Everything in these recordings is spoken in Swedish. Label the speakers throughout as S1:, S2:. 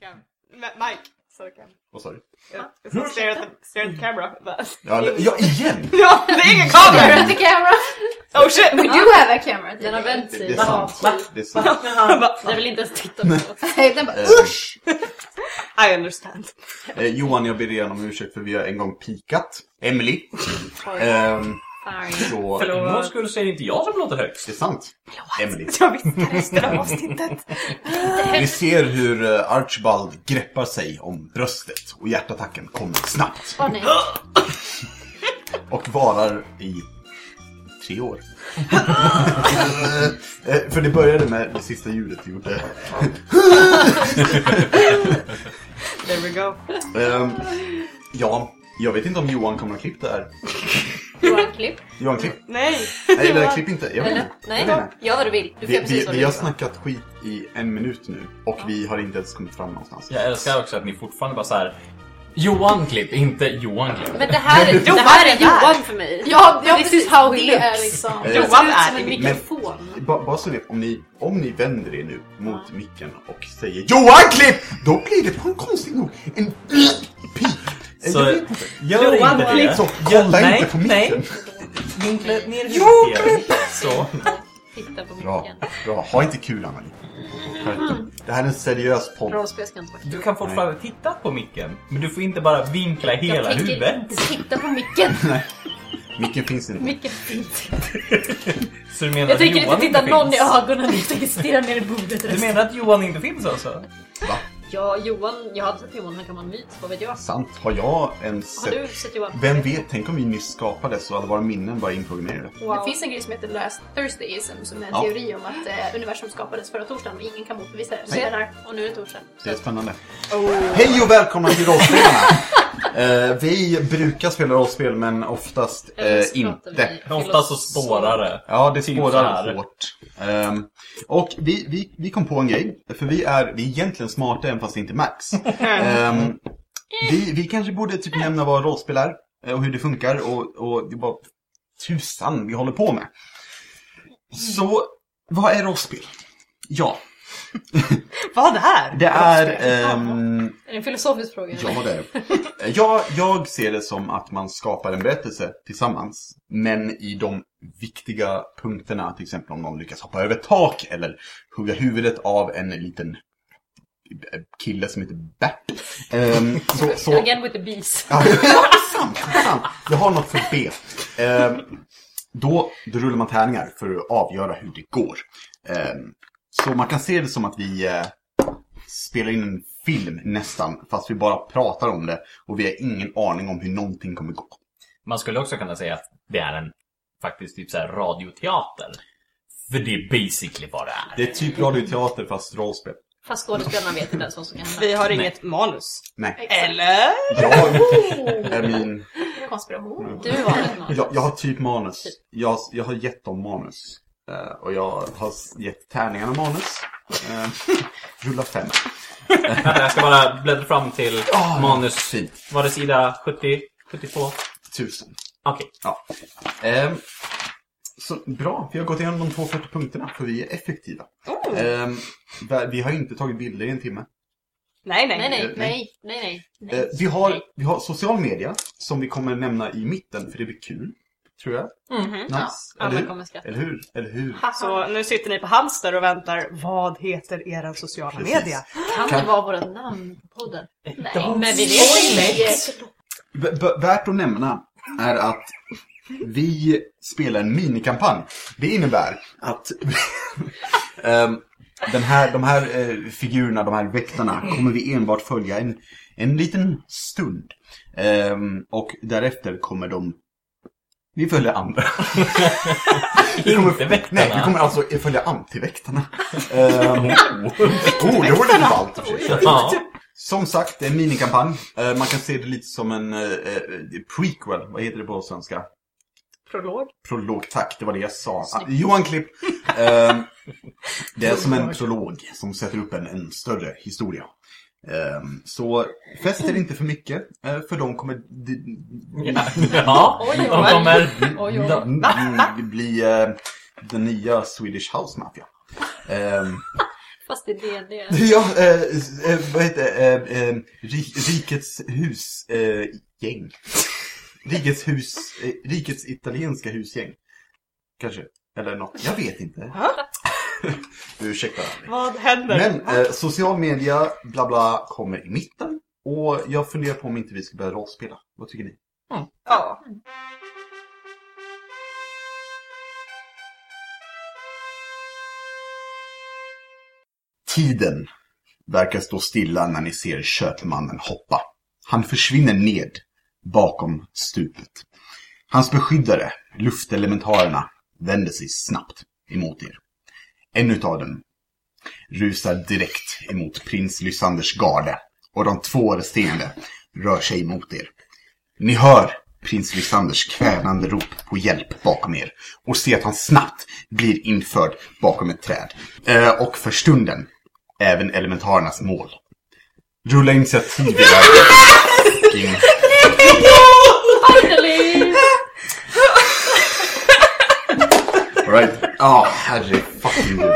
S1: Cam. Ma- Mike. Sorry Cam.
S2: Vad sa du?
S1: Ja, jag ska stare at the, stare at the camera.
S2: Ja, eller- ja, igen!
S1: ja, det är ingen kamera!
S3: The camera!
S1: Oh shit!
S3: We do have a camera!
S4: Den har vänt sig.
S2: Det är sant. Det är sant.
S4: Jag vill inte ens titta på det.
S3: Nej, Den bara
S2: Eh,
S3: usch!
S1: I understand.
S2: Eh, Johan, jag ber igen om ursäkt för vi har en gång pikat. Emily. Ehm, så,
S5: För
S2: det
S5: någon skulle säga inte jag som låter högst.
S2: är sant. Emily.
S1: Jag viskar resten av avsnittet.
S2: Vi ser hur eh, Archibald greppar sig om bröstet och hjärtattacken kommer snabbt.
S3: Åh nej.
S2: Och varar i tre år. Eh, För det började med det sista ljudet du gjorde.
S1: There we go.
S2: Ehm, ja, jag vet inte om Johan kommer att klippa det här.
S4: Johan, klipp.
S2: Johan, klipp.
S1: Nej!
S2: Nej, det där klipp inte. Jag vet inte.
S4: Nej,
S2: Jag vet inte.
S4: gör vad du vill. Du får
S2: Vi,
S4: göra precis
S2: vi,
S4: vad du
S2: vi har
S4: vill.
S2: snackat skit i en minut nu och vi har inte ens kommit fram någonstans.
S5: Jag älskar också att ni fortfarande bara så här. Johan klipp, inte Johan klipp.
S4: Men det här, är- det här är Johan för mig.
S3: Ja, ja
S4: This
S3: precis.
S4: is how he
S3: Det
S4: looks.
S3: är liksom...
S2: Eh,
S4: Jag
S1: Johan
S4: ser ut som
S1: är-
S4: en mikrofon.
S2: Ba- Bara så ni om ni, om ni vänder er nu mot micken och säger Johan klipp! Då blir det på konstigt nog en pip. Eh,
S5: Så-
S2: jag vet inte.
S5: Gör
S1: Johan
S5: inte
S1: klipp.
S5: det.
S2: Så
S5: Gör-
S2: kolla
S5: liksom- nej,
S2: inte på micken.
S5: Nej, vinkla ner huvudet. Så.
S4: Titta på
S2: Bra,
S4: micken.
S2: bra. Ha inte kul Anna-Li. Det här är en seriös podd.
S4: Rollspel ska inte vara
S5: Du kan fortfarande titta på micken. Men du får inte bara vinkla hela
S4: Jag tänker
S5: huvudet.
S4: inte titta på micken.
S2: Micken finns inte.
S4: Micken finns inte.
S5: Så du menar
S4: Jag
S5: att
S4: tänker inte
S5: Johan
S4: titta någon i
S5: finns?
S4: ögonen. Jag tänker stirra ner i bordet.
S5: Du menar att Johan inte finns alltså?
S4: Ja, Johan. Jag hade sett Johan. Han kan vara en myt. Vad vet jag?
S2: Sant. Har jag ens
S4: Har du
S2: sett...
S4: sett Johan?
S2: Vem vet, tänk om vi nyss skapades och alla våra minnen bara inprogrammerade.
S4: Wow.
S3: Det finns en grej som heter Last Thursdayism som är en
S2: Ja.
S3: teori om att eh, universum skapades förra torsdagen men ingen kan motbevisa det. Så
S4: Nej.
S3: den här, och nu är det torsdag.
S2: Det är spännande.
S1: Oh,
S2: Hej och välkomna till Rollspelarna! Eh, vi brukar spela rollspel men oftast eh,
S4: Eller så pratar
S2: inte.
S4: vi
S5: Ofta så spårar det.
S2: Ja, det
S5: Typ
S2: spårar
S5: här.
S2: hårt. Ehm, och vi, vi, vi kom på en grej, för vi är, vi är egentligen smarta än fast det inte märks. Ehm, vi, vi kanske borde typ nämna vad rollspel är eh, och hur det funkar och, och det bara tusan vi håller på med. Så, vad är rollspel? Ja,
S1: Vad är?
S2: det är... ehm,
S4: Är det en filosofisk fråga? eller?
S2: Ja, det är det. jag, jag ser det som att man skapar en berättelse tillsammans, men i de viktiga punkterna, till exempel om någon lyckas hoppa över ett tak eller hugga huvudet av en liten eh, kille som heter Bert. Ehm, så, så,
S4: Again with the bees.
S2: Ja, det är sant, det är sant. Jag har något för B. Ehm, då, då rullar man tärningar för att avgöra hur det går. Ehm, så man kan se det som att vi eh, spelar in en film nästan, fast vi bara pratar om det och vi har ingen aning om hur någonting kommer gå.
S5: Man skulle också kunna säga att det är en faktiskt typ så här radioteater. För det är basically vad det är.
S2: Det är typ radioteater fast rollspel.
S4: Fast skådespelarna vet inte ens vad som kan hända.
S1: Vi har inget manus.
S2: Nej.
S1: Eller?
S2: Jag, är min,
S3: Konspiration.
S4: Du var ett man.
S2: jag, jag har typ manus. Jag, jag har gett dem manus. Eh, och jag har gett tärningarna manus. Ehm, rulla fem.
S5: Vänta, jag ska bara bläddra fram till
S2: Ah,
S5: manus.
S2: Fint.
S5: Var det sida 70? 72?
S2: Tusen.
S5: Okej.
S2: Ehm, så bra, vi har gått igenom de två första punkterna för vi är effektiva.
S1: Oh.
S2: Ehm, där- vi har inte tagit bilder i en timme.
S1: Nej, nej.
S4: Nej, nej,
S2: Nej.
S4: nej, nej, nej.
S2: Eh, vi, har, vi har social media som vi kommer nämna i mitten för det blir kul. Tror jag.
S1: Mhm.
S2: Nice. eller,
S4: Alla
S2: hur?
S4: kommer skratta.
S2: eller hur? Eller hur?
S1: Så nu sitter ni på Halmstad och väntar. Vad heter era sociala
S2: Precis.
S1: media?
S4: Kan
S2: Kan-
S4: det vara våra namn på podden? Nej,
S5: Don't
S4: men vi
S5: spoil
S4: vet
S5: it.
S4: inte.
S2: V- v- värt att nämna är att vi spelar en minikampanj. Det innebär att ehm, den här, de här eh, figurerna, de här väktarna, kommer vi enbart följa en, en liten stund. Ehm, och därefter kommer de... Vi följer andra. Vi kommer-
S5: Inte väktarna.
S2: Nej, vi kommer alltså följa antiväktarna. Um, oh, det vore lite ballt i och för sig.
S5: Ja.
S2: Som sagt, det är en minikampanj. Eh, man kan se det lite som en eh, eh, prequel. Vad heter det på svenska?
S1: Prolog?
S2: Prolog, tack. Det var det jag sa. Ah, Johan Klipp. Ehm, det är som en prolog som sätter upp en, en större historia. Ehm, så fäst er inte för mycket, eh, för de kommer d-
S5: Ja,
S4: Oj,
S5: de
S4: oj.
S5: kommer...
S4: Oj, oj.
S5: De-
S2: d- bli eh, den nya Swedish House Mafia. Ehm,
S4: Fast det är det.
S2: Ja, eh, eh, vad heter det? Eh, eh, ri- rikets hus eh, gäng. Rikets hus, eh, rikets italienska husgäng. Kanske. Eller något. Jag vet inte.
S1: Va?
S2: Ursäkta. Annie.
S1: Vad händer?
S2: Men eh, social media, bla bla, kommer i mitten. Och jag funderar på om inte vi ska börja rollspela. Vad tycker ni?
S1: Ja.
S2: Tiden verkar stå stilla när ni ser köpmannen hoppa. Han försvinner ned bakom stupet. Hans beskyddare, luftelementarerna, vänder sig snabbt emot er. En utav dem rusar direkt emot prins Lysanders garde och de två resterande rör sig emot er. Ni hör prins Lysanders kvävande rop på hjälp bakom er och ser att han snabbt blir införd bakom ett träd. Eh, och för stunden även elementarernas mål. Rulla initiativ i det här. Fucking-
S4: Finally!
S2: All right. Ja, herre fucking gud.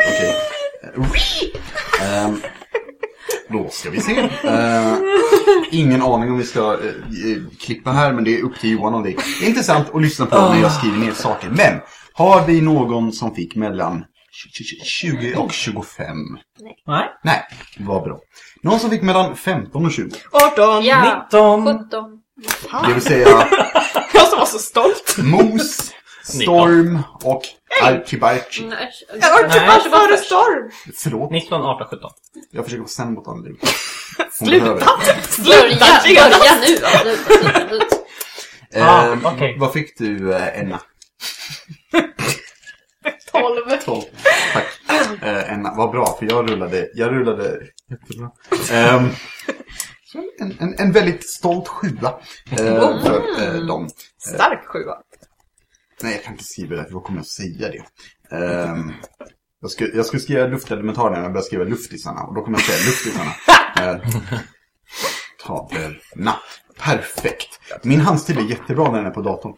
S2: Okej. Ehm, då ska vi se. Eh, ingen aning om vi ska eh, eh, klippa här, men det är upp till Johan om det är intressant att lyssna på när jag skriver ner saker. Men har vi någon som fick mellan 20 och 25?
S1: Nej.
S2: Nej, vad bra. Någon som fick mellan 15 och 20.
S1: 18,
S4: Ja.
S1: 19.
S4: 17.
S2: Det vill säga
S1: Jag som var så stolt.
S2: Mos, Storm och Archibarchi.
S4: Nej, äsch.
S1: Jag var
S5: Nej.
S1: typ före storm.
S2: Förlåt,
S5: 19, 18, 17.
S2: jag försöker vara snäll mot Anneli. Hon behöver
S1: Sluta!
S4: Börja,
S1: Sluta redan!
S4: börja nu! Absolut, absolut, absolut.
S5: Ah,
S2: Eh,
S5: okej.
S2: Vad fick du, eh, Enna?
S3: 12.
S2: 12. Tack. Eh, Enna, vad bra, för jag rullade, jag rullade jättebra. Ehm, så en, en, en väldigt stolt sjua eh, för eh, dem.
S1: Stark sjua.
S2: Nej, jag kan inte skriva det, för då kommer jag att säga det. Ehm, jag, skulle, jag skulle skriva luftelementarerna, men jag började skriva luftisarna. Och då kommer jag säga luftisarna. Eh, Tavlorna. Perfekt. Min handstil är jättebra när den är på datorn.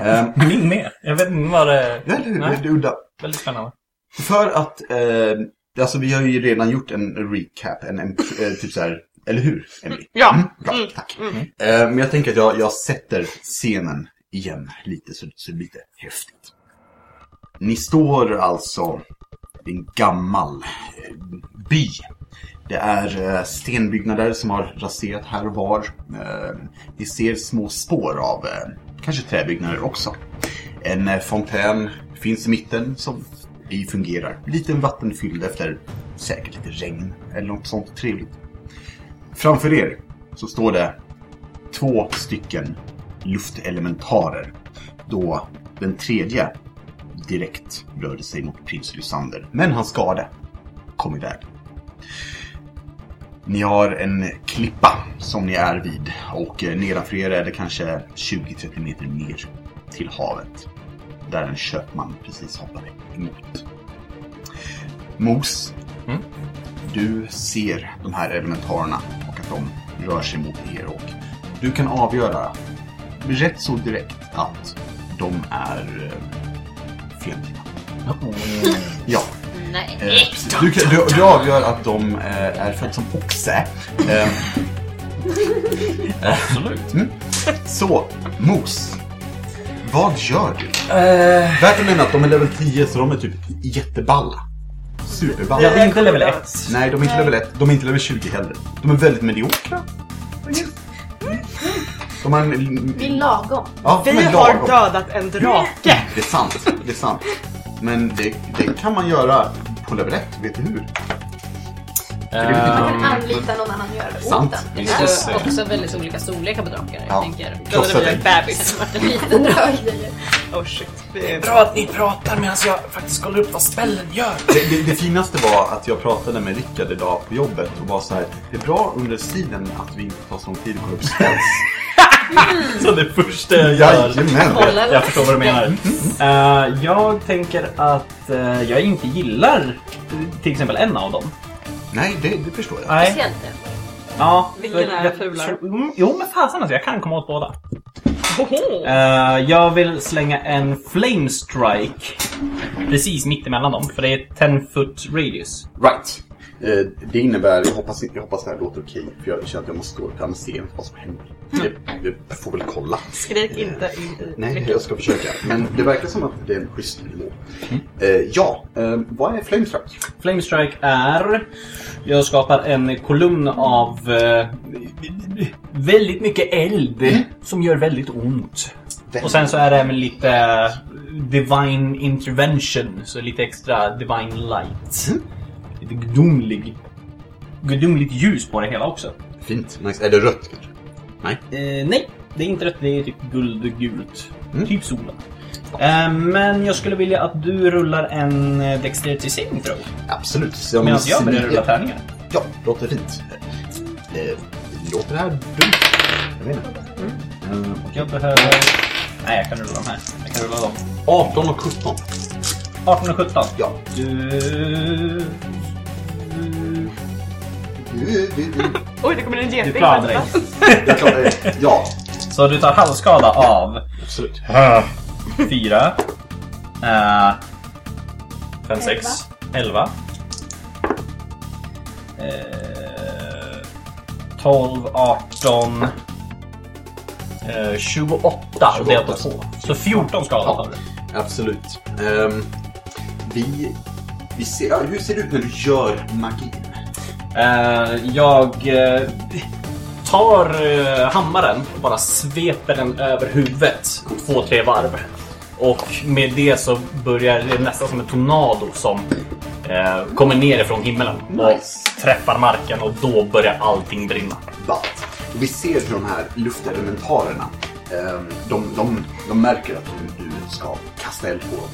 S2: Ehm,
S5: Min med. Jag vet inte vad det...
S2: ja, det, det,
S5: Nej.
S2: det är udda.
S5: Väldigt spännande.
S2: För att, eh, alltså vi har ju redan gjort en recap, en, en eh, typ så här, eller hur? Emily?
S1: Ja.
S2: Mm, bra, tack. Eh, men jag tänker att jag, jag sätter scenen igen lite, så, så det är lite häftigt. Ni står alltså i en gammal eh, by. Det är eh, stenbyggnader som har raserat här och var. Eh, ni ser små spår av eh, kanske träbyggnader också. En eh, fontän finns i mitten som i fungerar. Liten vattenfylld efter säkert lite regn eller något sånt trevligt. Framför er så står det två stycken luftelementarer då den tredje direkt rörde sig mot prins Lysander. Men hans skade kom iväg. Ni har en klippa som ni är vid och eh, nedanför er är det kanske 20-30 meter ner till havet. Där en köpman precis hoppade emot. Mos,
S5: Mm.
S2: du ser de här elementarerna och att de rör sig mot er och du kan avgöra rätt så direkt att de är eh, fientliga. Ja.
S4: Nej.
S2: Eh, du, kan- du, du avgör att de eh, är född som oxe. Eh, Mm.
S5: Absolut.
S2: så, Mos. Vad gör du?
S5: Eh,
S2: Värt att nämna att de är level 10 så de är typ jätteballa. Superballa.
S5: Jag är inte level 1.
S2: Nej, de är inte level 1. De är inte level 20 heller. De är väldigt mediokra. De har en...
S3: Vi är lagom.
S2: Ja, de
S1: Vi har
S2: är lagom. Mm,
S1: dödat en drake.
S2: Det är sant. Det är sant. Men det, det kan man göra på level 1. Vet du hur?
S3: Man
S5: Ehm,
S3: kan anlita någon annan att göra det
S2: Sant.
S3: åt en.
S5: vi
S4: Det
S5: ska
S4: är
S5: se.
S4: också väldigt olika storlekar på drakar. Jag
S2: Ja.
S4: tänker...
S1: Då hade det blivit en bebis.
S4: Det är lite dröj.
S1: Oh shit. Det är
S5: Bra att ni pratar medan jag faktiskt kollar upp vad spällen gör.
S2: Det, det, det finaste var att jag pratade med Rickard idag på jobbet och var så här. Det är bra under tiden att vi inte tar så lång tid att kolla upp spels.
S5: Så det första jag gör.
S2: Jajamän!
S4: Kolla.
S5: Jag förstår vad du menar.
S1: Mm.
S5: Eh, jag tänker att eh, jag inte gillar eh, till exempel en av dem.
S2: Nej, det, det förstår jag.
S5: Nej.
S4: Speciellt det.
S5: Ja,
S1: Vilken
S5: för
S1: är
S5: jag-
S1: fulare?
S5: tror- mm, Jo men fasen alltså, jag kan komma åt båda.
S1: Hoho.
S5: Eh, jag vill slänga en flame strike precis mitt emellan dem, för det är 10 foot radius.
S2: Right. Eh, det innebär, jag hoppas, jag hoppas det här låter okej, för jag känner att jag måste gå till Amnesteen för vad som händer. Jag, jag får väl kolla.
S1: Skrik inte in i
S2: Nej,
S1: trycket.
S2: jag ska försöka. Men det verkar som att det är en schysst nivå. Eh, ja, eh, vad är flamestruck?
S5: Flame Strike är... Jag skapar en kolumn av eh, väldigt mycket eld
S2: Mm.
S5: som gör väldigt ont. Och sen så är det även lite eh, Divine Intervention, så lite extra Divine Light.
S2: Mm.
S5: Lite gudomlig, gudomligt ljus på det hela också.
S2: Fint, nice. Är det rött kanske?
S5: Eh, nej, det är inte rätt. Det är typ guldgult.
S2: Mm.
S5: Typ solen. Eh, men jag skulle vilja att du rullar en eh, Dexterity Saving Throw.
S2: Absolut. Så
S5: Medan jag
S2: men-
S5: börjar rulla tärningar.
S2: Ja, låter fint. Eh, låter det här dumt? Jag vet inte. Eh,
S5: Jag behöver... Nej, jag kan rulla de här. Jag kan rulla dem.
S2: 18 och 17.
S5: 18 och 17.
S2: Ja.
S5: Du... du-
S2: Du- du- du-
S1: Oj, det kommer en
S5: Du
S1: geting.
S5: klarar dig.
S2: Jag klarar det. Ja,
S5: Så du tar halvskada av
S2: absolut.
S5: 4. Uh, 5,
S3: sex,
S5: 11. Eh, 12, 18. eh, 28 och delat på 2. Så 14 skada tar du.
S2: Absolut. Ehm, vi, vi ser, ja, hur ser det ut när du gör magin?
S5: Eh, jag eh, tar eh, hammaren och bara sveper den över huvudet två, tre varv. Och med det så börjar det nästan som en tornado som eh, kommer ner ifrån himlen
S2: Nice.
S5: och träffar marken och då börjar allting brinna.
S2: Ballt. Och vi ser hur de här luftelementarerna, ehm, de, de, de märker att du, du ska kasta eld på dem.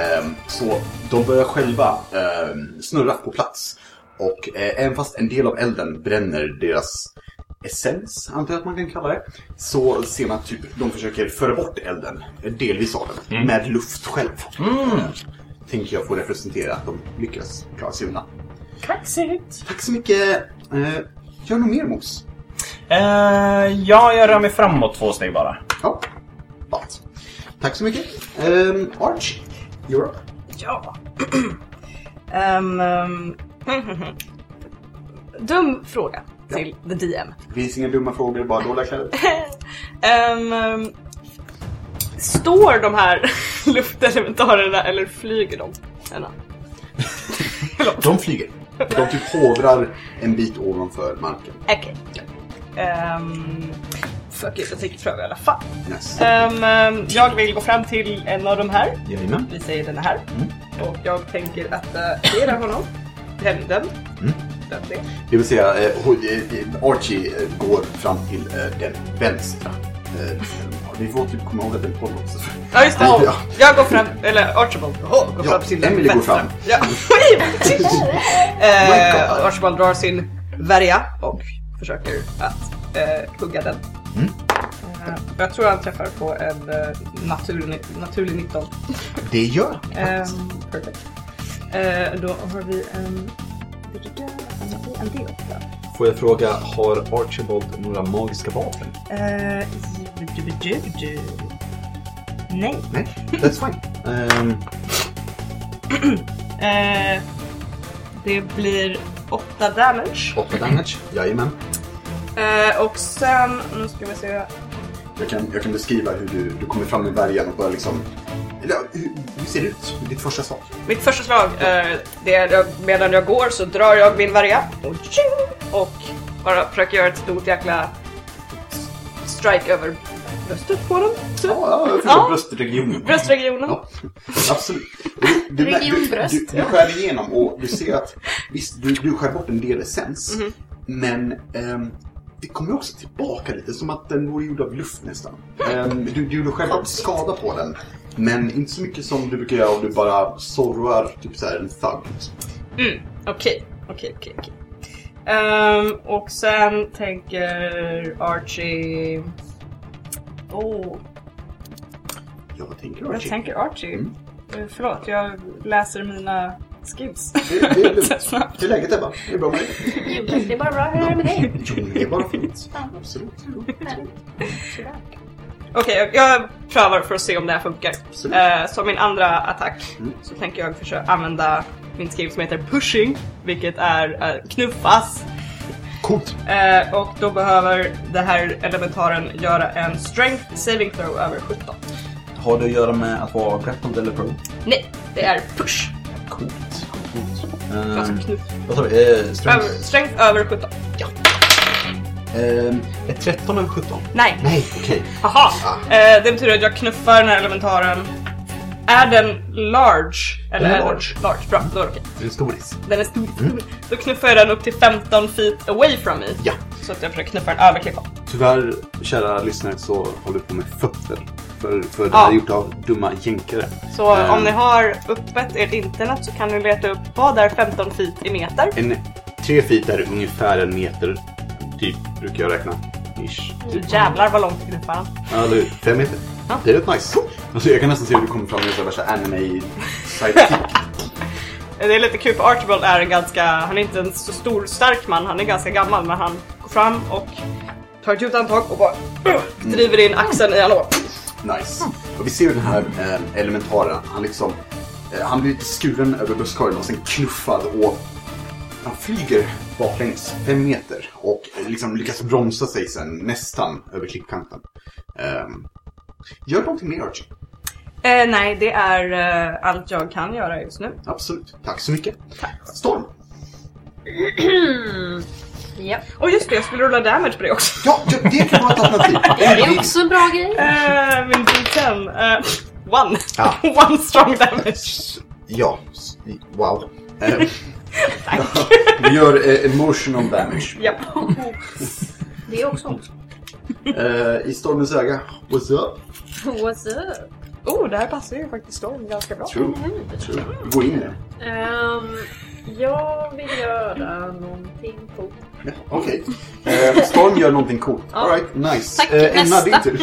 S2: Ehm, så de börjar själva ehm, snurra på plats. Och eh, även fast en del av elden bränner deras essens, antar jag att man kan kalla det, så ser man att typ, de försöker föra bort elden, eh, delvis av den, med luft själv. Tänker jag få representera att de lyckas klara sig undan.
S5: Kaxigt!
S2: Tack så mycket! Eh, gör något mer mos.
S5: Eh, ja, jag rör mig framåt två steg bara.
S2: Ja, ballt. Tack så mycket. Um, Arch, you're up.
S1: Ja. Ehm, ehm, Dum fråga till the DM.
S2: Det finns inga dumma frågor, bara dåliga kläder.
S1: Ehm, ehm, står de här luftelementarerna eller flyger de? Eller?
S2: De flyger. De typ hovrar en bit ovanför marken.
S1: Okej. Ehm, fuck it, jag tänker pröva i alla fall.
S2: Nice.
S1: Ehm, ehm, jag vill gå fram till en av de här.
S2: Jajamän.
S1: Vi säger den här. Och jag tänker att uh, det är den honom. Den, den.
S2: Mm.
S1: Den, det.
S2: Det vill säga, eh, hon- eh, eh, Archie eh, går fram till eh, den vänstra. Eh, ja, vi får typ komma ihåg att den kollar också.
S1: Ja just det.
S2: Ja.
S1: Jag går fram, eller Archibald oh, går
S2: Ja,
S1: fram till den
S2: Emily går
S1: vänstra.
S2: fram. Mm.
S1: Ja.
S2: My
S1: eh,
S2: God.
S1: Archibald drar sin värja och försöker att eh, hugga den.
S2: Mm.
S1: Eh, jag tror han träffar på en eh, naturlig, naturlig 19.
S2: Det gör han.
S1: Ehm, perfect. Eh, då har vi en... En D8.
S6: Får jag fråga, har Archibald några magiska vapen?
S1: Eh, Nej.
S2: Nej, that's fine. Ehm,
S1: Eh, det blir 8 damage.
S2: 8 damage. Jajamän.
S1: Eh, och sen, nu ska vi se.
S2: Jag kan, jag kan beskriva hur du, du kommer fram med värjan och bara liksom... Eller, ja, hur, hur ser det ut? Ditt första slag.
S1: Mitt första slag, eh, det är jag, medan jag går så drar jag min värja och, tjing, och bara försöker göra ett stort jäkla s- strike över bröstet på den. typ.
S2: Ja, ja, jag förstår
S1: Ja.
S2: bröstregionen.
S1: Bröstregionen.
S2: Ja, absolut. Du, du,
S3: Region
S2: du,
S3: bröst,
S2: du, du
S3: ja.
S2: skär igenom och du ser att visst, du, du skär bort en del essens.
S3: Mhm.
S2: Men ehm, det kommer också tillbaka lite, som att den vore gjord av luft nästan. Ehm, du, du gjorde själv skada på den. Men inte så mycket som du brukar göra om du bara sorrar typ så här en thug.
S1: Okej, okej, okej. okej. Ehm, och sen tänker Archie... Oh,
S2: Ja, vad tänker
S1: jag
S2: du Archie?
S1: tänker Archie.
S2: Mm.
S1: Eh, Förlåt, jag läser mina skims.
S2: Det, det är lugnt.
S1: Snabbt.
S2: Hur är läget Ebba? Det är bra med dig?
S3: Julas, det är bara bra. Hur är det med dig? Mm,
S2: Jo, men det är bara fint. Absolut.
S1: Okej, jag, jag prövar för att se om det här funkar.
S2: Absolut.
S1: Eh, så min andra attack
S2: Mm.
S1: så tänker jag försöka använda min skill som heter pushing, vilket är eh, knuffas.
S6: Coolt.
S1: Eh, och då behöver den här elementaren göra en strength saving throw över 17.
S2: Har det att göra med att vara grappled eller pro?
S1: Nej, det är push.
S2: Coolt. Coolt. Ehm,
S1: Alltså knuff.
S2: Vad sa vi? Eh,
S1: Över,
S2: strength?
S1: strength över 17.
S2: Ehm, är 13 över 17?
S1: Nej.
S2: Nej, Ah. okej.
S1: Haha! Eh, det betyder att jag knuffar den här elementaren. Är den large? Eller
S2: Den är
S1: är
S2: large.
S1: Den large? Bra, då är det okej.
S6: Det är en storis.
S1: Den är stor. Då knuffar jag den upp till 15 feet away from me.
S6: Ja.
S1: Så att jag försöker knuffa den över klippan.
S6: Tyvärr, kära lyssnare, så håller vi på med fötter. För, för det
S1: Ja.
S6: här är gjort av dumma jänkare.
S1: Ah. Så
S6: Mm.
S1: om ni har öppet ert internet så kan ni leta upp vad är 15 feet i meter?
S6: En tre feet är ungefär en meter, typ, brukar jag räkna. Ish. Typ.
S1: Jävlar Ah. vad långt knuffar han.
S6: Ja, eller hur? Fem meter.
S1: Ja.
S6: Det är rätt nice.
S2: Alltså jag kan nästan se hur du kommer fram med så här värsta anime sidekick.
S1: Det är lite kul för Archibald är en ganska, han är inte en så stor stark man, han är ganska gammal men han går fram och tar ett djupt andetag och bara uh, driver in axeln i honom. och bara,
S2: Nice. Och vi ser ju den här eh, elementaren, han liksom... Eh, han blir lite skuren över bröstkorgen och sen knuffad och... Han flyger baklänges fem meter och eh, liksom lyckas bromsa sig sen nästan över klippkanten. Ehm, gör någonting mer Archie.
S1: Eh, nej, det är eh, allt jag kan göra just nu.
S2: Absolut. Tack så mycket. Storm.
S4: Japp.
S1: Och just det, jag skulle rulla damage på det också.
S2: Ja, ja, det kan vara ett alternativ.
S4: Det är också en bra grej.
S1: Eh, min D10. Eh, one.
S2: Ja.
S1: one strong damage.
S2: Ja, s- wow. Eh, Vi gör eh, emotional damage.
S1: Japp.
S3: Det är också ont.
S2: Eh, I stormens öga. What's up?
S4: What's up?
S1: Oh, det här passar ju faktiskt dem ganska bra.
S2: True. True. Gå in i den.
S4: Ehm, jag vill göra någonting coolt.
S2: Ja, Okej. Eh, Storm gör någonting coolt. Alright, nice.
S4: Tack,
S2: Eh, Emma,
S4: nästa.
S2: din tur.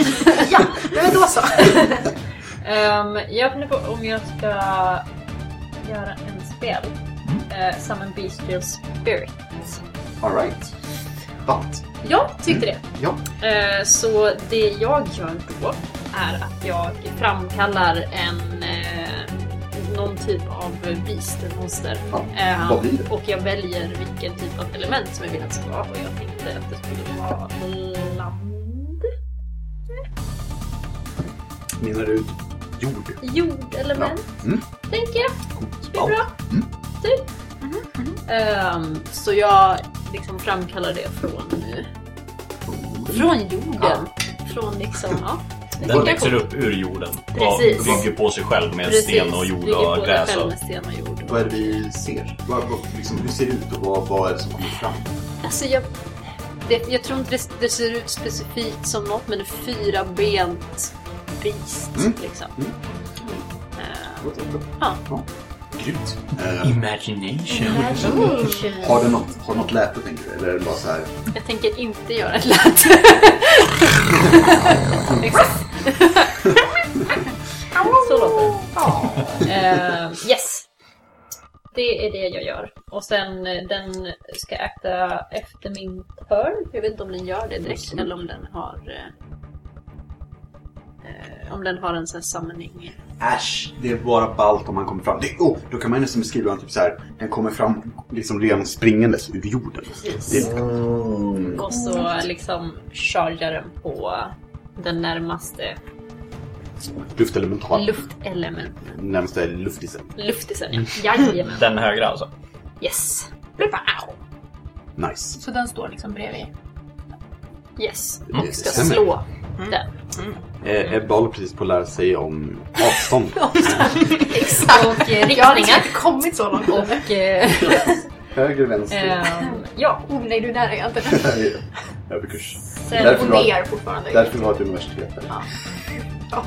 S4: Ja, men då så. Ehm, jag funderar på om jag ska göra en spel. Uh, summon Bestial Spirit.
S2: Alright. But.
S4: Jag tyckte det.
S2: Ja.
S4: Eh, Så det jag gör då är att jag framkallar en eh, någon typ av beast, eller monster.
S2: Ja,
S4: Eh,
S2: vad blir det?
S4: Och jag väljer vilken typ av element som jag vill att det ska vara och jag tänkte att det skulle vara land,
S6: Menar du jord?
S4: jordelement,
S2: Mm.
S4: tänker jag.
S2: Coolt.
S4: Det är bra.
S2: Mm.
S4: Typ. Ehm, så jag liksom framkallar det från, eh, från jorden. Från liksom, ja. Det tycker
S7: Den
S4: jag
S7: växer
S4: är
S7: upp ur jorden och
S4: Precis.
S7: bygger på sig själv med
S4: Precis,
S7: sten och jord
S4: ligger på
S7: och
S4: det
S7: gräs.
S4: själv
S7: Och...
S4: med sten och jord.
S2: Vad är det vi ser? Vad, vad, liksom, hur ser det ut och vad, vad är det som kommer fram?
S4: Alltså jag, det, jag tror inte det, det ser ut specifikt som något, men en fyrabent beast
S2: Mm.
S4: liksom.
S2: Mm.
S4: Eh,
S2: Vad tror du?
S4: Ja.
S2: Grymt. Eh,
S5: Imagination.
S2: har det något, har det något läte tänker du? Eller är det bara så här?
S4: jag tänker inte göra ett lätt. Exakt. Så låter det. Eh, yes. Det är det jag gör. Och sen eh, den ska äta efter min turn. Jag vet inte om den gör det direkt eller om den har... eh, eh, om den har en sån här summoning.
S2: Äsch, det är bara ballt om han kommer fram. Det, oh, då kan man ju nästan beskriva den typ så här. Den kommer fram liksom redan springandes ur jorden. Det är,
S4: Och så liksom chargar den på den närmaste
S2: luftelemental.
S4: luftelement.
S2: Närmaste är luftisen.
S4: Luftisen, ja. Jajamän.
S7: Den högra alltså.
S4: Yes.
S2: Nice.
S3: Så den står liksom bredvid.
S4: Yes.
S6: Mm.
S4: Och ska
S2: Stämmer.
S4: slå den.
S6: Eh, Ebba håller precis på att lära sig om avstånd.
S4: Och
S3: Jag har liksom
S4: eh, riktningar.
S3: inte kommit så långt. Oh,
S4: Och... Eh,
S2: Höger, vänster.
S4: ehm, ja.
S3: Oh nej, du är nära. Jag inte
S2: Överkurs.
S4: Sen
S2: Därför
S3: Och
S2: var-
S3: ner fortfarande.
S2: Därför vi har ett universitet.
S3: Ja.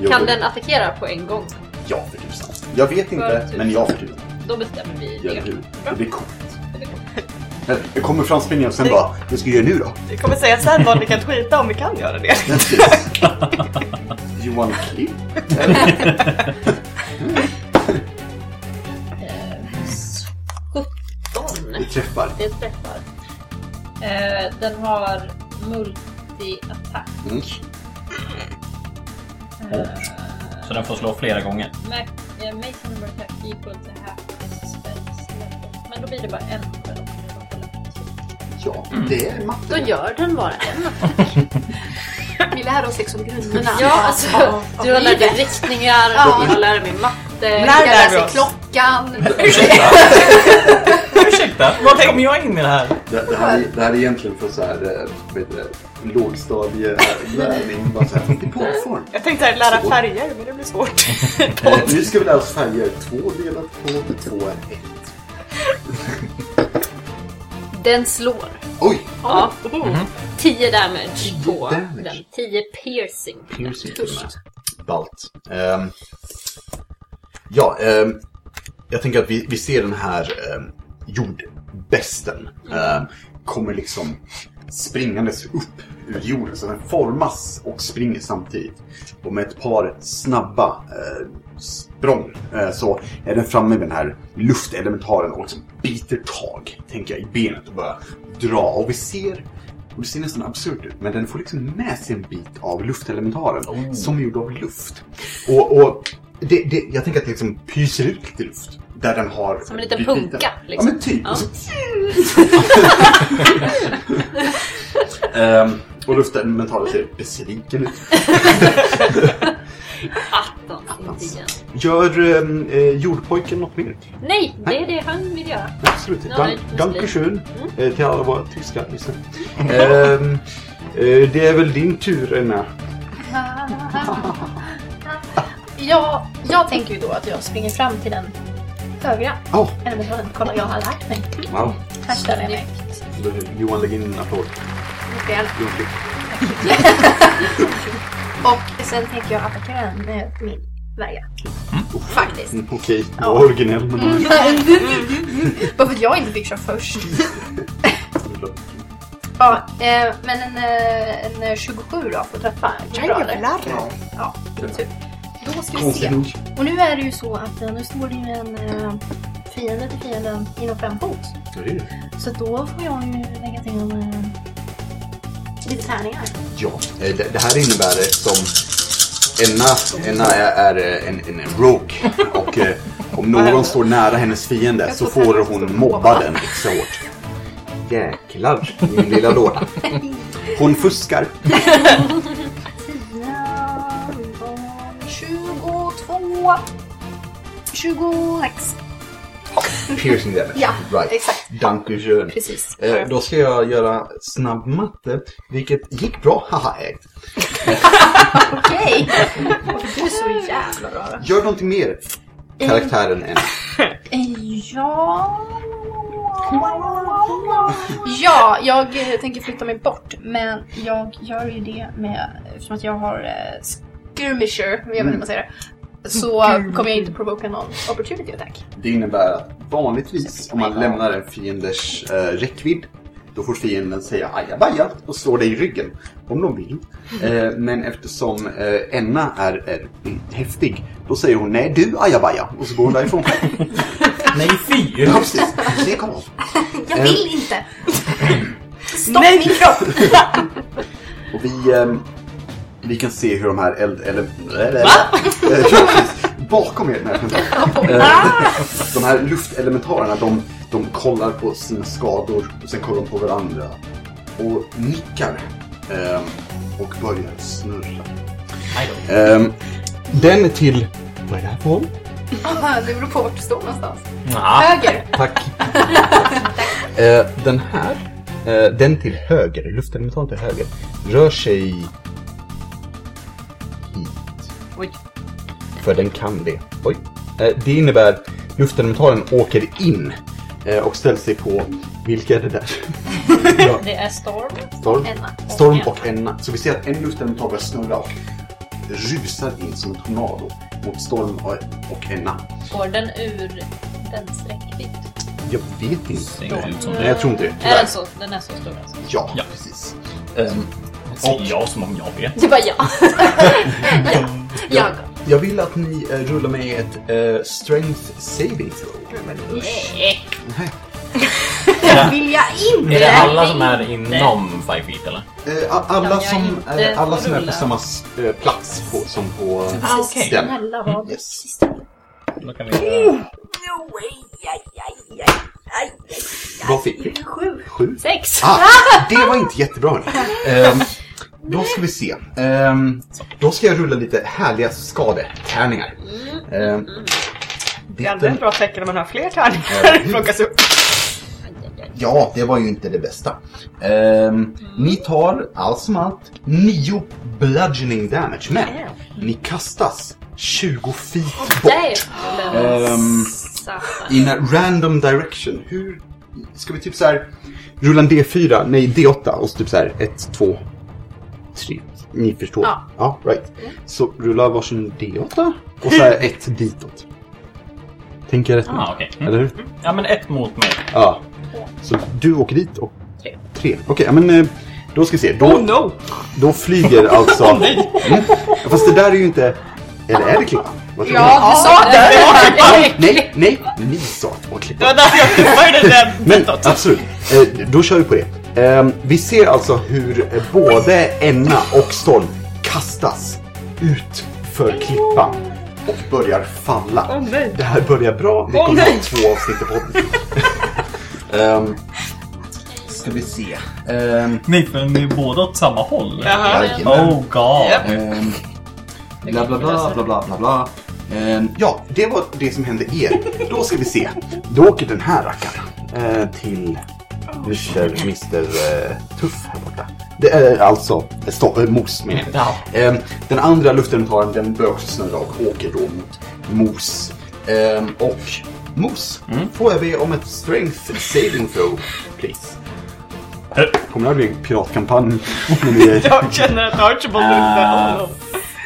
S2: Jo,
S4: kan den attackera på en gång.
S2: Ja, för tusan. Jag vet inte, men ja för tusan.
S4: Då bestämmer vi
S2: Eller
S4: det.
S2: hur? Det blir coolt. Men Det kommer fram springande och sen bara, vad ska vi göra nu då?
S1: Vi kommer säga sen vad ni kan tweeta om vi kan göra det.
S2: Ja, precis. Johan Klipp? Eller?
S4: 17.
S2: Vi träffar.
S4: Eh, Det träffar. Eh, den har multi-attack.
S2: Mm.
S4: Eh,
S7: Så den får slå flera gånger.
S4: eh, Mac- eh, Make number attack equal to half its men då blir det bara en. för dem.
S2: Ja, det är matte.
S4: Då gör den bara en.
S3: Vi lär oss liksom grunderna.
S4: Ja, alltså,
S3: Ja,
S4: du har lärt dig
S3: livet.
S4: riktningar,
S3: Ja.
S4: jag lärde mig matte.
S3: När
S1: lär
S3: lär
S1: vi
S3: sig
S1: oss?
S3: alltså klockan.
S5: Ursäkta, var kom jag in i det här?
S6: Det, det, här, är- det här är egentligen för så här, eh, vad heter det, lågstadielärning. Bara så här,
S2: Det är porrform.
S1: Jag tänkte här, lära färger, men det blir svårt.
S6: eh, Nu ska vi lära oss färger. Två delat på två är ett.
S4: Den slår.
S2: Oj!
S4: Ja. 10 Oh. damage på
S6: 10 damage.
S4: den. 10 piercing.
S6: Piercing.
S2: Balt. Ehm, ja, ehm, jag tänker att vi, vi ser den här um, jordbästen ehm, kommer liksom springandes upp ur jorden. Så den formas och springer samtidigt. Och med ett par snabba eh, språng eh, så är den framme med den här luftelementaren och liksom biter tag, tänker jag, i benet och börjar dra. Och vi ser och det ser nästan absurt ut, men den får liksom med sig en bit av luftelementaren som är gjord av luft. Och, och det, det, jag tänker att det liksom pyser ut lite luft. Där den har...
S4: Som en liten
S2: bitar.
S4: punka, liksom.
S2: Ja, men typ.
S4: Ja.
S2: Och, så... Ehm, och luftelementaren ser besviken ut.
S4: Attans
S2: Attans.
S4: intelligens.
S2: Gör ehm, eh, jordpojken något mer?
S4: Nej, det är det han vill göra.
S2: Absolut.
S4: Ja,
S2: Dank,
S4: det Mm. är
S2: Dankeschön eh, till alla våra tyska lyssnare. Ehm, eh, det är väl din tur, Enna.
S3: Jag, jag tänker ju då att jag springer fram till den högra
S2: Åh,
S3: elementören. Kolla, jag har lärt mig.
S2: wow.
S3: Här ställer jag mig.
S2: Johan, lägg in en applåd.
S3: Fel.
S2: Johan Flick.
S3: Och sen tänker jag attackera den med min värja. Faktiskt.
S2: Mm, Okej, du var originell men mm.
S3: Bara för att jag inte fick köra först. Ja, eh, men en, eh, en eh, 27 då får träffa. Bra, eller? Ja, tur. Då ska vi se.
S2: konstigt nog.
S3: Och nu är det ju så att eh, nu står det ju en eh, fiende till fienden inom fem fot.
S2: Ja, det är det.
S3: Så då får jag ju lägga till en, eh, lite tärningar.
S2: Ja, eh, det, det här innebär eh, som Enna, Enna är, är eh, en, en rogue och eh, om någon står nära hennes fiende så får hon mobba den extra hårt. Jäklar, min lilla låda. Hon fuskar.
S3: Ja, var 22. 26.
S2: Piercing damage.
S3: Ja,
S2: right.
S3: exakt.
S2: Dankeschön.
S3: Precis.
S2: Eh, då ska jag göra snabb matte, vilket gick bra. Haha, eh. ägt.
S3: Okej. Du är så jävla bra. då.
S2: Gör någonting mer, Mm. karaktären Enna.
S3: Eh, Ja... Ja, jag eh, tänker flytta mig bort. Men jag gör ju det med... Eftersom att jag har eh, skirmisher, jag vet inte hur man säger det. Så kommer jag inte provoka någon opportunity attack.
S2: Det innebär att vanligtvis om man lämnar en fienders eh, räckvidd då får fienden säga ajabaja och slå dig i ryggen om de vill. Eh, men eftersom eh, Enna är, är häftig då säger hon nej du ajabaja och så går hon därifrån själv.
S5: Nej, fy!
S2: Ja precis, lägg av.
S3: Jag vill inte! Stopp
S1: Nej.
S3: min kropp!
S2: Och vi, ehm, vi kan se hur de här eld... Eller, eller, Eh, ja, precis. bakom er. Nej, vänta. Eh, de här luftelementarerna, de, de kollar på sina skador och sen kollar de på varandra. Och nickar. ehm, och börjar snurra. Ehm, den till... Vad är det här för håll?
S3: Ah, Det beror på vart du står någonstans.
S5: Ja,
S3: Höger!
S2: Tack. Eh, den här, eh, den till höger, luftelementalen till höger, rör sig hit.
S4: Oj.
S2: För den kan det. Oj. Eh, det innebär luftelementalen åker in eh, och ställer sig på, vilka är det där? ja,
S4: Det är storm.
S2: storm.
S3: Enna.
S2: Storm och Enna. Så vi ser att en luftelemental börjar snurra och rusar in som en tornado mot Storm och- och Enna.
S4: Går den ur dens räckvidd?
S2: Jag vet inte.
S7: Ser ut som
S2: Nej, jag tror inte det.
S4: Är
S2: Tyvärr.
S4: den så? Den är så stor alltså?
S2: Ja,
S7: Ja.
S2: precis.
S5: Ehm,
S7: Säger jag som om jag vet.
S4: Det var jag.
S3: Jag.
S2: Jag vill att ni eh, rullar med ett eh, strength saving throw.
S4: Nej.
S3: Det vill jag
S7: Är
S3: inte!
S7: det alla som är inom five feet eller?
S2: Eh, a- alla
S4: jag
S2: som,
S4: inte
S2: eh, alla
S4: får
S2: som är på
S4: rulla.
S2: samma s- eh, plats på, som på eh, Mm.
S7: Ah, okej.
S2: den.
S3: Snälla vad
S2: Yes.
S7: Då kan vi...
S4: Aj,
S2: Vad fick vi?
S4: sju.
S2: Sju?
S4: Sex.
S2: Ah, det var inte jättebra. hörni. Ehm, då ska vi se. Ehm, då ska jag rulla lite härliga skadetärningar.
S4: Mm.
S2: Um,
S1: Det är ändå ett bra tecken när man har fler tärningar.
S2: Ja.
S1: plockas upp.
S8: Ja, det var ju inte det bästa.
S2: Ehm, ni tar allt som allt nio bludgeoning damage, men ni kastas 20 feet bort. Ehm,
S4: Satan.
S2: in a random direction. Hur... Ska vi typ så här rulla en D4, nej D8 och så typ så här 1, 2, 3. Ni förstår?
S4: Ja.
S2: right. Så rulla varsin D8 och så här 1 ditåt. Tänker jag rätt nu?
S9: Ah, okej. Mm.
S2: Eller hur?
S9: Ja, men ett mot mig.
S2: Ja. Så du åker dit och...
S4: Tre.
S2: Tre. Okej, ja, men eh, då ska vi se. Då,
S1: Oh no!
S2: då flyger alltså... Mm. Fast det där är ju inte... Eller är det klippan? Vad tror
S3: Ja, du sa det!
S2: ni? Nej, nej, ni sa att det var klippan.
S1: Det var därför jag flippade den
S2: Men
S1: ditåt.
S2: absolut, eh, då kör vi på det. Ehm, vi ser alltså hur eh, både Enna och Storm kastas ut för klippan och börjar falla.
S1: Åh, nej.
S2: Det här börjar bra. Vi
S1: Åh,
S2: kommer
S1: nej.
S2: ha två avsnitt i podden. Ehm, ska vi se. Ehm,
S9: Nej, för ni är båda åt samma håll.
S1: Jaha.
S2: jajamän.
S9: Oh god.
S1: Japp.
S2: Ehm, bla bla bla bla bla bla bla. Ehm, ja, det var det som hände er. Då ska vi se. Då åker den här rackaren eh, till Mr. Mr. eh, Tuff här borta. Det är alltså eh, stå, äh, Mos menar jag.
S9: Ja.
S2: Ehm, den andra luftentararen den börjar också snurra och åker då mot Mos. Ehm, och Mos, får jag be om ett strength saving throw, please? Kommer det här bli en piratkampanj? När vi är-
S1: Jag känner att Archibald inte... Oh, no.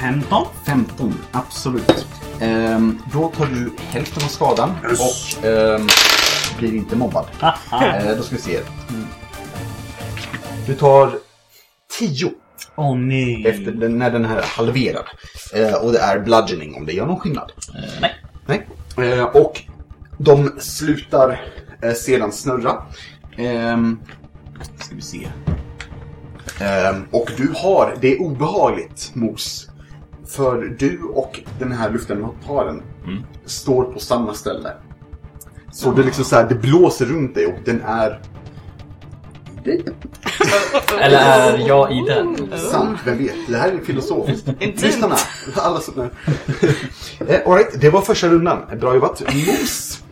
S2: 15? 15, absolut. Ehm, då tar du hälften av skadan och ehm, blir inte mobbad. Ehm, då ska vi se. Du tar 10
S5: Åh oh, nej.
S2: Mm. efter den, när den här är halverad. Ehm, och det är bludgeoning om det gör någon skillnad.
S9: nej.
S2: Nej. Ehm, och de slutar eh, sedan snurra. Ehm, ska vi se. Ehm, och du har, det är obehagligt Mos. För du och den här luftenmataren står på samma ställe. Så det är liksom så här, det blåser runt dig och den är... Det är
S9: Eller är jag i den?
S2: sant, vem vet? Det här är filosofiskt.
S1: Intimt.
S2: Lyssnarna, alla som är... Eh, All right, det var första rundan. Bra jobbat. Mos!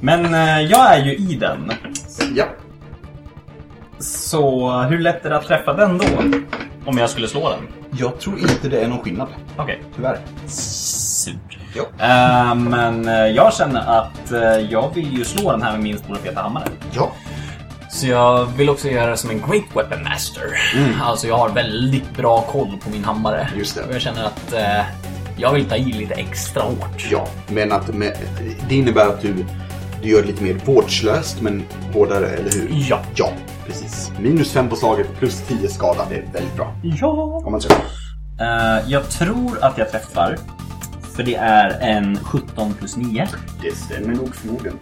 S5: Men eh, jag är ju i den.
S2: Ja.
S5: Så hur lätt är det att träffa den då? Om jag skulle slå den?
S2: Jag tror inte det är någon skillnad,
S5: Okej.
S2: tyvärr.
S5: Sur.
S2: Ja.
S5: Eh, men eh, jag känner att eh, jag vill ju slå den här med min stora feta hammare.
S2: Ja.
S9: Så jag vill också göra det som en Great Weapon Master.
S5: Mm.
S9: Alltså jag har väldigt bra koll på min hammare.
S2: Just det.
S9: Och jag känner att eh, jag vill ta i lite extra hårt.
S2: Ja, men att med, det innebär att du, du gör det lite mer vårdslöst men hårdare, eller hur?
S9: Ja.
S2: Ja, precis. Minus fem på slaget, plus 10 skada. Det är väldigt bra.
S5: Ja!
S2: Om man träffar.
S5: Eh, jag tror att jag träffar. För det är en 17 plus 9.
S2: Det stämmer nog förmodligen.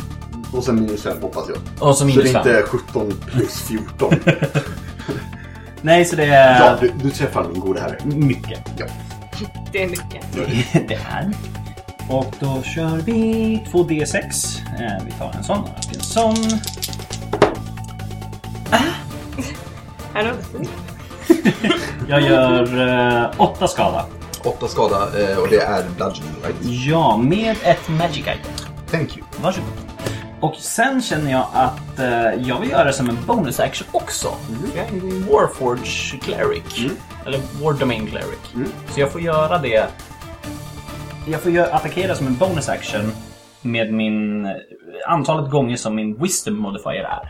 S2: Och sen minus fem hoppas jag.
S9: Och som
S2: Så det
S9: minus
S2: är
S9: fem.
S2: inte 17 plus 14.
S5: Nej, så det är...
S2: ja, du, du träffar min gode herre.
S5: Mycket.
S1: Det är mycket.
S5: det är. Och då kör vi 2D6. Eh, vi tar en sån och en sån.
S1: Här då.
S5: Jag gör eh, åtta skada.
S2: 8 skada eh, och det är bludgeoning, right?
S5: Ja, med ett magic item.
S2: Thank you.
S5: Varsågod. Och sen känner jag att eh, jag vill göra det som en bonus action också.
S9: Mm.
S5: Mm. Jag är en
S9: Warforge Cleric. Eller War Domain Cleric. Så jag får göra det.
S5: Mm. Jag får ju attackera som en bonus action med min... eh, Antalet gånger som min wisdom modifier är.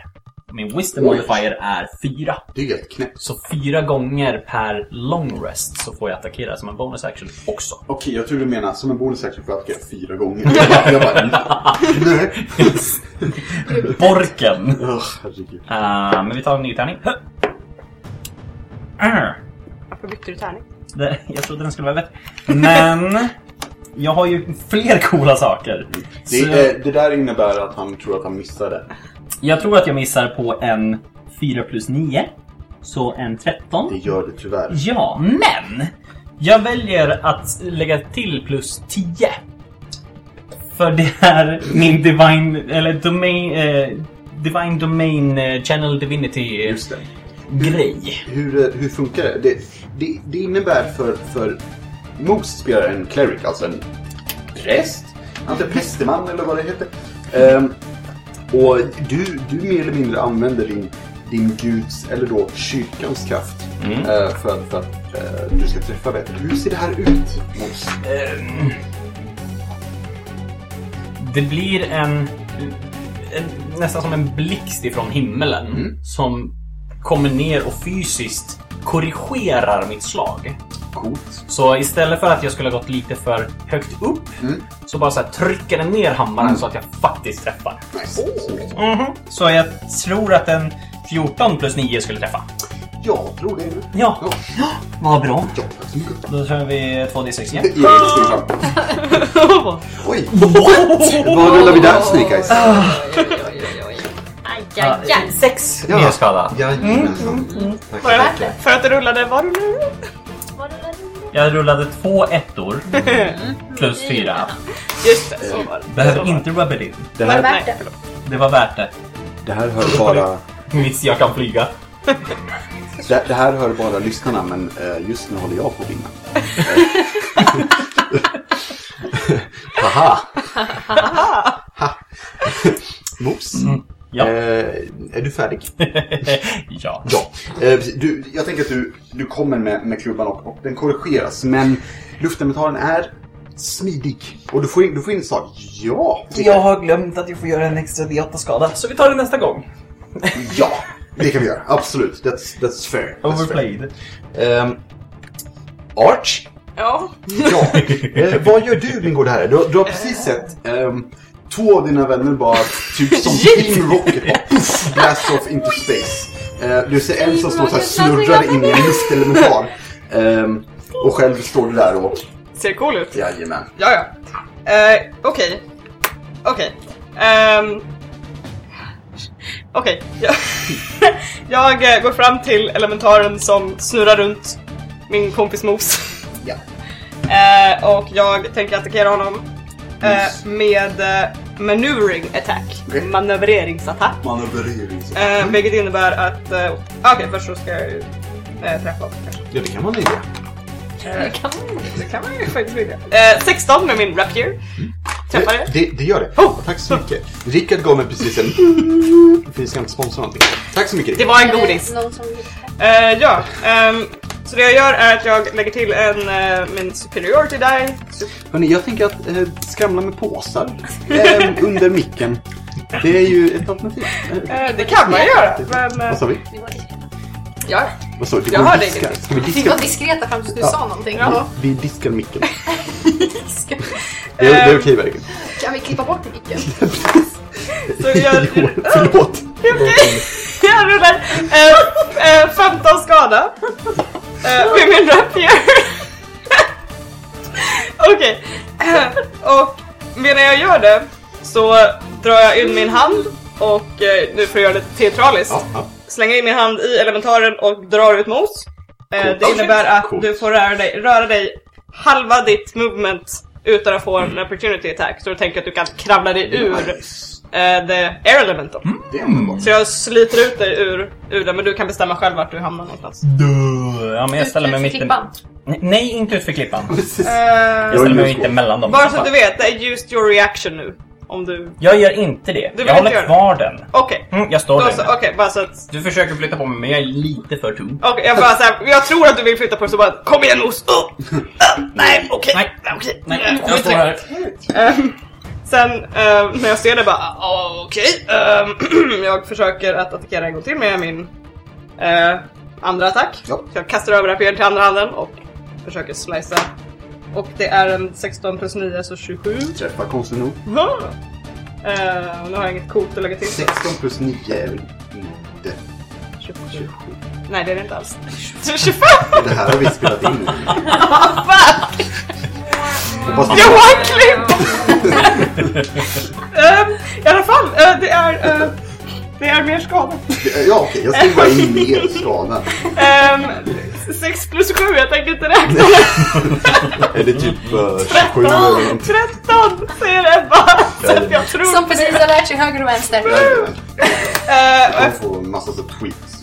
S5: Min wisdom
S2: Oj.
S5: modifier är fyra.
S2: Det är helt knäppt.
S9: Så fyra gånger per long rest så får jag attackera som en bonus action också.
S2: Okej, jag tror du menar som en bonus action får jag attackera fyra gånger. jag bara, jag bara nej.
S5: Borken!
S2: Åh, herregud.
S5: Eh, men vi tar en ny tärning. Huh. Ah,
S1: Varför bytte du tärning?
S5: det- Jag trodde den skulle vara bättre. Men... Jag har ju fler coola saker.
S2: Det,
S5: Så-
S2: eh, det där innebär att han tror att han missade.
S5: Jag tror att jag missar på en 4 plus 9. Så en 13.
S2: Det gör det tyvärr.
S5: Ja, men! Jag väljer att lägga till plus 10. För det är min divine, eller domain, eh, divine domain eh, channel divinity eh,
S2: Just det.
S5: grej.
S2: Hur, eh, hur funkar det? Det, det, det innebär för, för Most spelar en cleric, alltså en präst. Inte prästeman eller vad det heter. Ehm, och du, du mer eller mindre använder din, din guds, eller då kyrkans kraft eh, för, för att eh, du ska träffa bättre. Hur ser det här ut? Mos?
S5: Ehm, Det blir en, en nästan som en blixt ifrån himmelen
S2: Mm.
S5: som kommer ner och fysiskt korrigerar mitt slag.
S2: Coolt.
S5: Så istället för att jag skulle ha gått lite för högt upp
S2: Mm.
S5: så bara så här trycker den ner hammaren så att jag faktiskt träffar. Mhm.
S2: Nice. Snyggt.
S5: Så jag tror att en 14 plus 9 skulle träffa.
S2: Jag tror det nu.
S5: Ja.
S2: Ja.
S5: Vad bra.
S2: Ja, tack så mycket.
S5: Då kör vi 2D6 igen.
S2: Det är inte så sant. Oj! Vad rullar vi där, Snake Eyes?
S4: Aj, aj, aj.
S5: Sex
S2: Ja.
S5: mer skada.
S2: Jajamensan. Tack så
S1: Mm, Var det
S2: mycket.
S1: värt För att du rullade, var du nu?
S4: Var det där?
S5: Jag rullade två ettor plus fyra.
S1: Just det, så var det. Så var
S5: Behöver
S1: det.
S5: inte rubba det.
S2: Det
S3: Var det
S2: här,
S1: Nej,
S3: värt det?
S1: förlåt.
S5: Det var värt det.
S2: det här hör bara...
S5: Visst, jag kan flyga.
S2: Det, det här hör bara lyssnarna, men eh, just nu håller jag på att vinna. Eh. Haha! Ha. Mos,
S5: Ja.
S2: eh, är du färdig?
S5: ja.
S2: Ja. Eh, precis. du, jag tänker att du, du kommer med, med klubban och, och den korrigeras, men luftelementaren är smidig. Och du får in, du får in en sak. Ja! det-
S5: har glömt att jag får göra en extra D8 skada. Så vi tar det nästa gång.
S2: Ja! Det kan vi göra, absolut. That's, that's fair. That's fair.
S5: Overplayed.
S2: Ehm, Arch,
S1: Ja,
S2: Ja. Eh, vad gör du din goda herre? Du, har- du har precis sett ehm, två av dina vänner bara typ som Team Rocket bara puff, blast off into space. Eh, du ser en som står så här snurrar in i en luftelemental. Ehm, och själv står du där och
S1: ser cool ut.
S2: jajamän.
S1: Ja, ja. Eh, Okej. Okej. Ehm, Okej. Jag- Jag eh, går fram till elementaren som snurrar runt min kompis Mos.
S2: Ja.
S1: Eh, och jag tänker attackera honom eh, med uh, maneuvering attack.
S2: Okej.
S1: Manövreringsattack.
S2: Manövrering. så.
S1: Eh, vilket innebär att... eh, Okej, först så ska jag ju eh, träffa honom kanske.
S2: Ja, det kan man göra.
S1: Eh, det kan man ju faktiskt vilja. Eh, 16 med min rapier. Träffar det.
S2: Det, det, det gör det.
S1: Oh!
S2: Tack så mycket. Rickard gav mig precis en... Vi ska inte sponsra någonting. Tack så mycket
S1: Det
S2: Rickard.
S1: var en
S3: Är det
S1: godis.
S3: Någon som vill
S1: Eh, ja, ehm, så det jag gör är att jag lägger till en, eh, min superiority die. Sup-
S2: Hörrni, jag tänker att eh, skramla med påsar ehm, under micken. Det är ju ett alternativ. Eh,
S1: eh, det kan man göra, men... eh,
S2: Vad sa vi?
S3: Vi var diskreta.
S1: ja.
S2: Vad sa du?
S1: Jag hörde
S2: diska.
S1: ingenting.
S2: Ska vi
S3: Vi
S2: diska?
S3: var diskreta fram tills du
S2: Ja.
S3: sa någonting.
S2: Vi diskar micken.
S3: Ska-
S2: Det är, det är
S1: Ehm.
S2: okej verkligen.
S3: Kan vi klippa bort micken?
S1: Så jag,
S2: Jo, förlåt.
S1: jag rullar eh, eh, 15 skada. Eh, med min rapier. Okej. Eh, Och medan jag gör det så drar jag in min hand och eh, nu får jag göra lite teatraliskt.
S2: Ja, ja.
S1: slänga in min hand i elementaren och drar ut mos. Eh,
S2: Coolt.
S1: Det innebär att
S2: Coolt.
S1: du får röra dig, röra dig halva ditt movement utan att få en opportunity attack. Så du tänker att du kan kravla dig ur
S2: Nice.
S1: eh, the air elemental.
S2: Det är underbart.
S1: Så jag sliter ut dig ur, ur den, men du kan bestämma själv vart du hamnar någonstans.
S5: Duh. Ja, men jag ställer mig
S3: Ut- ut
S5: mitt...
S3: för klippan.
S5: Nej, Nej, inte ut för klippan.
S2: Precis.
S1: Eh,
S5: Jag ställer
S2: Jag är
S5: mig mitt
S2: utgång.
S5: emellan dem.
S1: bara så att du vet, det är used your reaction nu. Om du...
S5: Jag gör inte det.
S1: vill
S5: Jag
S1: inte
S5: håller
S1: göra
S5: kvar den.
S1: Okej.
S5: Mm, jag står
S1: Då
S5: där
S1: så,
S5: inne.
S1: Okej, bara så att...
S5: Du försöker flytta på mig, men jag är lite för tung.
S1: Okej, jag bara såhär, jag tror att du vill flytta på dig så bara kom igen mos! Oh! Ah, nej, okej!
S5: Nej.
S1: okej.
S5: Nej, jag står här.
S1: Ehm, Sen eh, när jag ser det bara, ah, okej. Ehm, jag försöker att attackera en gång till med min eh, andra attack.
S2: Ja.
S1: Så jag kastar över rapier till andra handen och försöker slicea. Och det är en 16 plus 9, så 27.
S2: Träffar konstigt nog.
S1: Ah. Eh, nu har jag inget coolt att lägga till.
S2: 16 plus 9 är väl inte
S1: 27.
S2: 27.
S1: Nej, det är det inte alls. 25!
S2: Det här har vi spelat in.
S1: Fan!
S2: Hoppas
S1: Jag
S2: vi...
S1: har en klipp! Ehm, I alla fall, eh, det är eh, Det är mer skada.
S2: Ja, okej. jag skriver bara in mer skadan.
S1: Ehm, sex plus sju, jag tänker inte räkna.
S2: Eller typ eh, 27 eller
S1: Tretton!
S2: någonting.
S1: Tretton säger Ebba. Så att jag tror.
S3: Som precis har lärt sig höger och vänster.
S2: Jajamän.
S1: Eh, och
S2: De får en massa så tweets.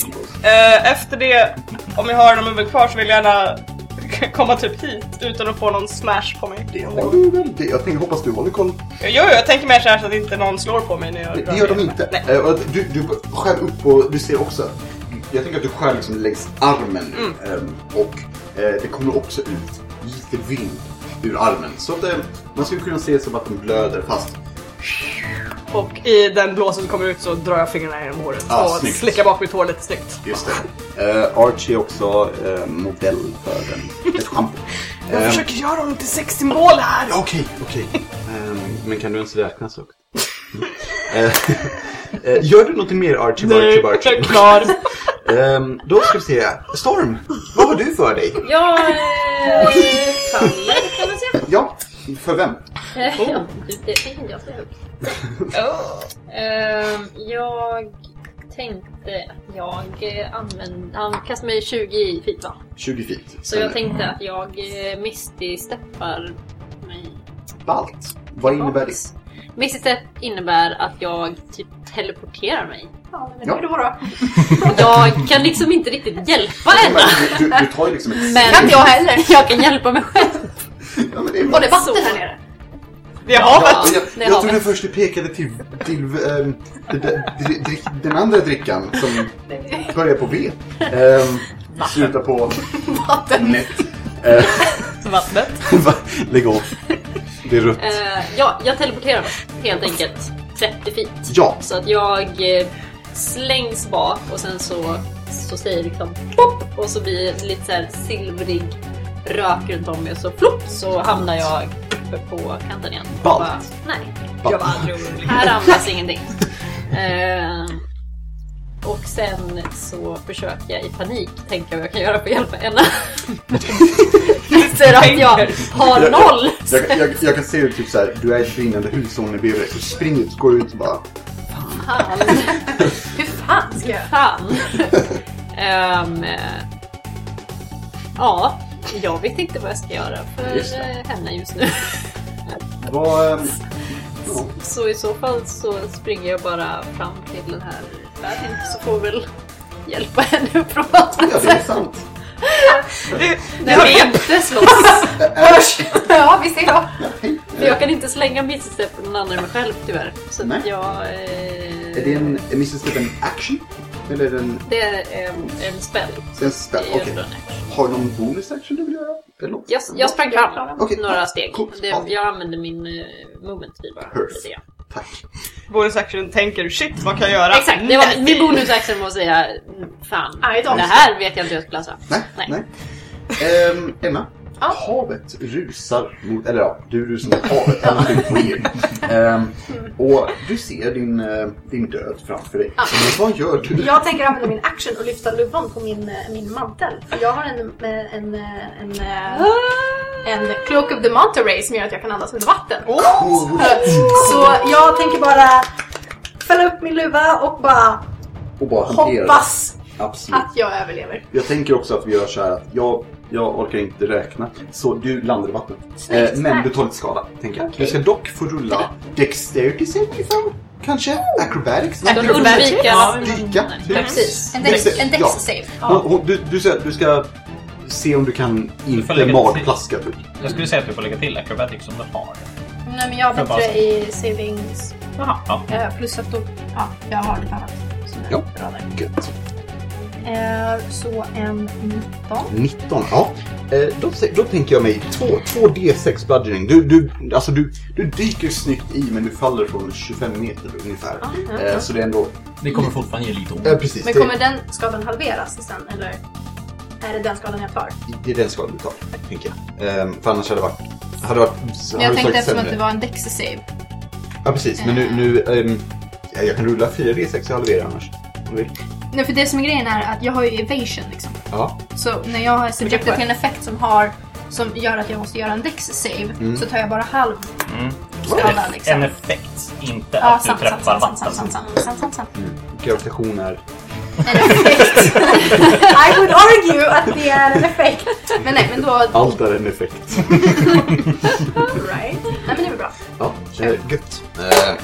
S1: Eh, efter det, om jag har någon huvud kvar så vill jag gärna komma typ hit utan att få någon smash på mig.
S2: Det har du väl? Det, jag tänker, hoppas du håller koll.
S1: Jo, jo, jag tänker mer såhär så att inte någon slår på mig när jag
S2: Det,
S1: rör
S2: det gör de
S1: mig.
S2: inte.
S1: Nej.
S2: Eh, och Du, du skär upp och du ser också. Jag tänker att du skär liksom längs armen.
S1: Mm.
S2: ehm, Och eh, det kommer också ut lite vind ur armen. Så att eh, man skulle kunna se som att den blöder fast.
S1: Och i den blåsen som kommer ut så drar jag fingrarna genom håret
S2: Ah,
S1: och
S2: snyggt. Ehm.
S1: slickar bak mitt hår lite snyggt.
S2: Just det. Eh, Archie är också eh, modell för den. Ett schampo.
S1: Jag
S2: Ehm,
S1: försöker göra honom till sexsymbol här!
S2: Ja, Okej, okej. Ehm, men kan du ens räkna så högt? Eh, eh, Gör du något mer Archie Barchie
S1: Nej, jag
S2: Barchie?
S1: är klar.
S2: Ehm, Då ska vi se. Storm, vad har du för dig?
S4: Jag eh, faller kan man säga.
S2: Ja, för vem?
S4: Eh, Ja, det, det tänker jag säga högt. Oh. Ehm, jag tänkte att jag eh, använde... Han kastade mig 20 i feet va?
S2: 20 feet.
S4: Så jag tänkte att jag eh, misty-steppar mig.
S2: Balt. Vad innebär det?
S4: Misty-step innebär att jag typ teleporterar mig.
S2: Ja.
S3: Hur då då?
S4: Jag kan liksom inte riktigt hjälpa henne.
S2: Du, du tar ju liksom ett
S4: Men-
S3: Kan inte jag heller.
S4: Jag kan hjälpa mig själv.
S2: Ja, men det är bra.
S3: Och det är vatten här nere.
S1: Vi har väl...
S4: Ja,
S2: Jag,
S4: det
S2: jag
S4: har
S2: trodde
S4: vi.
S2: först du pekade till, till ehm, det där- dri- dri- den andra drickan som börjar på V. Ehm, slutar på
S3: Vatten.
S2: net. Eh,
S1: Vattnet.
S2: va? Lägg av. Det är rött.
S4: Eh, ja, jag teleporterar mig helt enkelt 30 feet.
S2: Ja,
S4: Så att jag eh, slängs bak och sen så, så säger det liksom pop och så blir det lite så här silvrig rök runt om mig och så flopp så hamnar jag uppe på kanten igen. Och
S2: Ballt.
S4: bara, Nej,
S2: Ballt.
S4: jag var rolig. Här andas ingenting. Eh, och sen så försöker jag i panik tänka vad jag kan göra för att hjälpa henne. Inser att jag har noll.
S2: Jag, jag, jag kan se hur typ såhär, du är i ett brinnande hus och hon är bredvid dig. Så spring ut, går ut och bara...
S4: Fan.
S3: Hur fan ska jag?
S4: Fan. Ehm, eh, ja, jag vet inte vad jag ska göra för
S2: Just det.
S4: eh, henne just nu.
S2: Vad... ehm, ja.
S4: Så i så fall så springer jag bara fram till den här världen så får väl hjälpa henne upp från vattnet.
S2: Ja, det är sant.
S4: När vi inte slåss.
S3: Ja, visst är jag.
S4: För jag kan inte slänga misstep på någon annan än mig själv tyvärr. Så
S2: Nej.
S4: att jag... Eh,
S2: Är det en är Mrs. Step en action? Eller är det en,
S4: Det är en, en spell.
S2: en spell?
S4: Det är
S2: Okej.
S4: ändå en action.
S2: Har du någon bonus action du vill göra? Eller något?
S4: Jag, jag sprang fram
S2: Okej.
S4: några steg.
S2: Coolt.
S4: Det, jag använde min uh, moment speed bara.
S2: Perfect.
S4: lite grann.
S2: Tack.
S1: Bonus action tänker shit vad kan jag göra?
S4: Exakt, det var min bonusaction var att säga fan,
S3: Nej,
S4: det
S3: de-
S4: här vet jag inte hur jag ska lösa. Ah.
S2: Nej, nej.
S4: Nej.
S2: Ehm, Emma. Havet rusar mot, eller ja, du rusar mot havet. Någonting weird. Ehm, och du ser din, eh, din död framför dig. Men vad gör du?
S3: Jag tänker använda min action och lyfta luvan på min, eh, min mantel. För jag har en, eh, en, eh, en, eh, en Cloak of the Manta Ray som gör att jag kan andas under vatten. Så jag tänker bara fälla upp min luva och bara
S2: Och bara hanterar det.
S3: hoppas
S2: Absolut.
S3: att jag överlever.
S2: Jag tänker också att vi gör så här att jag, jag orkar inte räkna. Så du landar i vattnet.
S3: Snyggt,
S2: Eh, men
S3: tack.
S2: du tar lite skada, tänker jag. Du ska dock få rulla Dexterity saving throw. Kanske? Acrobatics?
S4: Ska de undvika?
S1: Ja,
S2: Dyka? typ.
S4: Precis.
S3: En
S2: dex- en dex Ja.
S3: save.
S2: Hon- hon- Du, du, ska, du ska se om du kan
S5: får
S2: inte
S5: lägga
S2: magplaska. Typ.
S5: Jag skulle säga att du får lägga till acrobatics som du har.
S3: Nej men jag är
S5: Jag bara-
S3: bättre i savings.
S5: Jaha, ja.
S3: Eh, Plus att då, ja, jag har lite annat. som är
S2: Ja.
S3: bra där.
S2: Gött.
S3: Eh, Så en 19.
S2: 19, ja. Eh, Då, se- då tänker jag mig två, två D6 bludgeoning. Du, du, alltså du, du dyker snyggt i men du faller från 25 meter ungefär. Eh, Så det är ändå...
S10: Det kommer fortfarande ge lite ont.
S2: Eh, precis,
S3: Men
S2: det-
S3: kommer den skadan halveras sen eller? Är det den skadan jag tar?
S2: Det är den skadan du tar, tänker jag. Ehm, för annars hade det varit... Hade det varit hade det varit sämre.
S3: var en Dexa-save.
S2: Ja, precis. Men nu... nu ehm, ja, jag kan rulla 4D6 och halvera annars. Om du vill.
S3: Nej för det som är grejen är att jag har ju evasion liksom.
S2: Ja.
S3: Så när jag har subjected
S1: Vilken
S2: Mm.
S3: till en effekt som har som gör att jag måste göra en dex save så tar jag bara halv alla liksom.
S5: En effekt, inte
S3: Ja,
S5: att du
S3: sant, sant,
S5: träffar
S3: sant, sant,
S5: vatten.
S3: sant, sant, sant, sant, sant, sant.
S2: Mm. Gravitation är...
S3: En effekt. I would argue att det är en effekt. Men nej, men då...
S2: Allt är en effekt.
S3: Right. Nej, men det var bra.
S2: Ja, eh, gött. Eh,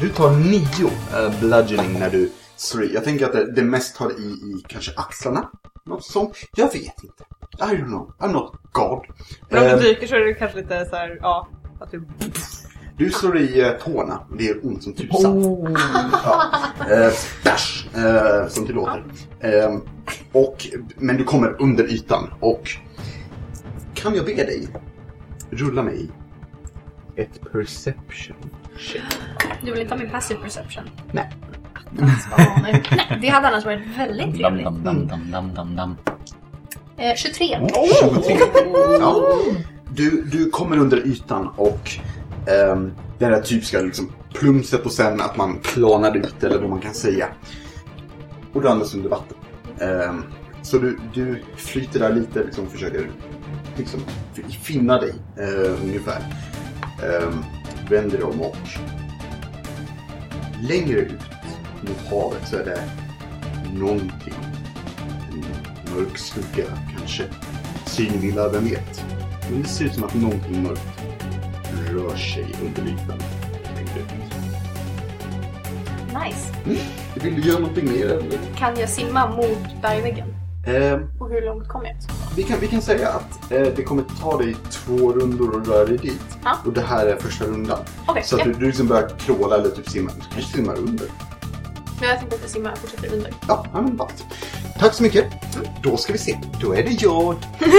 S2: du tar nio eh, bludgeoning när du slår i. Jag tänker att det, det mest tar i, i kanske axlarna. Något sånt. Jag vet inte. I don't know. I'm not God.
S1: Men om
S2: Eh,
S1: du dyker så är det kanske lite så här, ja. Att du...
S2: Du slår i eh, tårna och det gör ont som tusan. Ja. Eh, dash, eh, som det låter. Eh, och, men du kommer under ytan och kan jag be dig rulla mig ett perception?
S3: Du vill inte ha min passive perception?
S2: Nej.
S3: Attans, vad har ni? Nej, det hade annars varit
S5: Mm.
S3: väldigt
S7: Dam,
S3: trevligt.
S7: dam, dam, dam, dam, dam, dam.
S3: Eh, 23.
S2: 23. Ja. Du, du kommer under ytan och ehm, det här typiska liksom plumset och sen att man planar ut eller vad man kan säga. Och du andas under vatten. Ehm, så du, du flyter där lite och liksom, försöker liksom, finna dig eh, ungefär. Ehm, vänder dig om och längre ut mot havet så är det någonting. En Mm, mörk skugga kanske synvilla, vem vet? Men det ser ut som att någonting mörkt rör sig under ytan. Mm.
S3: Nice.
S2: Vill du göra någonting mer eller?
S3: Kan jag simma mot bergväggen?
S2: Eh,
S3: Och hur långt kommer jag?
S2: vi, kan, vi kan säga att eh, det kommer ta dig två rundor att röra dig dit.
S3: Ja.
S2: Och det här är första rundan.
S3: Okej,
S2: Så att du,
S3: ja.
S2: du liksom börjar kråla eller typ simma. Du kanske simmar under.
S3: Men jag tänkte att jag simmar och fortsätter under.
S2: Ja, ja, men vakt. Tack så mycket. Då ska vi se. Då är det jag.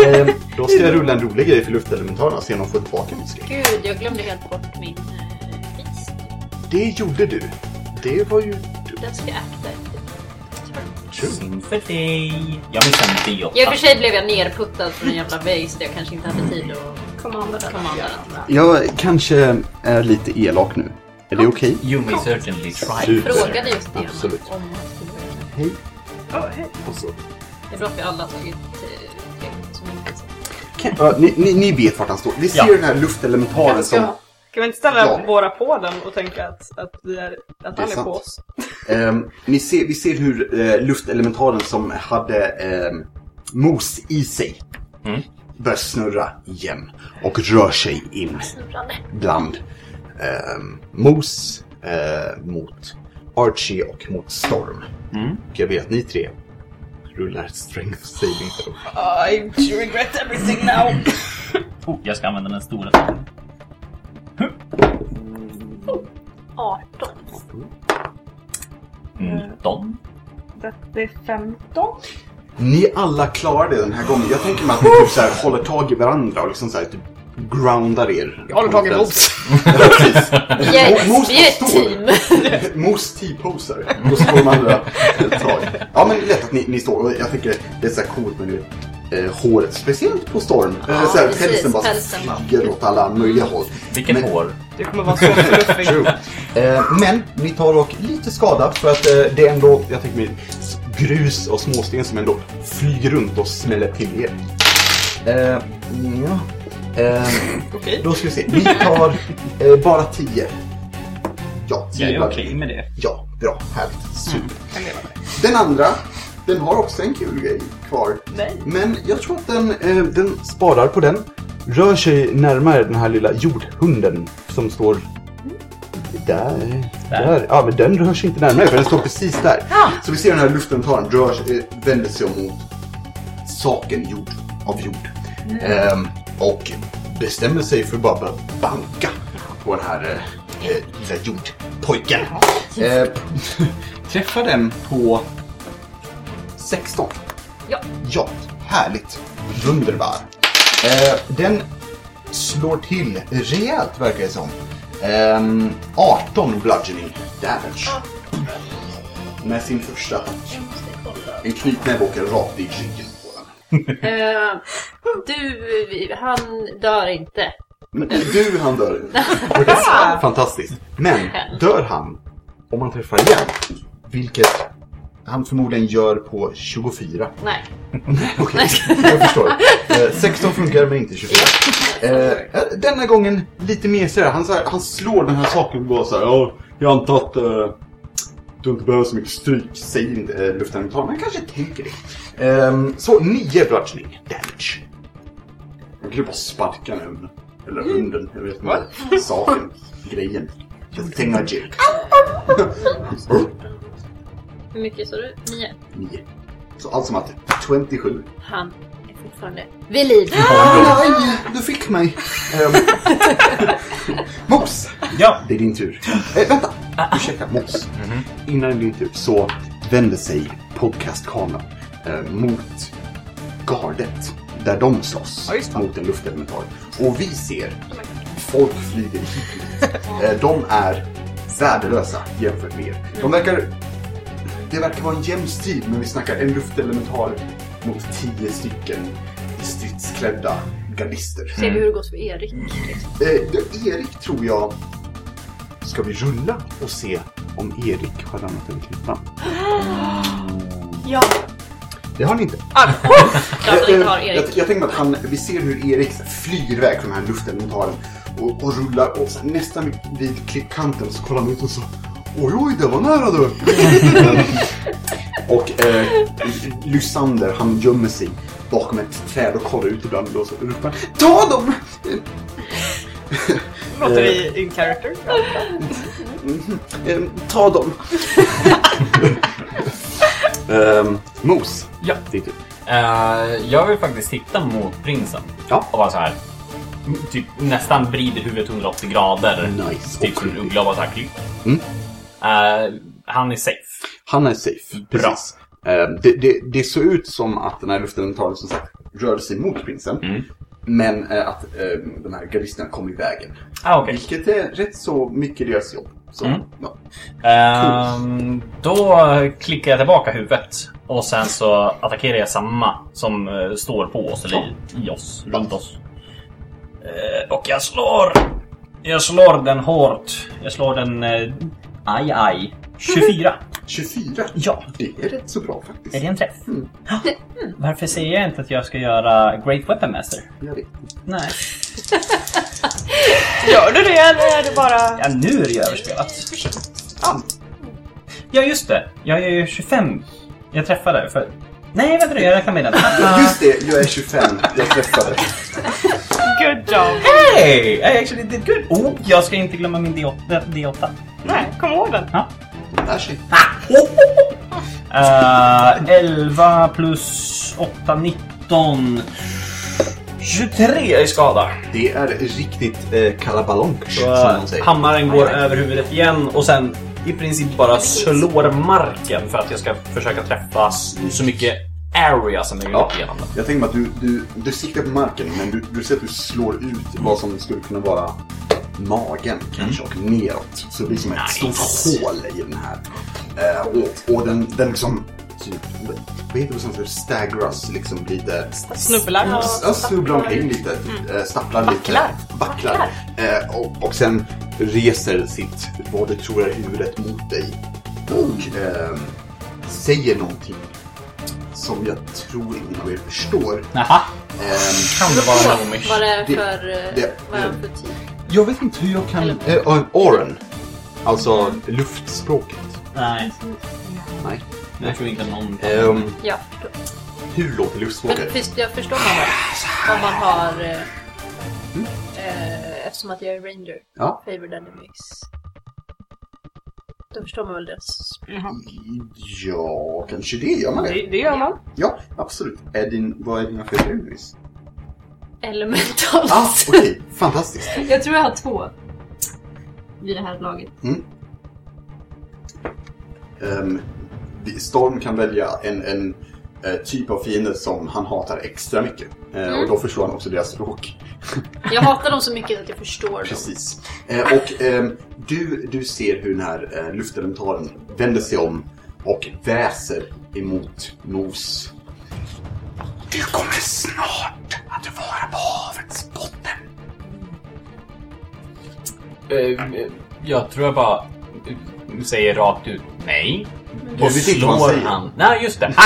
S2: eh, då ska jag rulla en rolig grej för luftelementarna och se om de får tillbaka mitt skräck.
S4: Gud, jag glömde helt bort min eh, vis.
S2: Det gjorde du. Det var ju
S4: Den ska jag akta efter.
S2: kul.
S5: Synd för dig. Jag missade en
S4: I och
S5: D8.
S4: för sig blev jag nerputtad från en jävla väg så jag kanske inte hade tid att
S3: Kommando där.
S4: komma undan.
S2: Jag kanske är lite elak nu. Är det okej?
S7: You may certainly try.
S2: Super.
S4: Frågade just det.
S2: Absolut.
S4: Om han skulle vara med.
S2: Och så-
S4: Det är bra att vi alla har tagit eh, tre som inte
S2: Ja, ni, ni, ni vet vart han står. Ni ser den här luftelementaren som...
S1: Kan vi inte ställa
S2: Ja.
S1: våra på den och tänka att, att, vi är, att
S2: Det är
S1: han är, på
S2: sant.
S1: oss?
S2: ehm, ni ser, vi ser hur eh, luftelementaren som hade ehm, mos i sig börjar snurra igen och rör sig in bland ehm, mos eh, mot Archie och mot Storm. Och jag vet att ni tre rullar strength saving throw.
S1: Ah, I regret everything now.
S5: Oh, jag ska använda den stora.
S4: 18.
S5: 19.
S1: Det är 15.
S2: Ni alla klarar det den här gången. Jag tänker mig att ni typ så här, håller tag i varandra och liksom så här, typ groundar er. Jag håller tag i Mos. ja, precis.
S4: Vi är,
S2: Mos
S4: vi är ett
S2: står.
S4: team.
S2: Mos T-poser. Och så får de andra tag. Ja, men lätt att ni, ni står. Och jag tycker det är så här coolt med det, eh, håret. Speciellt på Storm. eh,
S4: Ja,
S2: så här,
S4: precis.
S2: pälsen bara
S4: Pälsen bara.
S2: flyger åt alla möjliga håll.
S7: Vilket
S2: Men-
S7: hår.
S1: Du kommer vara så fluffig.
S2: True. Eh, men ni tar dock lite skada för att eh, det är ändå, jag tänker mig, s- grus och småsten som ändå flyger runt och smäller till er. Eh, ja. eh,
S1: Okej.
S2: då ska vi se, ni tar eh, bara 10. Ja, 10
S5: Jag är
S2: blad.
S5: okej med det.
S2: Ja, bra, härligt, super. Den andra, den har också en kul grej kvar.
S1: Nej.
S2: Men jag tror att den, eh, den sparar på den. Rör sig närmare den här lilla jordhunden som står där.
S5: Där.
S2: där. Ja, men den rör sig inte närmare för den står precis där. Så vi ser den här luften ta den, rör sig, eh, vänder sig om mot saken jord av jord. Ehm, och bestämmer sig för att bara börja banka på den här eh, eh, lilla jordpojken. Eh, träffar den på 16.
S4: Ja.
S2: Ja, härligt. Wunderbar. Eh, den slår till rejält verkar det som. Ehm, 18 bludgeoning damage. Med sin första attack. En knytnäve åker rakt i ryggen på den.
S4: Eh, du, han dör inte.
S2: Men du, han dör. Fantastiskt. Men dör han om man träffar igen, vilket han förmodligen gör på 24.
S4: Nej.
S2: Okej, jag förstår. Eh, 16 funkar men inte 24. Eh, denna gången lite mesigare. Han, så här, han slår den här saken och bara så här. "Ja, jag antar att eh, du inte behöver så mycket stryk, säger inte eh, luftadmiral. Men han kanske tänker det. Ehm, så 9 bludgeoning damage. Man kan ju bara sparka den hunden. Eller hunden, jag vet inte. Saken, grejen. The thing I jerk.
S4: Hur mycket sa du? Nio.
S2: 9. Så allt som allt 27.
S4: Han är fortfarande vid liv.
S2: Nej, du fick mig. Ehm. Um, Mos,
S11: Ja.
S2: det är din tur. Eh, vänta, ursäkta Mos. Innan det är din tur så vänder sig podcastkameran eh, mot gardet där de slåss mot en luftelemental. Och vi ser folk flyger hit och dit. Eh, De är värdelösa jämfört med er. De verkar... Det verkar vara en jämn strid, men vi snackar en luftelemental mot tio stycken stridsklädda gardister.
S4: Ser vi hur det går för Erik? liksom?
S2: Eh, det- Erik tror jag... Ska vi rulla och se om Erik har ramlat över knipan?
S12: Ja.
S2: Det har ni inte.
S4: Klart han
S2: Eh,
S4: Alltså, inte har
S2: eh,
S4: Erik.
S2: Jag, jag tänker mig att han, vi ser hur Erik flyr iväg från den här luftelementalen och, och rullar och så här, nästan vid- vid klippkanten så kollar han ut och så Oj, oj, det var nära du! och eh, Lysander, han gömmer sig bakom ett träd och kollar ut ibland och så ropar Ta dem!
S1: Låter vi in character? Ja.
S2: Eh, ta dem! um, mos.
S5: Ja.
S2: Det är du.
S5: Eh, jag vill faktiskt titta mot prinsen.
S2: Ja.
S5: Och vara så här. Typ nästan vrider huvudet 180 grader.
S2: Nice.
S5: Typ som en uggla och bara så här klipper.
S2: Mm.
S5: Eh, han är safe.
S2: Han är safe. Precis. Eh, Det, det, det såg ut som att den här luftelementalen som sagt rörde sig mot prinsen.
S5: Mm.
S2: Men eh, att eh, de här gardisterna kom i vägen.
S5: Ah, okej.
S2: Vilket är rätt så mycket deras jobb. Så,
S5: Mm.
S2: ja.
S5: Ehm, då klickar jag tillbaka huvudet och sen så attackerar jag samma som eh, står på oss, eller i, i oss, runt oss. Eh, och jag slår! Jag slår den hårt. Jag slår den... eh, Aj, aj. 24.
S2: 24.
S5: Ja.
S2: Det är rätt så bra faktiskt.
S5: Är det en träff? Ja. Varför säger jag inte att jag ska göra Great Weapon Master?
S2: Jag vet.
S5: Nej.
S1: Gör du det eller är det bara...
S5: Ja, nu är det ju överspelat. Ja. Ja, just det. Jag är ju 25. Jag träffade för... Nej, vänta nu. Jag räknar med den.
S2: Just det, jag är 25. Jag träffade.
S1: Good job!
S5: Hey! I actually did good. Oh, jag ska inte glömma min D8. D8.
S1: Nej, kom ihåg den.
S2: De lär sig.
S5: Eh, 11 plus 8, 19. 23 i skada.
S2: Det är riktigt eh, kalabalonk som
S5: Så, eh,
S2: de säger.
S5: hammaren går över huvudet igen och sen i princip bara slår marken för att jag ska försöka träffa så mycket area som möjligt
S2: Ja.
S5: genom den.
S2: Jag tänker mig att du, du, du siktar på marken men du, du ser att du slår ut vad som skulle kunna vara magen kanske och neråt. Så det blir som ett stort hål i den här. Eh, och, och den, den liksom... Typ, vad heter det på svenska? Stagras liksom lite.
S1: Snubbelar.
S2: Ja, snubblar omkring lite.
S4: Mm.
S2: eh, Stapplar lite. Backlar. Eh, och, och sen reser sitt, vad du tror är huvudet mot dig. Och ehm, säger någonting som jag tror ingen av er förstår.
S5: Jaha,
S2: Ehm,
S5: kan det vara Nomish?
S4: Vad är det
S2: Det-
S4: för... eh,
S2: det-
S4: Vad typ- är det för tid?
S2: jag vet inte hur jag kan...
S4: Eller-
S2: Eh, Oren. Alltså luftspråket.
S5: Nej,
S2: Nej.
S5: jag tror inte någon...
S2: Ehm,
S4: Ja, jag förstår.
S2: hur låter
S4: Men
S2: luftspråket?
S4: visst, jag förstår man
S2: Ah,
S4: väl? Om man har... eh,
S2: Mm.
S4: eh, Eftersom att jag är ranger.
S2: Ja.
S4: Favored enemies. Då förstår man väl deras
S2: Ja, kanske det. Gör man det?
S1: Det, det gör man.
S2: Ja, absolut. Är din, vad är dina favoritbebis?
S4: elementals.
S2: Ah, okej. Fantastiskt.
S4: Jag tror jag har två. Vid det här laget.
S2: Ehm, vi- Storm kan välja en, en eh, typ av fiende som han hatar extra mycket. Eh, Och då förstår han också deras språk.
S4: Jag hatar dem så mycket att jag förstår dem.
S2: Precis. Eh, och ehm, du, du ser hur den här eh, luftelementalen vänder sig om och väser emot Nos. Du kommer snart att vara på havets botten.
S5: Eh, jag tror jag bara säger rakt ut nej.
S2: Och vi fick vad han
S5: slår
S2: säger.
S5: han. Nej, just det. Ah!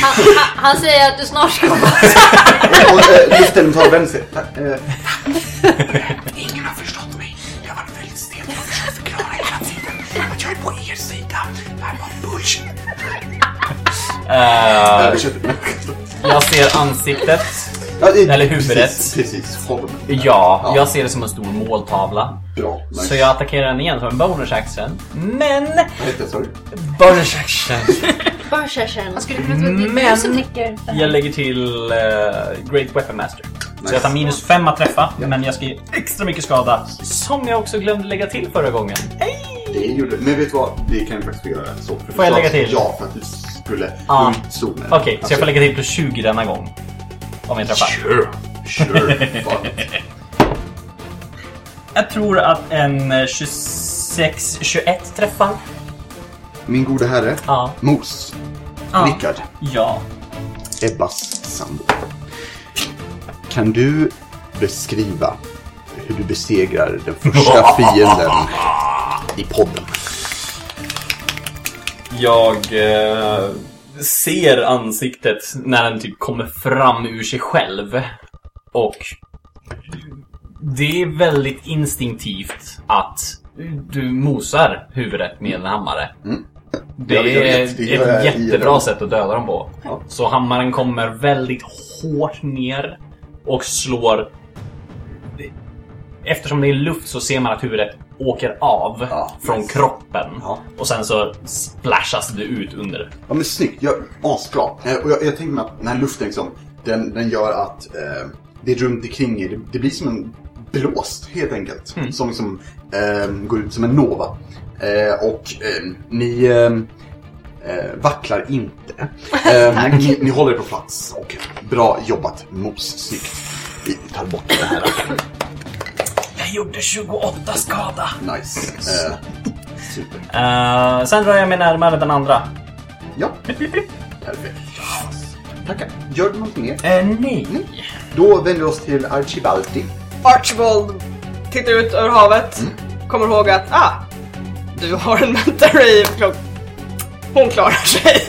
S4: Han, han, han säger att du snart ska vara...
S2: Och, eh, Just den tar vänster. Eh,
S13: Ingen har förstått mig. Jag har varit väldigt stel. Jag har försökt förklara hela tiden att jag är på er sida. Det här var bullshit.
S5: Eh,
S2: översätter.
S5: jag ser ansiktet.
S2: Ja, eh,
S5: Eller huvudet.
S2: Precis, precis. Form.
S5: Ja, jag ser det som en stor måltavla.
S2: Bra. Nice.
S5: Så jag attackerar den igen som en bonus action. Men...
S2: Vad heter det, sa du?
S5: Bonus action!
S4: Börsärsen.
S3: Man skulle kunna tro att det är
S5: Men-
S3: du som nickar.
S5: Jag lägger till eh, Great Weapon Master. Så
S2: Nice.
S5: jag tar minus fem att träffa, men jag ska ge extra mycket skada. Som jag också glömde lägga till förra gången.
S2: Det gjorde Men vet du vad? Det kan vi faktiskt få göra. Så, för
S5: Får jag
S2: du sa
S5: lägga
S2: att-
S5: till?
S2: Ja, för att du skulle
S5: Ja.
S2: ah. zonen.
S5: Okej, så jag får lägga till plus 20 denna gång. Om jag träffar.
S2: Sure. Sure. Fan.
S5: Jag tror att en eh, 26, 21 träffar.
S2: Min gode herre.
S5: Ja.
S2: Mos.
S5: Ja.
S2: Rickard.
S5: Ja.
S2: Ebbas sambo. Kan du beskriva hur du besegrar den första fienden i podden?
S5: Jag eh, ser ansiktet när den typ kommer fram ur sig själv. Och det är väldigt instinktivt att du mosar huvudet med en hammare. Det
S2: Mm. Jag vet, jag
S5: är
S2: vet. Det gör
S5: ett
S2: jag i
S5: jättebra
S2: den.
S5: sätt att döda dem på.
S2: Ja.
S5: Så hammaren kommer väldigt hårt ner och slår... Eftersom det är luft så ser man att huvudet åker av
S2: Ja,
S5: från
S2: nice.
S5: kroppen.
S2: Ja.
S5: Och sen så splashas det ut under.
S2: Ja men snyggt, jag, asbra. Eh, Och jag, jag tänker mig att den här luften liksom, den, den gör att eh, det runt omkring er, det, det blir som en blåst helt enkelt. Som liksom eh, går ut som en nova. Eh, och eh, ni eh, eh, vacklar inte. Eh, ni, ni håller er på plats och bra jobbat mos, snyggt. Vi tar bort det här.
S5: Jag gjorde 28 skada!
S2: Nice. Eh, super.
S5: Eh, sen rör jag mig närmare den andra.
S2: Ja, perfekt. Tackar. Gör du någonting mer?
S5: Eh, nej.
S2: Mm. Då vänder vi oss till Archibaldi.
S1: Archibald tittar ut över havet, kommer ihåg att ah, du har en mentor i klock. Hon klarar sig.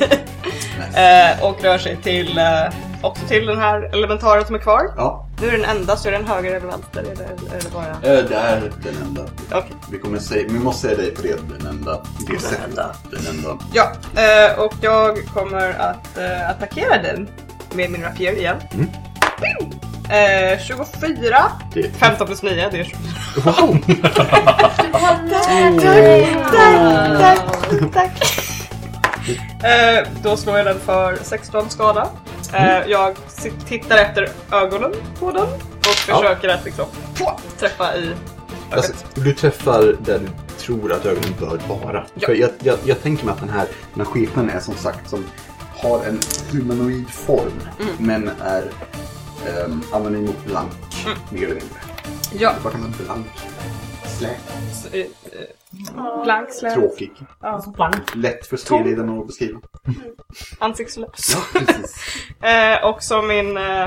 S1: eh, och rör sig till, eh, också till den här elementaren som är kvar.
S2: Ja,
S1: Nu är den enda, så är den höger eller vänster? Är det, är det bara...
S2: eh, det är den enda.
S1: Okej.
S2: Vi, kommer säga, vi måste säga dig på det, den enda. Det sättet. Den enda.
S1: Ja, eh, och jag kommer att eh, attackera den med min rapier igen. Ping! Eh, 24,
S2: Det.
S1: 15 plus 9, det är 20.
S2: Wow!
S1: Tack, tack, tack. Eh, då slår jag den för 16 skada. Eh, Jag sit- tittar efter ögonen på den och försöker att liksom på, träffa i
S2: Alltså, du träffar där du tror att ögonen bör vara.
S1: Ja.
S2: För jag, jag, jag tänker mig att den här, den här skepnaden är som sagt som har en humanoid form men är um, anonym och blank. Mer eller mindre.
S1: ja,
S2: Vad kan Mm. man blank? Slät,
S1: s- eh, eh, blank slä,
S2: tråkig, lätt för spelledarna att beskriva.
S1: ansiktslös.
S2: Ja, precis.
S1: Eh, och som min eh,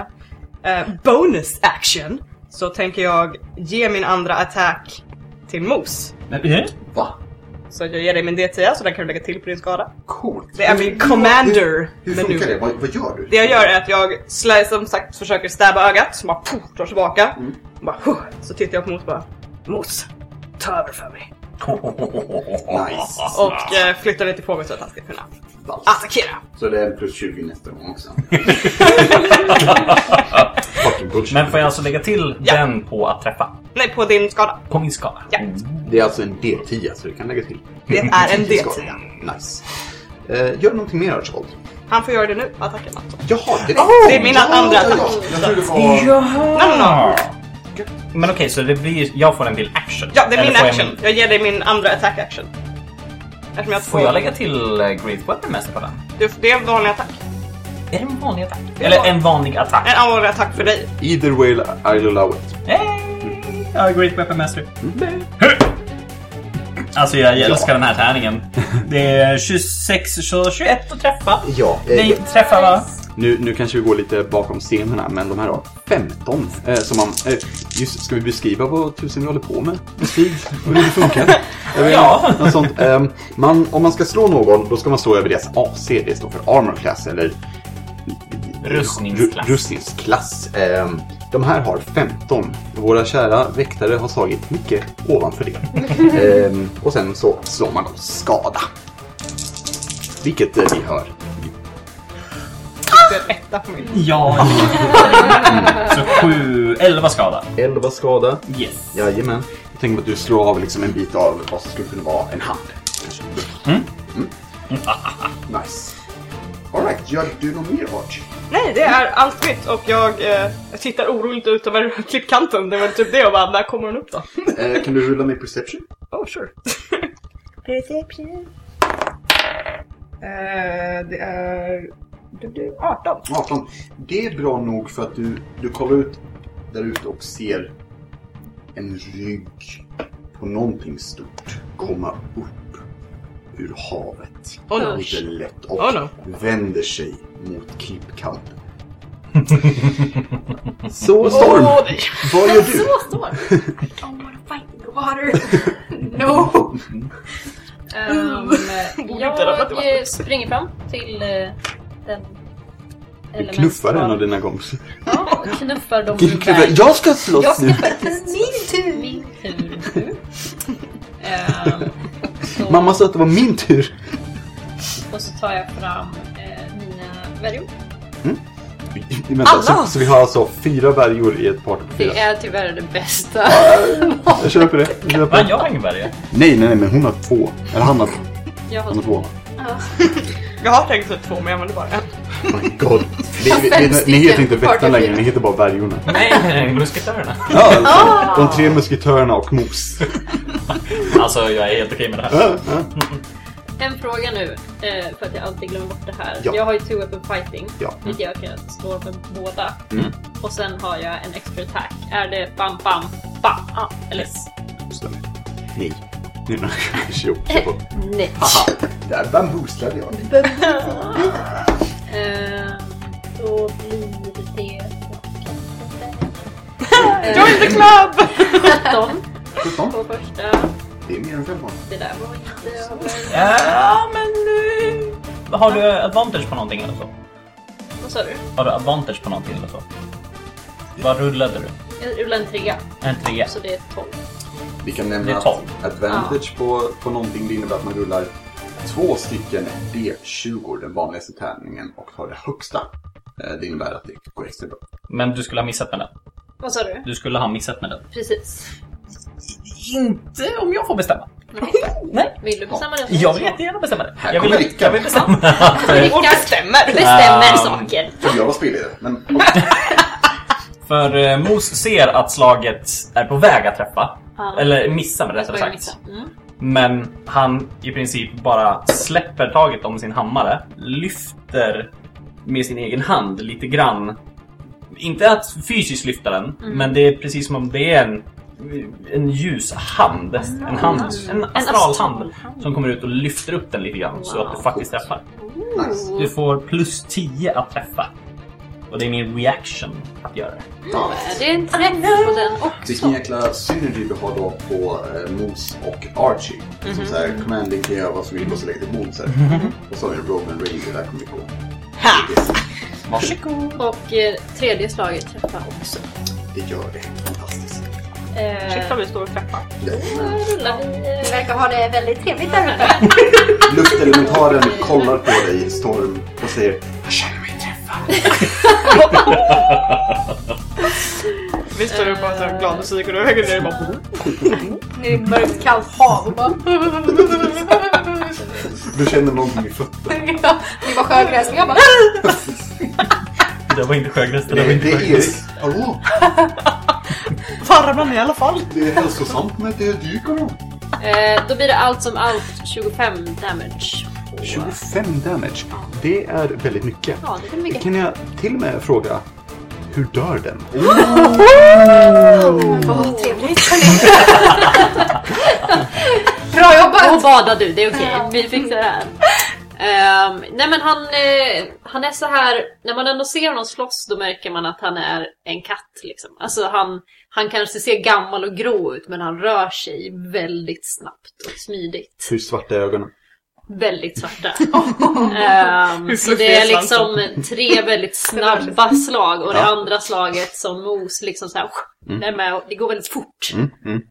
S1: eh, bonus action så tänker jag ge min andra attack till Mos.
S5: eh,
S2: Va?
S1: Så jag ger dig min D10 så den kan du lägga till på din skada.
S2: Coolt.
S1: Det är min commander
S2: Hur funkar
S1: maneuver.
S2: det? Vad, vad gör du?
S1: Det jag gör är att jag slä, som sagt försöker stabba ögat som bara puh, drar tillbaka.
S5: Mm.
S1: Bara, huh, så tittar jag på Mos och bara Mos, ta över för mig.
S2: Nice.
S1: Och eh, flyttar dig till fågel så att han ska kunna
S2: Vals.
S1: attackera.
S2: Så det är en plus 20 nästa gång också. Fucking bullshit.
S5: Men får jag alltså lägga till
S1: Ja.
S5: den på att träffa?
S1: Nej, på din skada.
S5: På min skada?
S1: Ja,
S2: Det är alltså en D10 så du kan lägga till.
S1: det är en
S2: Ska-
S1: D10.
S2: Nice. Eh, gör någonting mer Archibald.
S1: Han får göra det nu, attacken alltså.
S2: Jaha, det,
S1: Det är mina andra
S2: ja, ja.
S1: attacker.
S2: Jag tror det var...
S1: Nej, nej, nej.
S5: Men okej, så det blir... Jag får en till action?
S1: Ja, det är
S5: Eller
S1: min
S5: får jag
S1: action. Jag ger dig min andra attack action. Eftersom jag
S5: Får jag lägga till eh, Great Weapon Master på den?
S1: Du, det är en vanlig attack.
S5: Är det en vanlig attack?
S1: Ja.
S5: Eller en vanlig attack?
S1: En vanlig attack för dig.
S2: Either way I'll allow it.
S5: Hey! Ja, Great Weapon Master. Alltså jag älskar den här tärningen. Det är 26, så 21 att träffa.
S2: Ja, eh,
S5: Nej, träffa va?
S2: nu, nu kanske vi går lite bakom scenerna, men de här har 15. Eh, som man, eh, just, ska vi beskriva vad tusen vi håller på med? Med speed? Och hur det funkar? Jag vet, ja. Något sånt. Ehm, man, om man ska slå någon, då ska man stå över deras AC. Det står för armor class eller
S5: Rustningsklass.
S2: Ru- rustningsklass. Ehm, de här har 15. Våra kära väktare har slagit mycket ovanför det. Ehm, och sen så slår man dem skada. Vilket eh, vi hör.
S1: Det är en etta på min.
S5: Ja. Så sju, elva skada.
S2: 11 skada.
S5: Yes.
S2: Jajamän. Jag tänker att du slår av liksom en bit av vad som skulle kunna vara en hand. kanske. Mm. nice. Alright, gör du något mer Arch?
S1: Nej, det är allt mitt och jag, eh, jag tittar oroligt ut över klippkanten. Det var typ det och bara, när kommer hon upp då?
S2: Eh, kan du rulla med perception?
S1: Oh, sure. Eh, det är... Du, du, 18.
S2: 18. Det är bra nog för att du, du kollar ut där ute och ser en rygg på någonting stort komma upp ur havet.
S1: Oh, no.
S2: Lite lätt och
S1: Oh, no.
S2: vänder sig mot klippkanten. Så Storm,
S1: Åh, nej.
S2: vad gör du?
S3: Så står I don't wanna fight in the water. No!
S4: Ehm,
S1: Borde inte ha ramlat i
S4: jag eh,
S1: vattnet.
S4: springer fram till eh, den
S2: Du knuffar en av dina kompisar.
S4: Ja, och knuffar dem
S2: Du knuffar.
S4: ungefär.
S2: Jag ska slåss
S4: Jag ska
S2: nu!
S4: faktiskt...
S3: Min tur!
S4: Min tur nu. Ehm, så,
S2: Mamma sa att det var min tur.
S4: Och så tar jag fram eh, mina värjor.
S2: Vänta, så, så vi har alltså fyra värjor i ett party på fyra.
S4: Det är tyvärr det bästa.
S2: Jag köper det. Jag köper
S5: Men
S2: det.
S5: jag har ingen värja.
S2: Nej, nej, nej, men hon har två. Eller han har,
S4: Jag har
S2: han har två.
S1: Jag har tänkt typ två, men jag använder bara en.
S2: Oh my god. Det, det, det, ni heter inte väktaren längre, ni heter bara värjorna.
S5: Nej, nej, nej, musketörerna.
S2: Ja, alltså,
S4: Ah!
S2: De tre musketörerna och Mos.
S5: Alltså, jag är helt okej med det här.
S2: Ja, ja.
S4: En fråga nu, eh, för att jag alltid glömmer bort det här.
S2: Ja.
S4: Jag har ju two weapon fighting,
S2: Ja.
S4: vilket gör att jag slår med båda.
S2: Mm.
S4: Och sen har jag en extra attack. Är det bam, bam, bam? Ah, eller s-
S2: Stämmer. Nej. Nu när jag kör på.
S4: nej.
S2: Haha, där bambuslade jag.
S4: Eh, då blir det...
S1: Join the club!
S4: 17
S2: 17.
S4: på första.
S2: Det är mer än 15.
S4: Det där var inte...
S5: Ja, men... eh, Har du advantage på någonting eller så?
S4: Vad sa du?
S5: Har du advantage på någonting eller så? Vad rullade du?
S4: Jag rullade en trea,
S5: En trea.
S4: så det är 12.
S2: Vi kan
S5: Det
S2: nämna
S5: är
S2: att
S5: tolv.
S2: advantage på, på någonting det innebär att man rullar två stycken D20, den vanligaste tärningen, och tar det högsta. Eh, Det innebär att det går extra bra.
S5: Men du skulle ha missat med den.
S4: Vad sa du?
S5: Du skulle ha missat med den.
S4: Precis.
S5: Inte om jag får bestämma. Nej.
S4: Vill du bestämma det?
S5: Jag vill jättegärna bestämma det.
S2: Här
S5: jag vill,
S2: kommer Rickard.
S5: jag vill bestämma.
S1: Och
S4: Rickard
S1: bestämmer!
S4: bestämmer
S5: Ehm.
S4: saker.
S2: För jag var spelledare, men
S5: För eh, Mos ser att slaget är på väg att träffa.
S4: Ja.
S5: Eller missa med det
S4: Jag
S5: rättare
S4: börjar
S5: sagt.
S4: missa. Mm.
S5: Men han i princip bara släpper taget om sin hammare, lyfter med sin egen hand lite grann. Inte att fysiskt lyfta den,
S4: Mm.
S5: men det är precis som om det är en, en ljus hand. En, hand, en astralhand som kommer ut och lyfter upp den lite grann så att du faktiskt träffar.
S2: nice.
S5: Du får plus 10 att träffa. Och det är min reaction att göra det.
S2: Ja.
S4: Det är en träff på den
S2: Vilken
S4: också.
S2: jäkla synergy vi har då på eh, Moose och Archie. Som såhär, commanding kan göra vad som vill och så lägger det bon såhär. Och så har vi Roman Ranger där kommer vi på.
S1: Ha!
S4: Och eh, tredje slaget träffar också.
S2: Det gör det. Fantastiskt.
S4: Eh,
S1: Shit vad vi står och träffar.
S2: Jajamän.
S4: rullar vi...
S3: Du
S4: eh,
S3: verkar ha det väldigt trevligt där uppe.
S2: Luftelementaren kollar på dig, Storm, och säger Jag känner mig träffad.
S1: Vi står och bara så här glad musik och då höger ner och bara...
S3: Nu är det mörkt, kallt hav och bara...
S2: Du känner någonting i fötterna.
S3: Det var sjögräs, men jag bara...
S5: Det var inte sjögräs, det
S2: Det
S5: där var
S2: är,
S5: inte
S2: det är,
S5: sjögräs.
S2: hallå,
S1: Farrar man i alla fall?
S2: det är hälsosamt med det dyker då.
S4: Eh, då blir det allt som allt 25 damage.
S2: 25 damage. Det är väldigt mycket.
S4: Ja, det är väl mycket.
S2: Kan jag till och med fråga, hur dör den?
S3: Vad trevligt. Bra jobbat!
S4: Då badar du, det är okej. Vi fixar det här. Ehm, nej men han, eh, han är så här, när man ändå ser honom slåss då märker man att han är en katt liksom. Alltså han, han kanske ser gammal och grå ut men han rör sig väldigt snabbt och smidigt.
S2: Hur svarta är ögonen?
S4: Väldigt svarta. Ehm,
S1: Hur
S4: så det är
S1: fluffig är svansen?
S4: liksom tre väldigt snabba slag och det andra slaget som mos liksom så här,
S2: Mm.
S4: det, är med, och- det går väldigt fort